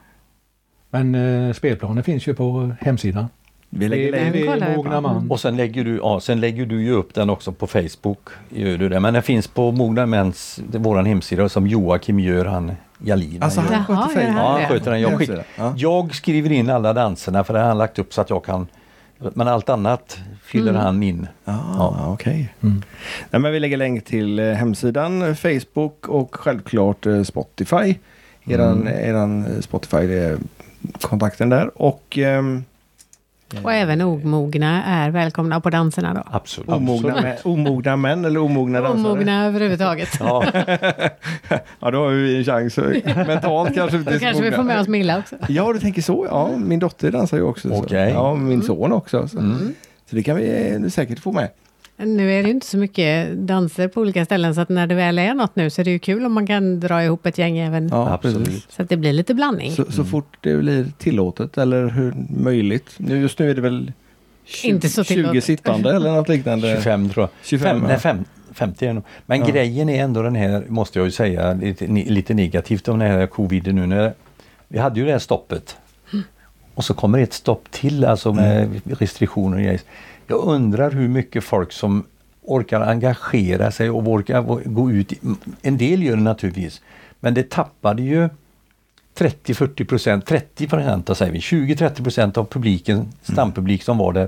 Men eh, spelplanen finns ju på hemsidan. Vi lägger Det är- länk. det är kollar vi på. mogna man. Och sen lägger, du, ja, sen lägger du ju upp den också på Facebook. Gör du det. Men den finns på Mogna Mäns, det är våran hemsida, som Joakim gör, han Jalin. Alltså han han Jaha, sköter gör fejden. han ja, han det? sköter den. Jag, skick, Ja. jag skriver in alla danserna för det har han lagt upp så att jag kan. Men allt annat fyller Mm. han in. Ah, okej. Mm. Nej, men Vi lägger länk till eh, hemsidan, Facebook och självklart eh, Spotify. Mm. Eran, eran eh, Spotify, det är kontakten där. Och ehm, Och även omogna är välkomna på danserna då. Absolut. Omogna, män- omogna män eller omogna dansare? Omogna *laughs* överhuvudtaget. Ja, Ja, då har vi en chans. *laughs* Mentalt kanske inte Då så kanske vi mogna. får med oss Mm. Milla också. Ja, du tänker så. Ja, min dotter dansar ju också. Så. Okej. Mm. Ja, min son också. Så. så det kan vi eh, säkert få med. Nu är det ju inte så mycket danser på olika ställen, så att när det väl är något nu så är det ju kul om man kan dra ihop ett gäng även. Ja, absolut. Så att det blir lite blandning. Så, så fort det blir tillåtet eller hur möjligt. Nu, just nu är det väl 20, Inte så tillåtet. 20 sittande eller något liknande. 25 tror jag. 25, Fem, ja. nej, fem, 50 är det nog. Men grejen är ändå den här, måste jag ju säga, lite, ni- lite negativt om den här covid nu. När, vi hade ju det här stoppet. Och så kommer ett stopp till, alltså med restriktioner och grejer. Jag undrar hur mycket folk som orkar engagera sig och orkar gå- gå ut. i- En del gör det naturligtvis. Men det tappade ju 30-40 procent, 30 procent då säger vi, 20-30 procent av publiken, stampublik som var där,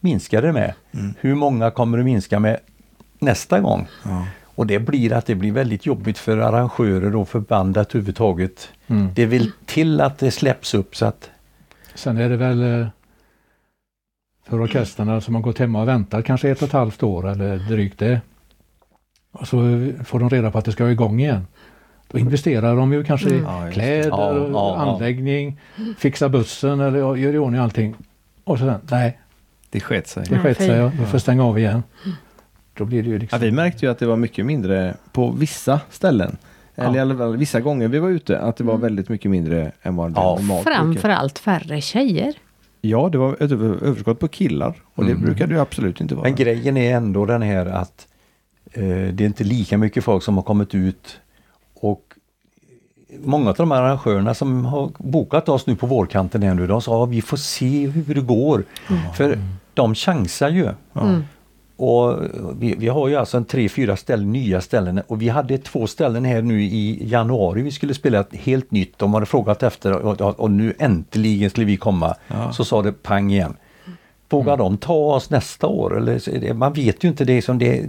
minskade det med. Mm. Hur många kommer det minska med nästa gång? Och det blir att det blir väldigt jobbigt för arrangörer och för band att överhuvudtaget. Mm. Det vill till att det släpps upp så att Sen är det väl eh, för orkestrarna som har gått hemma och väntat kanske ett och ett halvt år eller drygt det. Och så får de reda på att det ska vara igång igen. Då investerar de ju kanske i Mm. Ja, just det. kläder, Ja, ja, ja. anläggning, fixar bussen eller ja, gör i ordning allting. Och sen, nej, Det sket sig. det Nej, sket fy. sig. Jag får stänga av igen. Då blir det ju Ja, liksom... vi märkte ju att det var mycket mindre på vissa ställen. Eller i alla fall vissa gånger vi var ute, att det Mm. var väldigt mycket mindre än vad det Ja. normalt brukar. Framförallt färre tjejer. Ja, det var ett över- överskott på killar och det brukade ju absolut inte vara. Men grejen är ändå den här att eh, det är inte lika mycket folk som har kommit ut och många av de här arrangörerna som har bokat oss nu på vårkanten här nu, de sa att vi får se hur det går. För de chansar ju. Och vi, vi har ju alltså en tre, fyra ställen, nya ställen och vi hade två ställen här nu i januari vi skulle spela ett helt nytt. De hade frågat efter och, och, och nu äntligen skulle vi komma. Så sa det pang igen. Vågar de ta oss nästa år? Eller, så är det- man vet ju inte det som det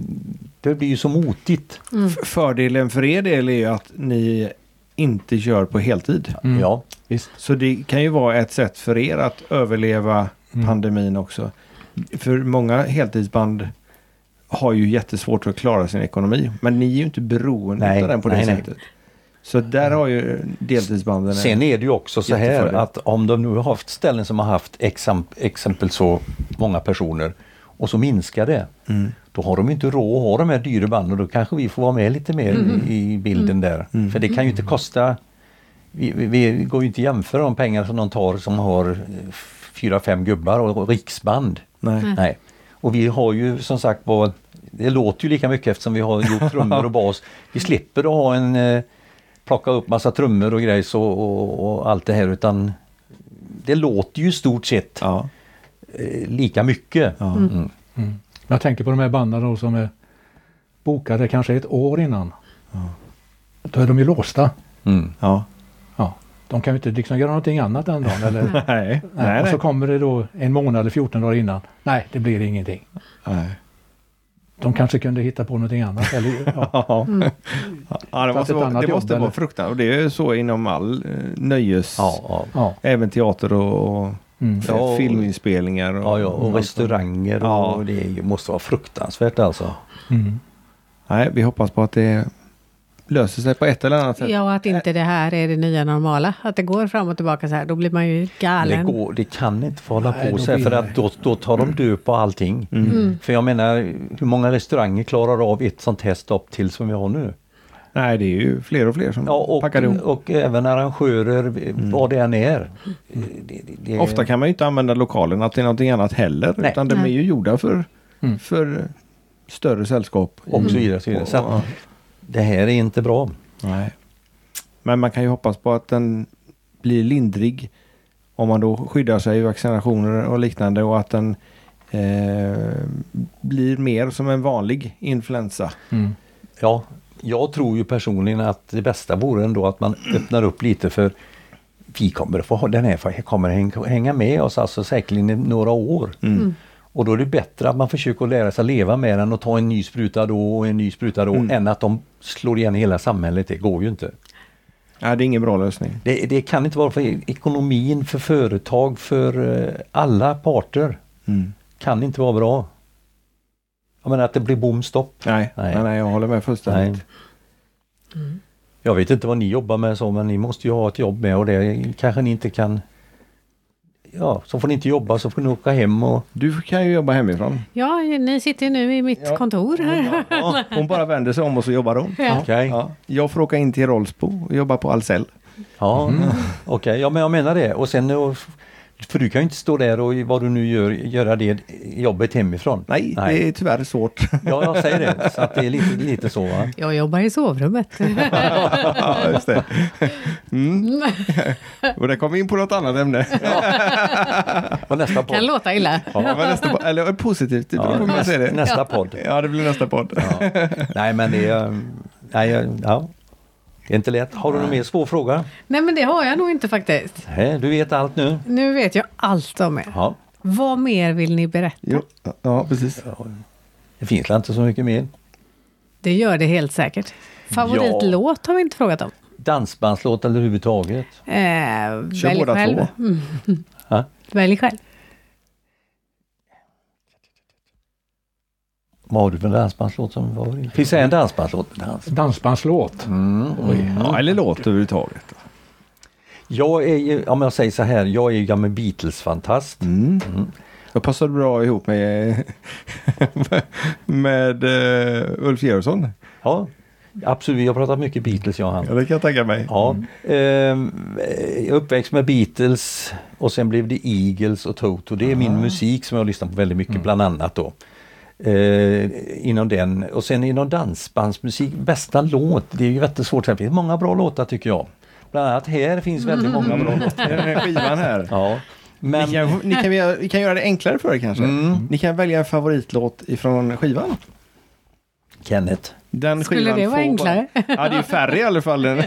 Det blir ju så motigt. Mm. F- Fördelen för er del är ju att ni inte kör på heltid. Ja. Visst. Så det kan ju vara ett sätt för er att överleva pandemin också. För många heltidsband har ju jättesvårt att klara sin ekonomi. Men ni är ju inte beroende Nej, av den på det nej, nej. sättet. Så där har ju deltidsbanden... en- Sen är det ju också så här Jättefördel. att om de nu har haft ställen som har haft exem- exempel så många personer och så minskar det. Då har de ju inte råd att ha de här dyra banden. Då kanske vi får vara med lite mer i bilden där. För det kan ju inte kosta vi, vi, vi går ju inte att jämföra de pengar som de tar som har eh, fyra, fem gubbar och, och riksband. Nej. Mm. Nej. Och vi har ju som sagt var, det låter ju lika mycket eftersom vi har *laughs* gjort trummor och bas. Vi slipper att ha en, eh, plocka upp massa trummor och grejs och, och, och allt det här utan det låter ju i stort sett Ja. eh, lika mycket. Mm. Jag tänker på de här banden då som är bokade kanske ett år innan. Då är de ju låsta. Mm. ja. Ja, de kan ju inte liksom göra någonting annat den dagen. Eller, *laughs* nej, Nej. Nej. Och så Nej. kommer det då en månad eller 14 dagar innan. Nej, det blir ingenting. nej. De kanske kunde hitta på någonting annat. Eller, *laughs* ja. Ja. ja, det Fast måste ett vara, annat det måste vara jobb, eller? fruktansvärt. Och det är ju så inom all eh, nöjes... Ja, ja. Ja. Även teater och, och Mm. eh, Ja, och- filminspelningar. Och, Ja, ja, och restauranger och Ja. det är ju- måste vara fruktansvärt alltså. Mm. Nej, vi hoppas på att det löser sig på ett eller annat sätt. Ja, att inte det här är det nya normala. Att det går fram och tillbaka så här, då blir man ju Det, galen. går, det kan inte få hålla Nej, på då så här blir för det- Mm. att då, då tar de död på allting. För jag menar, hur många restauranger klarar av ett sånt här stopp till som vi har nu? Nej, det är ju fler och fler som Ja, packar ihop. och, och även arrangörer, vad det än är. Det, det, det, Ofta kan man ju inte använda lokalerna till någonting annat heller. Nej. Utan de är Nej. ju gjorda för, Mm. för större sällskap. Och så vidare. och Så vidare. Så Mm. Ja. att, det här är inte bra. Nej. Men man kan ju hoppas på att den blir lindrig. Om man då skyddar sig i vaccinationer och liknande. Och att den eh, blir mer som en vanlig influensa. Mm. Ja, jag tror ju personligen att det bästa vore ändå att man öppnar upp lite för vi kommer att få ha den här, kommer häng- hänga med oss alltså säkerligen i några år. Mm. Mm. Och då är det bättre att man försöker att lära sig att leva med den och ta en ny spruta då och en ny spruta då än att de slår igen hela samhället. Det går ju inte. Nej, det är ingen bra lösning. Det, det kan inte vara för ekonomin, för företag, för eh, alla parter Mm. kan inte vara bra. Jag menar att det blir bomstopp. Nej, nej. Nej. Nej, jag håller med fullständigt. Nej. Jag vet inte vad ni jobbar med så men ni måste ju ha ett jobb med och det kanske ni inte kan... Ja, så får ni inte jobba så får ni åka hem och... Du kan ju jobba hemifrån. Ja, ni sitter ju nu i mitt Ja. kontor här. Ja, hon bara vänder sig om och så jobbar hon. Ja. Okej, Ja. Jag får åka in till Rollsbo och jobba på Ahlsell. ja, Mm. okej, ja men jag menar det. Och sen... och- För du kan ju inte stå där och vad du nu gör, göra det jobbet hemifrån. Nej, Nej. det är tyvärr svårt. Ja, jag säger det. Så att det är lite, lite så va. Jag jobbar i sovrummet. *laughs* ja, just det. Mm. och där kom vi in på något annat ämne. Och nästa kan podd. låta illa. Ja, men nästa po- eller positivt, det beror på hur man ser det. nästa podd. Ja, det blir nästa podd. Ja. Nej men det är... um, Nej, jag- ja. Det är inte lätt. Har du någon mer svår fråga? Nej, men det har jag nog inte faktiskt. Nej, du vet allt nu. Nu vet jag allt om er. Ja. Vad mer vill ni berätta? Jo, ja, precis. Det finns väl inte så mycket mer. Det gör det helt säkert. Favoritlåt har vi inte frågat om. Dansbandslåt eller överhuvudtaget. Eh, Kör välj båda själv. två. Mm. Ja. Välj själv. Vad har du för dansbandslåt som favorit? Finns det en dansbandslåt? Dans. Dansbandslåt. Ja, eller låt överhuvudtaget. Jag är ju, om jag säger så här, jag är ju gammal Beatles-fantast. Mm. Jag passade bra ihop med, *laughs* med eh, Ulf Georgsson. Ja, absolut. Jag har pratat mycket Beatles, jag och han. Ja, det kan jag tänka mig. Ja. Ehm, eh, jag är uppväxt med Beatles och sen blev det Eagles och Toto. Det är min musik som jag lyssnar på väldigt mycket bland annat då. Eh, inom den och sen inom dansbandsmusik, bästa låt, det är ju jättesvårt. Det finns många bra låtar tycker jag. Bland annat här finns väldigt många bra låtar. Den här skivan här. *laughs* Ja. Men Ni kan, ni, kan, göra- ni kan göra det enklare för er kanske. Mm. Ni kan välja en favoritlåt ifrån skivan. Kenneth, Den Skulle skivan det får vara enklare? Bara... Ja, det är ju färre i *laughs* alla fall. än-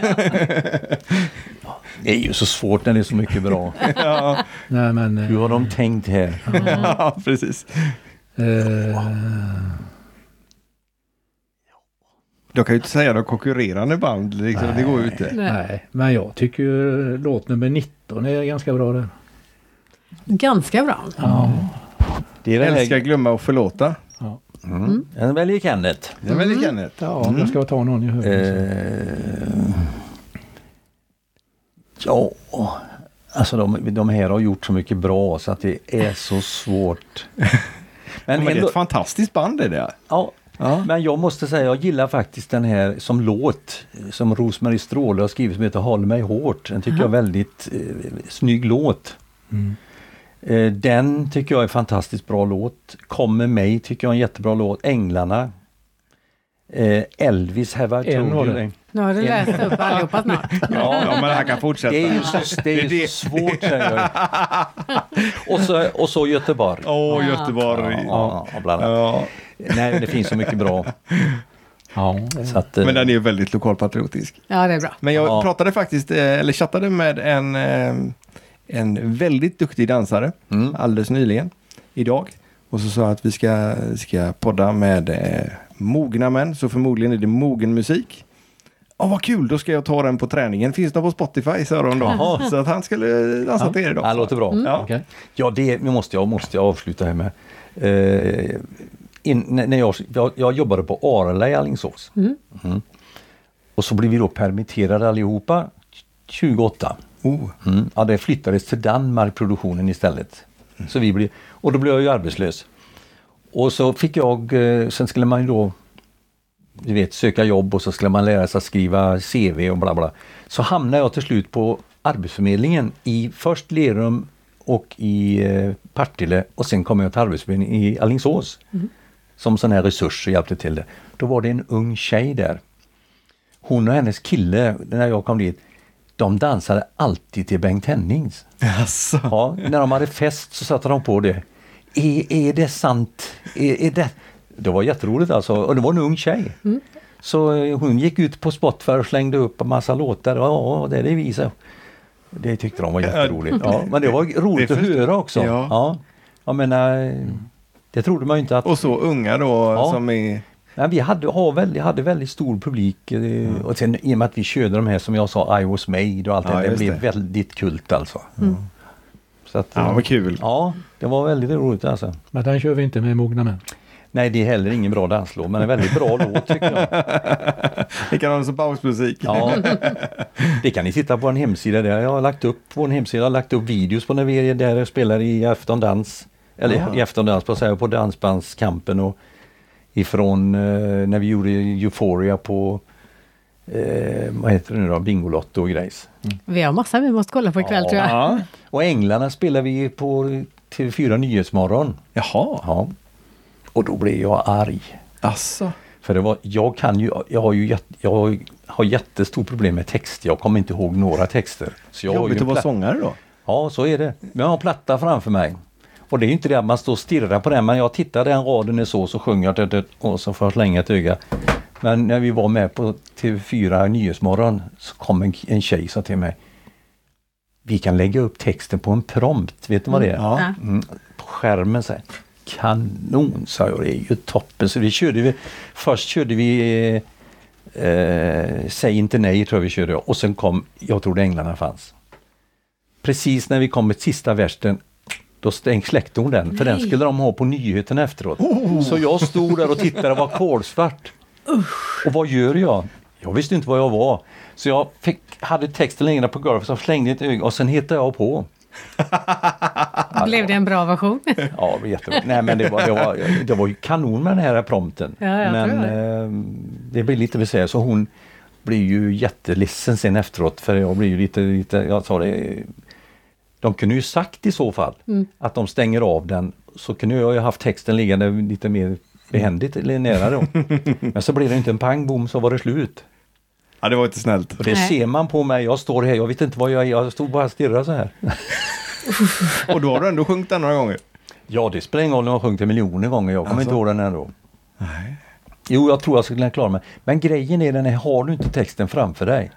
det är ju så svårt när det är så mycket *laughs* bra. Nej men... eh, Hur har de tänkt här? Mm. ja, precis. Eh, Jag kan ju inte säga något konkurrerande band. Liksom. Det går ju inte. nej, men jag tycker ju låt nummer 19 är ganska bra där. Ganska bra. Det är den Älska, här, glömma och förlåta. mm. Den väljer Kenneth. Det är väl Mm. Kenneth? Ja, Jag ska ta någon i huvudet. Eh, ja, alltså de, de här har gjort så mycket bra så att det är så svårt. Men, Men det är ändå, ett fantastiskt band är det. ja, Ja. men jag måste säga, jag gillar faktiskt den här som låt som Rosmarie Stråhle har skrivit som heter Håll mig hårt. Den tycker jag är väldigt eh, snygg låt. Eh, den tycker jag är fantastiskt bra låt. Kom med mig tycker jag är en jättebra låt. Änglarna. Eh, Elvis Have I En var Told det. You. Nu har du läst upp allihopa snart. Ja, men han kan fortsätta. Det är ju så, det är ju så svårt säger jag. *laughs* Och så, och så Göteborg. Åh, Göteborg. Ja, ja, bland annat. Ja. Nej, det finns så mycket bra. Ja. Så att, eh, Men den är ju väldigt lokalpatriotisk. Ja, det är bra. Men jag Ja. pratade faktiskt, eh, eller chattade med en, eh, en väldigt duktig dansare Mm. alldeles nyligen, idag. Och så sa jag att vi ska, ska podda med eh, mogna män, så förmodligen är det mogen musik. Ja, vad kul, då ska jag ta den på träningen. Finns den på Spotify, sa de då. Jaha. Så att han skulle dansa till er idag. ja, det låter bra. Ja. Okej. Mm. Ja, det nu måste jag, måste jag avsluta här med. Eh, in, när när jag, jag, jag jobbade på Arla i Alingsås. Mm. Och så blev vi då permitterade allihopa 28. Oh. Mm. Ja, det flyttades till Danmark produktionen istället. Så vi blev, och då blev jag ju arbetslös. Och så fick jag, eh, sen skulle man ju då du vet, söka jobb och så skulle man lära sig att skriva CV och bla bla. Så hamnade jag till slut på Arbetsförmedlingen i först Lerum och i eh, Partille och sen kom jag till Arbetsförmedlingen i Alingsås. Som sån här resurs och hjälpte till det. Då var det en ung tjej där. Hon och hennes kille, när jag kom dit, de dansade alltid till Bengt Hennings. Jaså? Ja, när de hade fest så satte de på det. Är, är det sant? E-, Är, är det? det var jätteroligt alltså. Och det var en ung tjej. Så eh, hon gick ut på Spotify och slängde upp en massa låtar. Ja, det är det vi sa. Det tyckte de var jätteroligt. Ja, men det var roligt Det att förstår- höra också. Ja. Ja. Jag menar, eh, det trodde man ju inte att... Och så unga då Ja. som är... Men vi hade, har väldigt, hade väldigt stor publik eh, och sen i och med att vi körde de här som jag sa, I was made och allt Mm. Ja, det det just blev det. väldigt kult alltså. Så att, Ja, eh, vad kul. ja, det var väldigt roligt alltså. Men den kör vi inte med mogna män. Nej, det är heller ingen bra danslåt, men en *laughs* väldigt bra låt tycker jag. Likadant som pausmusik. Ja. *laughs* Det kan ni titta på en hemsida där. Jag har lagt upp på en hemsida, jag har lagt upp videos på när vi är där och spelar i aftondans. Eller Ja. i aftondans, på, så här, på dansbandskampen och ifrån eh, när vi gjorde Euphoria på eh, vad heter det nu då, Bingolotto och grejs. Vi har massa vi måste kolla på ikväll tror jag. Ja. Och Änglarna spelar vi på TV4 Nyhetsmorgon. Jaha. Ja. Och då blev jag arg. Alltså. För det var, jag kan ju, jag har ju jätt, jag har, ju- har jättestort problem med texter. Jag kommer inte ihåg några texter. Så jag har ju Jobbigt en att vara platta- sångare då. Ja, så är det. Men jag har en platta framför mig. Och det är ju inte det att man står och stirrar på den, men jag tittar den raden är så, så sjunger jag det, det, och så får jag slänga ett öga. Men när vi var med på TV4 Nyhetsmorgon så kom en, en tjej och sa till mig Vi kan lägga upp texten på en prompt, vet du vad det är? Ja. Mm, på skärmen så här. Kanon, sa jag, det är ju toppen. Så vi körde vi, först körde vi eh, eh, Säg inte nej, tror jag vi körde. Och sen kom Jag trodde änglarna fanns. Precis när vi kom med sista versen då stäng, släckte hon den, för den Nej. skulle de ha på nyheterna efteråt. Så jag stod där och tittade, det var kolsvart. Och vad gör jag? Jag visste inte vad jag var. Så jag fick, hade texten längre på golvet, så jag slängde ett öga och sen hittade jag på. Blev det en bra version? Ja, det var jättebra. Nej, men det var, det, var, det var ju kanon med den här prompten. Ja, jag men tror eh, det blir lite besvär så hon blir ju jätteledsen sen efteråt för jag blir ju lite, lite jag sa det, de kunde ju sagt i så fall Mm. att de stänger av den så kunde jag ju haft texten liggande lite mer behändigt eller *laughs* nära då. Men så blev det inte en pang bom så var det slut. Ja, det var inte snällt. Och det Nej. ser man på mig, jag står här, jag vet inte vad jag är, jag stod bara och stirrade så här. Och då har du ändå sjungit den några gånger. Ja, det spelar ingen roll om jag sjungit det miljoner gånger. Jag kommer Alltså. inte ihåg den ändå. Jo, jag tror jag skulle kunna klara mig. Men grejen är den här, har du inte texten framför dig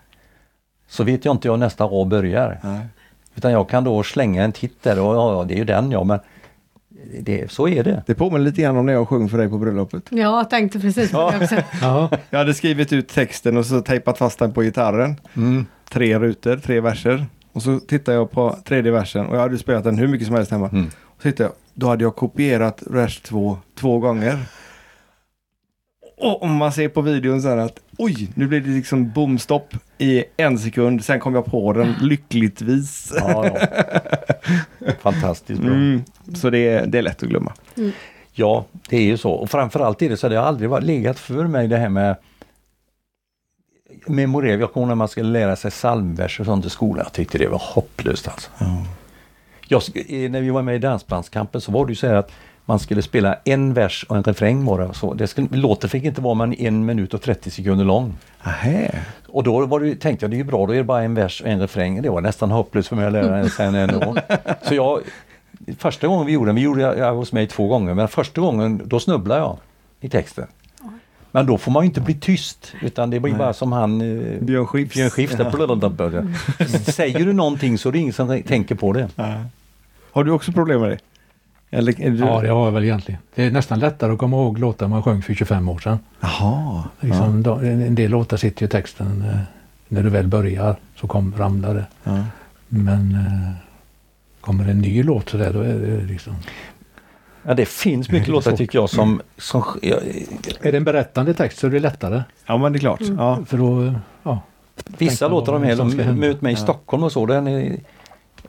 så vet jag inte hur nästa rad börjar. Nej. Utan jag kan då slänga en titt där och ja, ja, det är ju den ja, men det, så är det. Det påminner lite grann om när jag sjöng för dig på bröllopet. Ja, jag tänkte precis på det också. Ja, Jag hade skrivit ut texten och så tejpat fast den på gitarren. Tre rutor, tre verser. Och så tittade jag på tredje versen och jag hade spelat den hur mycket som helst hemma. Mm. Och så tittade jag, då hade jag kopierat vers två, två gånger. Och om man ser på videon så här att oj, nu blev det liksom bomstopp i en sekund. Sen kom jag på den lyckligtvis. Ja, ja. *laughs* Fantastiskt bra. Mm. Så det är, det är lätt att glömma. Ja, det är ju så. Och framförallt är det så att det har aldrig varit legat för mig det här med memorera. Jag kommer ihåg när man skulle lära sig psalmverser och sånt i skolan. Jag tyckte det var hopplöst alltså. Jag, sk- eh, när vi var med i Dansbandskampen så var det ju så här att man skulle spela en vers och en refräng bara. och Så det skulle, låten fick inte vara mer än en minut och 30 sekunder lång. Ahä. Och då var det, tänkte jag det är ju bra, då är det bara en vers och en refräng. Det var nästan hopplöst för mig att lära mig sen ändå. Så jag, första gången vi gjorde den, vi gjorde jag hos mig två gånger, men första gången då snubblade jag i texten. Men då får man ju inte bli tyst utan det blir bara som han eh, Björn Skifs. Björn Skifs. där, blablabla. Säger du någonting så är det ingen som tänker på det. Har du också problem med det? Eller, är du... ja, det har jag väl egentligen. Det är nästan lättare att komma ihåg låtar man sjöng för 25 år sedan. Jaha. Liksom, då- en- En del låtar sitter ju i texten eh, när du väl börjar så kom, ramlar det. Ja. Men eh, kommer en ny låt så där då är det liksom... Ja, det finns mycket låtar tycker jag som, som jag, Är det en berättande text så är det lättare. ja, men det är klart. Ja. För då, eh, ja. Vissa Tänka låtar vad de här, som ska de hända. möt mig i Stockholm och så, den är,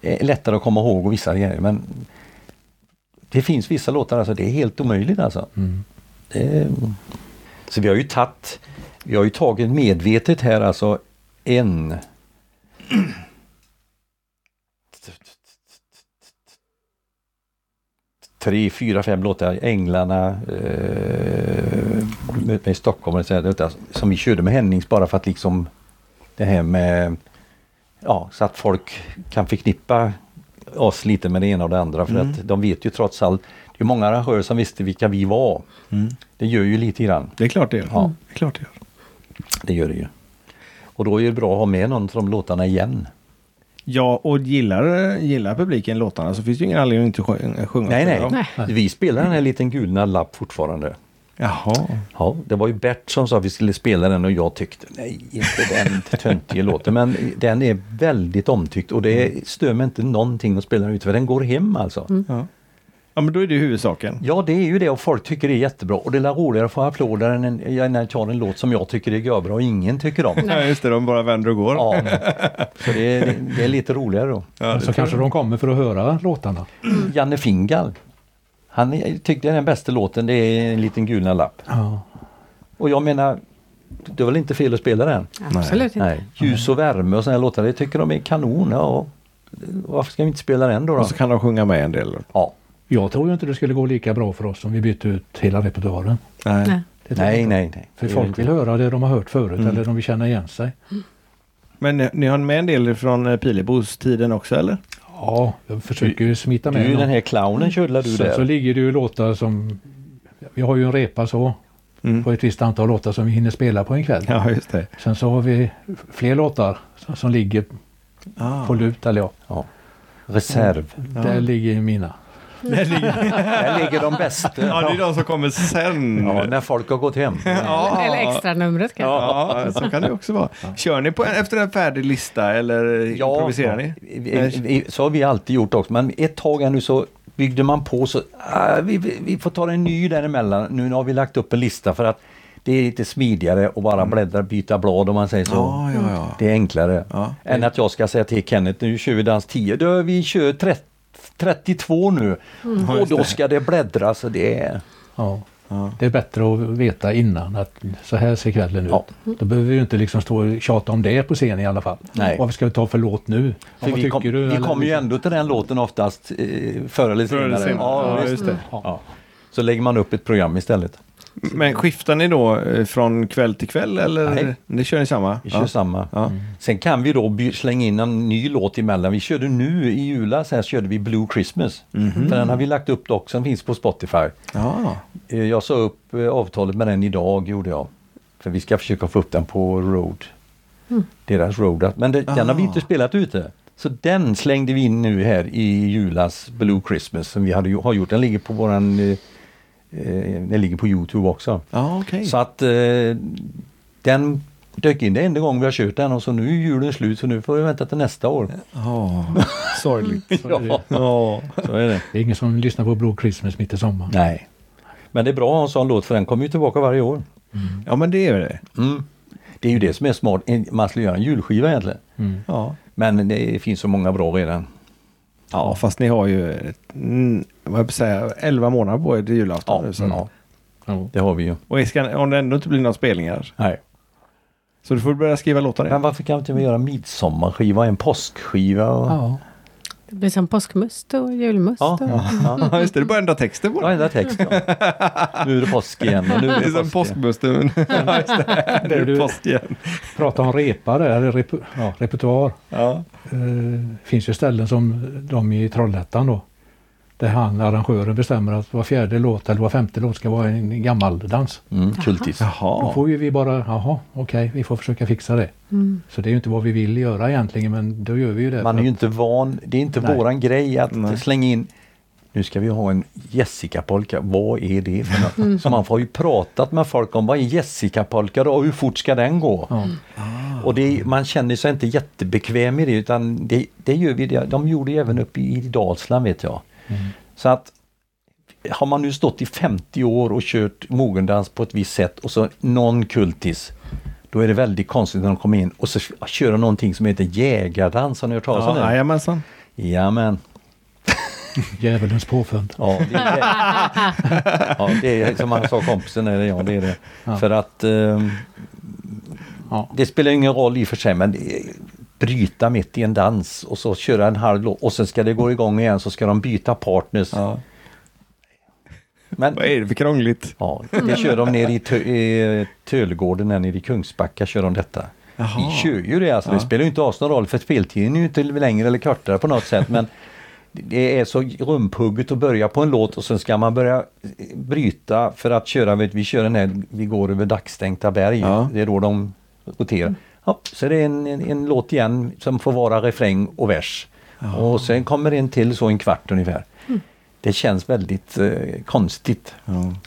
är lättare att komma ihåg och vissa grejer men det finns vissa låtar alltså, det är helt omöjligt alltså. Mm. Det, så vi har ju tagit, vi har ju tagit medvetet här alltså en tre, fyra, fem låtar, Änglarna, eh, Möt mig i Stockholm, och så här, låtar som vi körde med Hennings bara för att liksom det här med ja, så att folk kan förknippa oss lite med det ena och det andra för att de vet ju trots allt, det är många arrangörer som visste vilka vi var. Det gör ju lite grann, Det är klart det gör. Mm. Ja. Det är klart det gör. det gör det ju. Och då är det bra att ha med någon av de låtarna igen. Ja, och gillar, gillar publiken låtarna så finns det ju ingen anledning att inte sjö- sjunga. Nej, Ja. nej. Vi spelar den här liten gulna lapp fortfarande. Jaha. Ja, det var ju Bert som sa att vi skulle spela den och jag tyckte nej, inte den töntiga låten. Men den är väldigt omtyckt och det stör mig inte någonting att spela den ut för den går hem alltså. Ja. ja, men då är det huvudsaken. Ja, det är ju det och folk tycker det är jättebra och det är väl roligare att få applåder än en- ja, när jag tar en låt som jag tycker är görbra och ingen tycker om. *laughs* Ja, just det, de bara vänder och går. Ja, så det är, det är lite roligare då. Ja, Så Alltså, kanske de kommer för att höra låtarna. Janne Fingal, han är- tyckte den bästa låten det är en liten gulna lapp. Ja. Och jag menar, det var väl inte fel att spela den? Absolut inte. Nej. Ljus och värme och sådana här låtar, det tycker de är kanon. Ja. Varför ska vi inte spela den då? då? Och så kan de sjunga med en del. Ja. Jag tror ju inte det skulle gå lika bra för oss om vi bytte ut hela repertoaren. Nej. Det tror jag Nej, inte. nej, nej. För folk vill höra det de har hört förut eller de vill känna igen sig. Men eh, ni, ni har med en del från eh, Pilebos tiden också eller? Ja, jag försöker ju smita Du är med ju den någon. här clownen körde du Sen så där. ligger det ju låtar som... Vi har ju en repa så Mm. på ett visst antal låtar som vi hinner spela på en kväll. Ja, just det. Sen så har vi fler låtar som, som ligger Ah. på lut. Eller ja. Ja. Reserv. Där ligger ju mina. Där ligger de bästa. Ja, det är de som kommer sen. Ja, när folk har gått hem. Eller extra numret kanske. Ja, så kan det också vara. Kör ni på en, efter en färdig lista eller improviserar ni? vi- vi- vi- Så har vi alltid gjort också. Men ett tag här nu så byggde man på så ah, vi, vi, vi får ta en ny däremellan. Nu har vi lagt upp en lista för att det är lite smidigare att bara bläddra, byta blad om man säger så. Mm. Ja, ja, ja. Det är enklare Ja. än att jag ska säga till Kenneth nu kör vi dans 10. Då, vi kör 30, 32 nu Mm. Ja, och just då det. ska det bläddras. och Det är... Ja. Ja. Det är bättre att veta innan att så här ser kvällen ut. Ja. Då behöver vi ju inte liksom stå och tjata om det på scen i alla fall. Nej. Vad ska vi ta för låt nu? För vad vi tycker kom- du? vi Eller- liksom? kommer ju ändå till den låten oftast eh, förr eller senare. Ja, visst. just det. Ja. Så lägger man upp ett program istället. Men skiftar ni då eh, från kväll till kväll eller? Nej. Det kör ni samma? Vi kör ja. samma. Mm. Ja. Sen kan vi då by- slänga in en ny låt emellan. Vi körde nu i julas här så körde vi Blue Christmas. Mhm. För den har vi lagt upp dock, som finns på Spotify. Ja. Eh, Jag sa upp eh, avtalet med den idag gjorde jag. För vi ska försöka få upp den på Road. Deras Road. Men det, den har vi inte spelat ute. Så den slängde vi in nu här i julas Blue Christmas som vi hade, ju- har gjort. Den ligger på våran... eh, eh, Den ligger på Youtube också. Ja, okej. Så att eh, den dök in. Det är enda gången vi har kört den och så nu är julen slut så nu får vi vänta till nästa år. *laughs* Ja. Sorgligt. Ja, Ja. så är det. Det är ingen som lyssnar på Blue Christmas mitt i sommaren. Nej. Men det är bra att ha en sån låt för den kommer ju tillbaka varje år. ja, men det är det. Mm. Det är ju det som är smart. En- Man skulle göra en julskiva egentligen. Ja. Men det finns så många bra redan. ja, fast ni har ju ett- mm, vad jag vill säga, 11 månader på er till julafton. Ja, Mm. nu, så. ja Ja. det har vi ju. Och ska, om det ändå inte blir några spelningar Nej. så du får börja skriva låtar. igen. Men varför kan inte vi göra en midsommarskiva, en påskskiva? Och... Ja. Det blir som påskmust och julmust. Ja, och... ja. Ja, just det. Du bara ändra texten på den. Varenda text. Ja. Nu är det påsk igen. Och nu Det är är det som påsk igen. påskmusten. Ja, just det. Det *laughs* är Du- påsk igen. Prata om repa där, eller rep ja, repertoar. Ja. Eh, finns ju ställen som de i Trollhättan då. Där han, arrangören, bestämmer att var fjärde låt eller var femte låt ska vara en gammal dans. Mm, kultis. Då Jaha. får ju vi bara, jaha, okej, vi får försöka fixa det. Så det är ju inte vad vi vill göra egentligen, men då gör vi ju det. Man är för ju att- inte van, det är inte Äh, Nej. våran grej att Nej. slänga in nu ska vi ha en Jessica-polka, vad är det för något? Så man har ju pratat med folk om vad är Jessica-polka då och hur fort ska den gå? ja. Och det, man känner sig inte jättebekväm i det utan det, det gör vi, det. de gjorde ju även uppe i Dalsland vet jag. Så att har man nu stått i 50 år och kört mogendans på ett visst sätt och så någon kultis då är det väldigt konstigt när de kommer in och så kör de någonting som heter jägardans, har ni hört talas om Ja, det? jajamensan. Jajamän. Djävulens påfund. Ja, det är det. ja, det är som han sa kompisen, eller ja, det är det. För att ehm, Ja. det spelar ingen roll i och för sig, men det är- bryta mitt i en dans och så köra en halv låt och sen ska det gå igång igen så ska de byta partners. Ja. Men Vad är det för krångligt? ja, Mm. det kör de ner i, tö, i eh, Tölgården, där nere i Kungsbacka kör de detta. Jaha. Vi kör ju det alltså, det spelar ju inte oss någon roll för speltiden är ju inte längre eller kortare på något sätt men det är så rumphugget att börja på en låt och sen ska man börja eh, bryta för att köra, vet, vi kör den här, vi går över dagsstänkta berg, Ja. det är då de roterar. Ja, så det är en, en, en låt igen som får vara refräng och vers. Och sen kommer en till *laughs* så en kvart ungefär. Det känns väldigt eh, konstigt.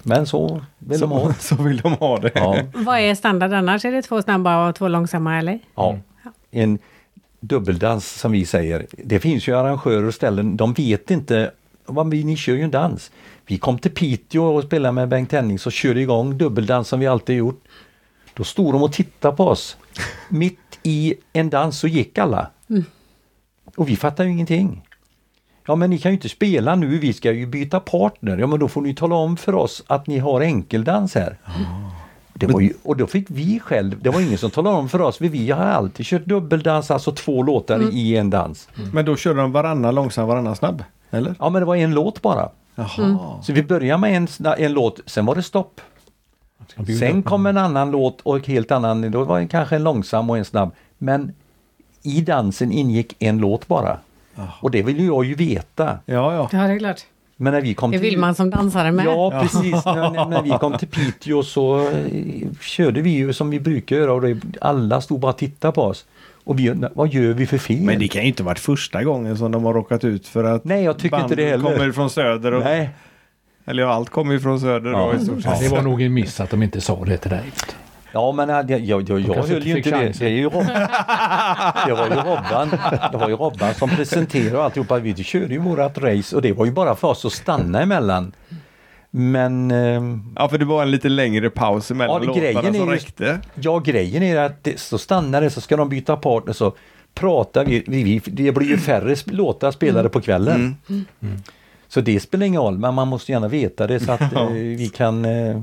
Men så vill så, de *laughs* ha. så vill de ha det. Ja. Vad är standard annars? Är det två snabba och två långsamma eller? Ja. En dubbeldans som vi säger. Det finns ju arrangörer och ställen, de vet inte vad vi, ni kör ju en dans. Vi kom till Piteå och spelade med Bengt Hennings och körde igång dubbeldans som vi alltid gjort. Då stod de och tittade på oss. Mitt i en dans så gick alla. Och vi fattar ju ingenting. Ja men ni kan ju inte spela nu, vi ska ju byta partner. Ja men då får ni tala om för oss att ni har enkeldans här. Det var ju, och då fick vi själv, det var ingen som talade om för oss, för vi har alltid kört dubbeldans, alltså två låtar Mm. i en dans. Men då körde de varannan långsam, varannan snabb? Eller? Ja men det var en låt bara. Jaha. Så vi började med en, sna- en låt, sen var det stopp. Ska bjuda Sen på- kom en annan låt och en helt annan, då var det kanske en långsam och en snabb. Men i dansen ingick en låt bara. Och det vill ju jag ju veta. Ja, ja. Ja, det är klart. Men när vi kom Det vill man som dansare med. Ja precis, när, när- när vi kom till Piteå så eh, körde vi ju som vi brukar göra och det, alla stod bara och tittade på oss. Och vi, vad gör vi för fel? Men det kan ju inte varit första gången som de har råkat ut för att Nej, jag tycker inte det banden heller. kommer från söder. Och, Nej. Eller ja, allt kommer ju från söder. Ja. Då, i stort Ja, sett. det var nog en miss att de inte sa det till dig. Ja men eh, jag, jag, jag, jag kanske höll inte ju fick inte det. chansen. Det, är ju Rob... *laughs* det var ju Robban Det var ju Robban som presenterade alltihopa. Vi körde ju vårat race och det var ju bara för oss att stanna emellan. Men eh, ja, för det var en lite längre paus Ja, mellan låtarna grejen är som ju- räckte. Ja, grejen är att det, så stannar det så ska de byta partner så pratar vi, vi, vi det blir ju färre sp- låtar spelade på kvällen. Mm. Mm. Så det spelar ingen roll, men man måste gärna veta det så att eh, vi kan... Eh,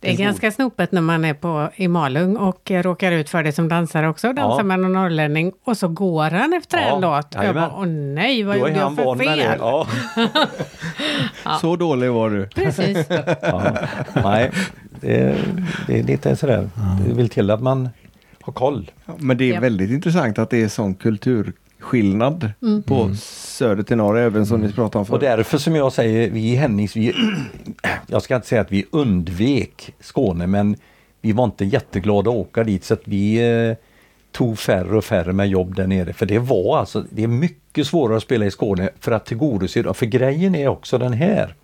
Det är ganska snopet när man är på, i Malung och eh, råkar ut för det som dansare också. Dansar Ja. med någon norrlänning och så går han efter Ja, en låt. Och jag jajamän. bara, åh nej, vad då gjorde är han jag för van med det. fel? *laughs* Ja, Så dålig var du. Precis. ja. Nej, det, det är lite sådär. Det vill till att man har koll. Men det är Japp. väldigt intressant att det är sån kulturskillnad på söder till norr, även som ni pratade om Och förut. därför som jag säger, vi i Hennings, vi, *clears throat* jag ska inte säga att vi undvek Skåne men vi var inte jätteglada att åka dit så att vi eh, tog färre och färre med jobb där nere. För det var alltså, det är mycket svårare att spela i Skåne för att tillgodose dem. För grejen är också den här.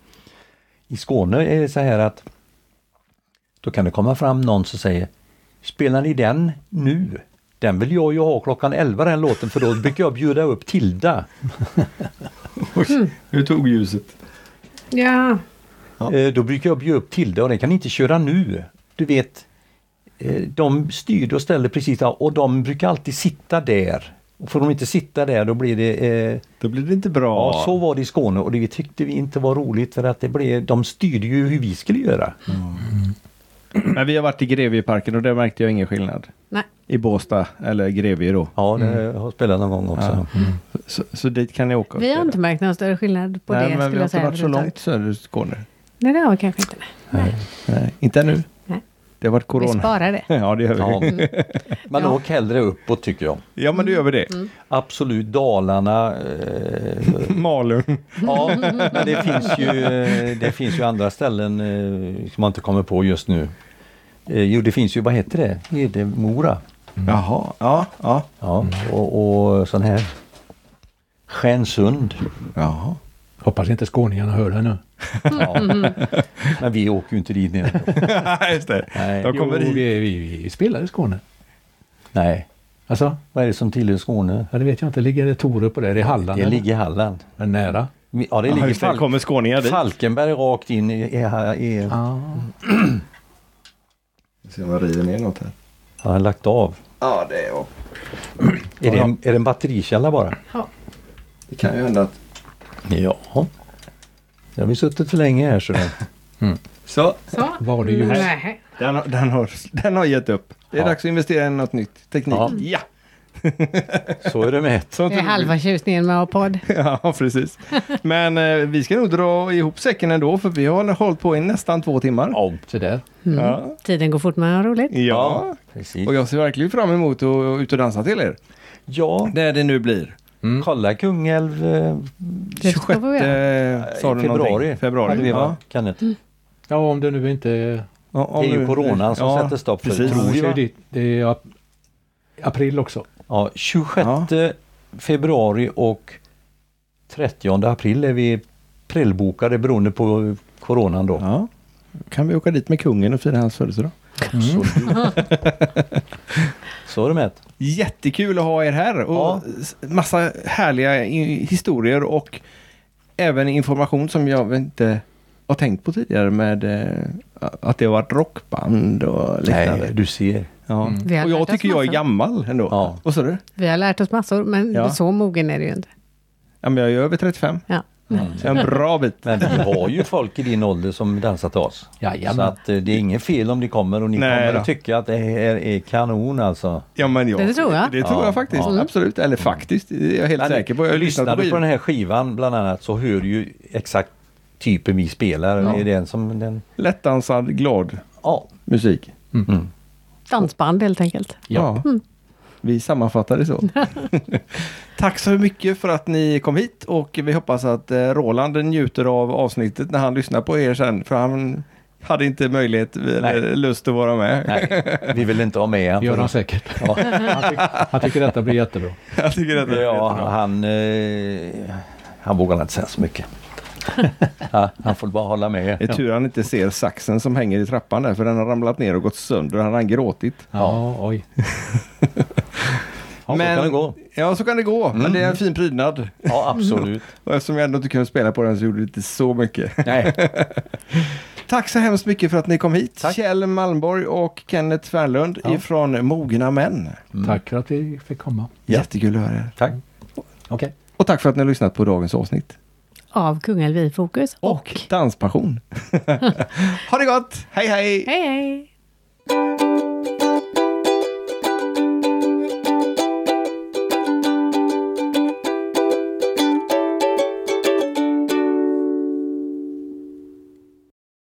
I Skåne är det så här att då kan det komma fram någon som säger Spelar ni den nu? Den vill jag ju ha klockan 11 den låten för då brukar jag bjuda upp Tilda. *laughs* Hur tog ljuset? Ja, Eh, Då brukar jag bjuda upp till det och den kan inte köra nu. Du vet, eh, de styrde och ställde precis där och de brukar alltid sitta där. Och får de inte sitta där då blir det... Eh, Då blir det inte bra. ja, så var det i Skåne och det tyckte vi inte var roligt för att det blev, de styrde ju hur vi skulle göra. Men vi har varit i Grevieparken och där märkte jag ingen skillnad. nej. I Båstad, eller Grevie då. Ja, det har jag spelat någon gång också. Så, så dit kan ni åka. Vi har inte märkt någon större skillnad på Nej, det men vi skulle har jag inte säga. varit så långt söder i Skåne. Nej, det har vi kanske inte. Nej. Nej, inte nu. Nej. Det har varit Vi corona. sparar det. *laughs* Ja, det gör vi. Ja. Ja, *laughs* Men Ja. åk Mm. hellre uppåt tycker jag. men då gör vi det. Mm. Absolut Dalarna, eh, Malung. Ja, men det finns ju, eh, det finns ju andra ställen eh, som man inte kommer på just nu. Eh, Jo, det finns ju, vad heter det? Hedemora. Jaha, ja, ja. Ja, och, och sån här. Stjärnsund. Jaha. Hoppas inte skåningarna hör det nu. Ja. Men vi åker ju inte dit ner. *laughs* Just det. Nej. Jag kommer jo, hit. vi, vi, vi spelar i Skåne. Nej. Alltså, Vad är det som tillhör Skåne? ja, det vet jag inte. Ligger det Torup på det? Det är Halland? Det eller? ligger i Halland. Men nära. Vi- Ja, det ligger i Just det, Falk kommer skåningar dit. Falkenberg rakt in i... i, i Ja. Se om jag river ner något här. jag har lagt av. Ja, det, är, Är det, en, är det en batterikälla bara? det kan ju hända att... Ja. Nu har vi suttit för länge här så det... Så, Så. Var det ju- Nej. den, har- den, har, den har gett upp. Det är Ja. dags att investera i något nytt. Teknik. Ja. ja. *laughs* Så är det med. Det är halva tjusningen med att ha podd. *laughs* Ja, precis. Men eh, vi ska nog dra ihop säcken ändå, för vi har hållit på i nästan två timmar. Ja, Se där. Mm. Ja. Tiden går fort men har roligt. ja. precis. Och jag ser verkligen fram emot att ut och dansa till er. Ja, Mm. När det nu blir. kolla Kungälv eh, Det ska vi göra. Eh, sa du februari. någonting? Februari. hade vi, va? Ja. Kenneth. Mm. Ja, om det nu inte... Ja, om Det är ju nu- coronan som Ja, sätter stopp för precis. det, tror Vi kör jag. ju dit. Det är ap- april också. Ja, 26 februari och 30 april är vi prellbokade beroende på coronan då. Ja. kan vi åka dit med kungen och fira hans födelsedag. *laughs* Så är det med ett. Jättekul att ha er här och Ja. s- massa härliga i- historier och även information som jag inte har tänkt på tidigare med eh, att det har varit rockband och liknande. Nej, du ser. Ja. Vi har Och jag lärt oss tycker jag är massa. gammal ändå. Ja. Vad sa du? Vi har lärt oss massor, men Ja. så mogen är det ju inte. Ja, men jag är över 35. Ja. Så jag är en bra bit. Men vi har ju folk i din ålder som dansar till oss. Jajamän. Så att eh, det är inget fel om ni kommer och ni Nej kommer då. att tycka att det här är kanon alltså. Ja, men jag, Det tror jag. Det tror Ja, jag faktiskt. ja. Absolut. Eller faktiskt. Det är jag helt Men säker på. Jag har lyssnat på, lyssnar du på skivan. den här skivan bland annat så hör du ju exakt typen vi spelar. Det är den som den... Lättdansad, glad Ja. Mm. musik. Mm. Dansband helt enkelt. Ja. Vi sammanfattar det så. Tack så mycket för att ni kom hit och vi hoppas att eh, Roland njuter av avsnittet när han lyssnar på er sen. För han hade inte möjlighet eh, eller lust att vara med. Nej, vi vill inte ha med Det gör han honom. säkert. Ja. Han, tyck, han tycker detta blir jättebra. *laughs* Jag tycker detta är Ja, jättebra. han, eh, han vågar inte säga så *laughs* mycket. Ja, han får bara hålla Det med. är tur han inte ser saxen som hänger i trappan där för den har ramlat ner och gått sönder. Han har gråtit. Ja, oj. Ja, så kan det gå. Mm. Ja, så kan det gå. Men det är en fin prydnad. Ja, *laughs* absolut. Och eftersom jag ändå inte kunde spela på den så gjorde det inte så mycket. Nej. Tack så hemskt mycket för att ni kom hit. Tack. Kjell Malmborg och Kenneth Fernlund ifrån Mogna Män. Mm. Tack för att vi fick komma. Jättekul att höra er. Tack. Okej. Och tack för att ni har lyssnat på dagens avsnitt. Av Kungälv i fokus och, och *laughs* Danspassion. ha det gott! Hej hej! hej hej!